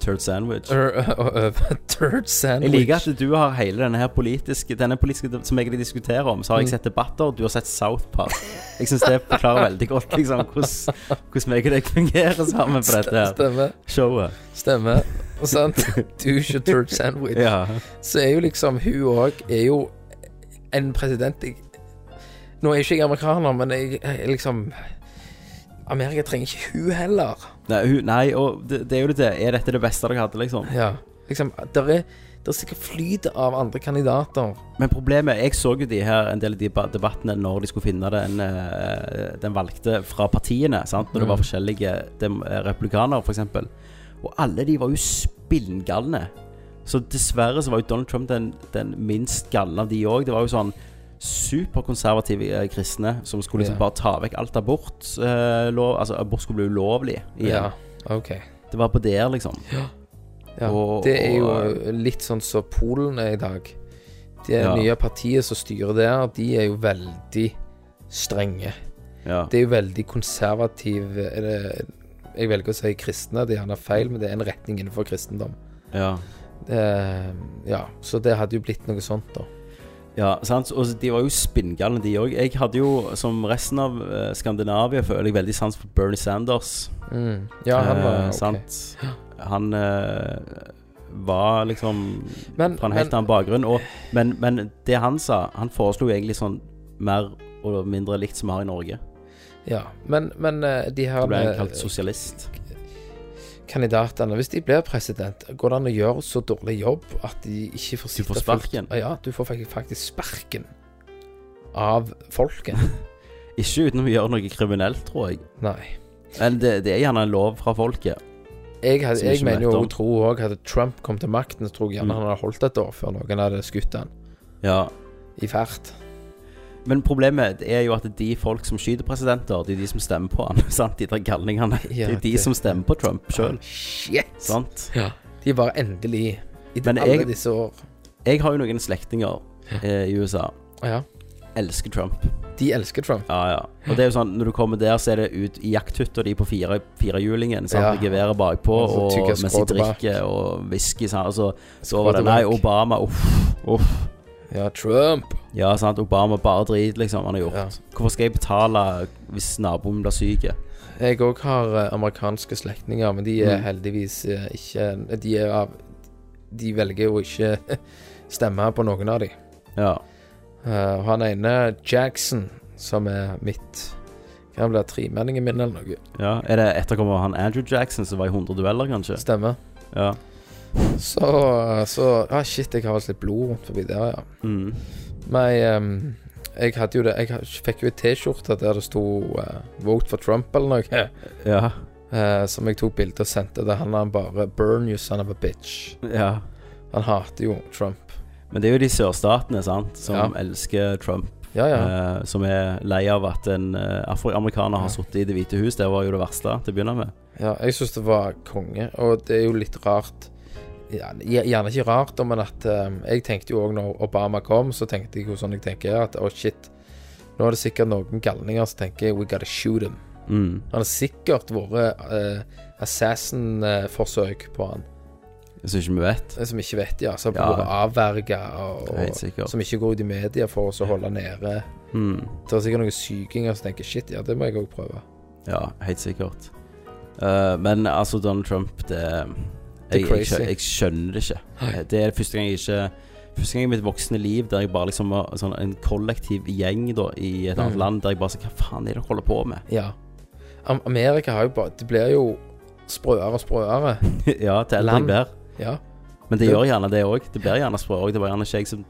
Speaker 1: Turd sandwich.
Speaker 3: Over over turd
Speaker 1: Jeg
Speaker 3: sandwich.
Speaker 1: liker at du har hele denne her politiske Denne politiske de- som jeg diskuterer om, så har jeg
Speaker 3: Mm.
Speaker 1: sett debatter, du har sett South Park. Jeg syns det forklarer veldig godt liksom hvordan hvordan meg og deg fungerer sammen på dette her
Speaker 3: (laughs) Stemmer.
Speaker 1: showet.
Speaker 3: Stemmer. Og
Speaker 1: (laughs)
Speaker 3: sant? Douche og turd sandwich.
Speaker 1: Ja.
Speaker 3: Så er jo liksom hun òg er jo en president jeg Nå er ikke jeg amerikaner, men jeg, jeg liksom Amerika trenger ikke hun heller.
Speaker 1: Nei, hun, nei og det, det er jo det. Er dette det beste dere hadde, liksom?
Speaker 3: Ja. Liksom, der er, der er sikkert flyt av andre kandidater.
Speaker 1: Men problemet Jeg så jo de her en del av de ba- debattene når de skulle finne den, eh, den valgte fra partiene. sant? Når det
Speaker 3: Mm.
Speaker 1: var forskjellige dem, eh, republikanere, f.eks. Og alle de var jo spinngalne. Så dessverre så var jo Donald Trump den, den minst galne av de òg. Det var jo sånn superkonservative eh, kristne som skulle liksom
Speaker 3: Ja.
Speaker 1: bare ta vekk alt abort. Eh, lov, altså abort skulle bli ulovlig igjen.
Speaker 3: OK.
Speaker 1: Det var på DR, liksom.
Speaker 3: Ja,
Speaker 1: Og-
Speaker 3: det er jo
Speaker 1: og-
Speaker 3: litt sånn som Polen er i dag. Det
Speaker 1: Ja.
Speaker 3: nye partiet som styrer der, de er jo veldig strenge.
Speaker 1: Ja.
Speaker 3: Det er jo veldig konservativ er det- Jeg velger å si kristne, det er gjerne feil, men det er en retning innenfor kristendom.
Speaker 1: ja.
Speaker 3: Eh, ja, så det hadde jo blitt noe sånt, da.
Speaker 1: Ja, sant? og de var jo spinngalne de òg. Jeg hadde jo, som resten av eh, Skandinavia, føler jeg veldig sans for Bernie Sanders.
Speaker 3: Mm. Ja, han var
Speaker 1: Eh,
Speaker 3: ok.
Speaker 1: sant? Han eh, var liksom
Speaker 3: Men,
Speaker 1: fra en
Speaker 3: men
Speaker 1: helt annen bakgrunn. Og, men, men det han sa Han foreslo jo egentlig sånn mer og mindre likt som vi har i Norge.
Speaker 3: Ja, men, men eh, de her
Speaker 1: Da ble han
Speaker 3: eh,
Speaker 1: kalt sosialist.
Speaker 3: kandidatene, hvis de blir president, går det an å gjøre så dårlig jobb at de ikke får
Speaker 1: Du
Speaker 3: sitte
Speaker 1: får
Speaker 3: fullt-
Speaker 1: sparken.
Speaker 3: Ja, du får faktisk, faktisk sparken av folket.
Speaker 1: (laughs) Ikke uten å gjøre noe kriminelt, tror jeg.
Speaker 3: Nei.
Speaker 1: Men det, det er gjerne en lov fra folket.
Speaker 3: Jeg, hadde,
Speaker 1: Som vi
Speaker 3: jeg
Speaker 1: ikke
Speaker 3: mener
Speaker 1: vet
Speaker 3: jo
Speaker 1: om.
Speaker 3: og tror òg hadde Trump kom til makten, så tror jeg gjerne
Speaker 1: Mm.
Speaker 3: han hadde holdt et år før noen hadde skutt han
Speaker 1: Ja.
Speaker 3: i fart.
Speaker 1: Men problemet er jo at de folk som skyter presidenter, det er de som stemmer på han, (laughs) sant? De der galningene.
Speaker 3: Ja,
Speaker 1: det er de
Speaker 3: det-
Speaker 1: som stemmer på Trump sjøl,
Speaker 3: Ah, Shit!
Speaker 1: sant?
Speaker 3: Ja. De var endelig I
Speaker 1: Men
Speaker 3: alle
Speaker 1: jeg-
Speaker 3: disse år.
Speaker 1: Jeg har jo noen slektninger eh, i USA.
Speaker 3: Ja.
Speaker 1: Elsker Trump.
Speaker 3: De elsker Trump.
Speaker 1: Ja, ja. Og det er jo sånn, når du kommer der, så er det ut i jakthytta di på fire- firehjulingen, sant?
Speaker 3: Ja.
Speaker 1: med geværet bakpå,
Speaker 3: Og så
Speaker 1: og
Speaker 3: tygger
Speaker 1: mens de
Speaker 3: skråtebak.
Speaker 1: drikker og whisky, sant? Og så, så var det
Speaker 3: Skråtebak.
Speaker 1: Nei, Obama, uff, uff.
Speaker 3: Ja, Trump.
Speaker 1: Ja, sant. Obama bare drit, liksom. Han har gjort.
Speaker 3: Ja.
Speaker 1: Hvorfor skal jeg betale hvis naboen blir syk?
Speaker 3: Jeg òg har eh, amerikanske slektninger, men de er
Speaker 1: Mm.
Speaker 3: heldigvis eh, ikke De er av De velger jo ikke (laughs) stemme på noen av de.
Speaker 1: Ja.
Speaker 3: Eh, Og han ene, Jackson, som er mitt Hva blir det, tremenningen min eller noe?
Speaker 1: ja. Er det etterkommer av han Andrew Jackson som var i 100 dueller, kanskje?
Speaker 3: Stemmer.
Speaker 1: Ja.
Speaker 3: Så, så ah, Shit, jeg har visst litt blod rundt forbi der, ja.
Speaker 1: Mm.
Speaker 3: Nei, ehm, jeg hadde jo det Jeg ha- fikk jo ei T-skjorte der det sto eh, 'Vote for Trump' eller noe,
Speaker 1: Ja.
Speaker 3: eh, som jeg tok bilde og sendte til han han bare 'Burn you son of a bitch'.
Speaker 1: ja.
Speaker 3: Han hater jo Trump.
Speaker 1: Men det er jo de sørstatene sant, som
Speaker 3: Ja.
Speaker 1: elsker Trump,
Speaker 3: Ja, ja.
Speaker 1: eh, som er lei av at en eh, afroamerikaner har
Speaker 3: Ja.
Speaker 1: sittet i Det hvite hus. Det var jo det verste til å begynne med.
Speaker 3: ja jeg syns det var konge, og det er jo litt rart ja, Gjerne ikke rart, da, men at ehm, jeg tenkte jo òg når Obama kom, så tenkte jeg jo sånn jeg tenker, at å, shit Nå er det sikkert noen galninger som tenker 'we gotta shoot him'.
Speaker 1: Mm.
Speaker 3: Han har sikkert vært eh, assassin-forsøk på han.
Speaker 1: Jeg syns ikke vi vet.
Speaker 3: som ikke vet, ja. Som
Speaker 1: Ja.
Speaker 3: har vært avverga, og,
Speaker 1: Helt
Speaker 3: og
Speaker 1: sikkert.
Speaker 3: som ikke går ut i media for oss å holde nede.
Speaker 1: Mm.
Speaker 3: Det er sikkert noen sykinger som tenker shit, ja, det må jeg òg prøve.
Speaker 1: Ja, helt sikkert. Eh, men altså, Donald Trump, det
Speaker 3: Det er
Speaker 1: jeg, jeg,
Speaker 3: crazy.
Speaker 1: skjø- jeg skjønner det ikke.
Speaker 3: Nei.
Speaker 1: Det er første gang jeg ikke Første gang i mitt voksne liv der jeg bare liksom var sånn en kollektiv gjeng da i et annet
Speaker 3: Mm.
Speaker 1: land, der jeg bare sa Hva faen er det dere holder på
Speaker 3: (laughs)
Speaker 1: med?
Speaker 3: Ja. Am- Amerika har jo bare Det blir jo sprøere og sprøere.
Speaker 1: ja, til eldre
Speaker 3: Land.
Speaker 1: jeg blir.
Speaker 3: Ja.
Speaker 1: Men det
Speaker 3: Det-
Speaker 1: gjør gjerne det òg. Det blir gjerne sprø òg. Det var gjerne ikke jeg som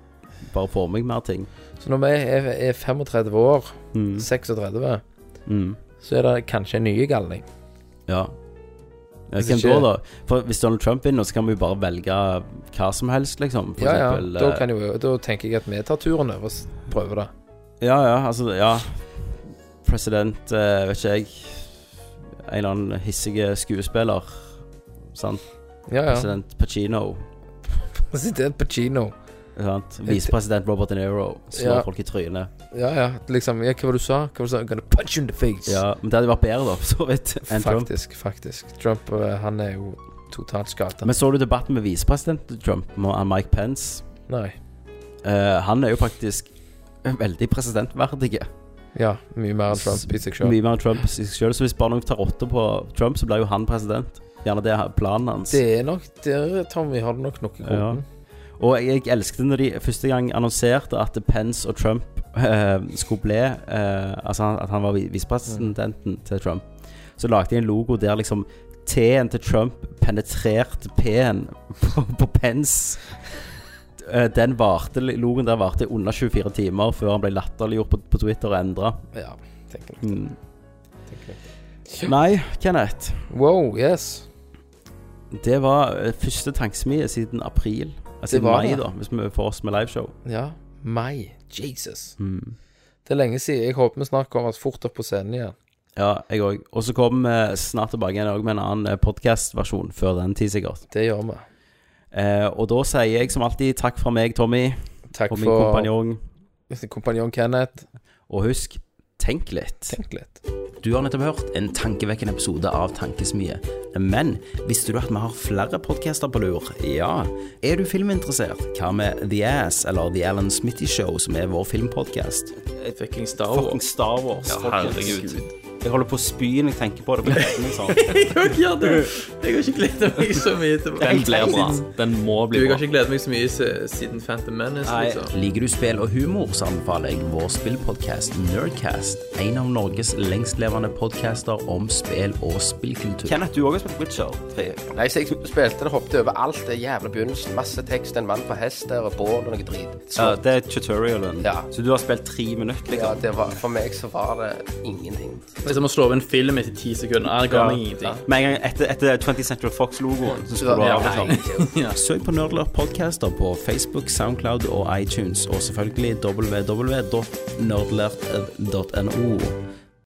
Speaker 1: bare får meg mer ting.
Speaker 3: Så når vi er, er 35 år,
Speaker 1: Mm.
Speaker 3: 36,
Speaker 1: Mm.
Speaker 3: så er det kanskje en ny galning.
Speaker 1: Ja. ja
Speaker 3: Hvis
Speaker 1: hvem
Speaker 3: Altså, ikke-
Speaker 1: da, da? For hvis Donald Trump vinner, så kan vi jo bare velge hva som helst, liksom. For
Speaker 3: Ja, ja.
Speaker 1: eksempel,
Speaker 3: Da,
Speaker 1: eh,
Speaker 3: kan jo, da tenker jeg at vi tar turen over og s- prøver det.
Speaker 1: Ja, ja, altså Ja. President, eh, vet ikke jeg En eller annen hissige skuespiller. Sant?
Speaker 3: Ja, ja. (laughs)
Speaker 1: President Pacino.
Speaker 3: President Pacino.
Speaker 1: Sant? Visepresident Robert De Niro. Slår
Speaker 3: Ja.
Speaker 1: folk i trynet.
Speaker 3: Ja, ja. Liksom, ja, hva var det du sa? Hva var det du sa? I'm gonna punch you in the face.
Speaker 1: Ja, men det hadde vært bedre, da, for så vidt, enn Trump.
Speaker 3: Faktisk, faktisk. Trump eh, han er jo totalt skada.
Speaker 1: Men så du debatten med visepresident Trump og Mike Pence?
Speaker 3: Nei.
Speaker 1: Eh, han er jo faktisk veldig presidentverdig.
Speaker 3: Ja, mye mer enn Trump i seg sjøl.
Speaker 1: Mye mer enn Trump i seg selv, så hvis bare noen tar åtte på Trump, så blir jo han president. Gjerne det er planen hans.
Speaker 3: Det er nok der, Tommy, har du nok noe i
Speaker 1: Ja.
Speaker 3: koden.
Speaker 1: Og jeg, jeg elsket når de første gang annonserte at Pence og Trump eh, skulle bli eh, Altså han- at han var vi-
Speaker 3: Mm.
Speaker 1: visepresidenten til Trump, så lagde de en logo der liksom T-en til Trump penetrerte P-en på, på Pence. Eh, Den varte, Logoen der varte under 24 timer før han ble latterliggjort på, på Twitter og endra.
Speaker 3: Ja, tenker jeg.
Speaker 1: Mm.
Speaker 3: Tenker jeg.
Speaker 1: Nei, Kenneth.
Speaker 3: Wow, yes.
Speaker 1: Det var eh, første tankesmie siden april. Altså
Speaker 3: Det
Speaker 1: siden
Speaker 3: var
Speaker 1: mai,
Speaker 3: det.
Speaker 1: da, hvis vi får oss med liveshow.
Speaker 3: Ja. Mai. Jesus.
Speaker 1: Mm.
Speaker 3: Det er lenge siden. Jeg håper vi snart kommer oss fort opp på scenen igjen.
Speaker 1: Ja, jeg òg. Og så kommer vi snart tilbake igjen også med en annen podkastversjon før den tid, sikkert.
Speaker 3: Det gjør vi.
Speaker 1: Eh, og da sier jeg som alltid takk fra meg, Tommy,
Speaker 3: Takk
Speaker 1: og min
Speaker 3: (laughs) for
Speaker 1: kompanjong.
Speaker 3: kompanjong Kenneth.
Speaker 1: Og husk, tenk litt.
Speaker 3: Tenk litt.
Speaker 2: Du har nettopp hørt en tankevekkende episode av Tankesmie. Men visste du at vi har flere podcaster på lur? Ja. Er du filminteressert? Hva med The Ass eller The Alan Smitty Show, som er vår filmpodcast?
Speaker 4: Fucking Star Wars.
Speaker 1: Fucking Star Wars.
Speaker 4: Ja,
Speaker 1: folkens.
Speaker 4: herregud. (laughs)
Speaker 1: Jeg holder på å spy når jeg tenker på det. på kvelden, sånn.
Speaker 4: Jeg gjør det. Jeg har ikke gleda meg så mye til
Speaker 5: Den blir bra. Den må
Speaker 4: Du,
Speaker 5: bli
Speaker 4: jeg
Speaker 5: bra.
Speaker 4: har ikke gledet meg så mye se- siden Phantom Menace,
Speaker 1: Nei.
Speaker 4: liksom.
Speaker 2: Liker du spill og humor, så anbefaler jeg vår spillpodcast Nerdcast. En av Norges lengstlevende podcaster om spill og spillkultur.
Speaker 1: Kenneth, du òg har spilt Witcher 3.
Speaker 6: Nei, så jeg spilte det, hoppet over alt det jævla begynnelsen. Masse tekst, en mann på hest der, og bål og noe drit. Så
Speaker 1: Ja, det er tutorialen.
Speaker 6: Ja.
Speaker 1: Så du har spilt tre minutter,
Speaker 6: ja,
Speaker 1: liksom.
Speaker 6: det var, for meg så var det ingenting.
Speaker 4: Det er som å slå over en film etter ti sekunder. Jeg ga meg ingenting.
Speaker 1: Med en gang etter, etter 20th Central Fox-logoen, så skulle du
Speaker 6: Ja,
Speaker 1: ha
Speaker 6: nei,
Speaker 1: liksom.
Speaker 6: det-
Speaker 2: Søk på Nerdlurp Podcaster på Facebook, Soundcloud og iTunes, og selvfølgelig www.nerdlurp.no.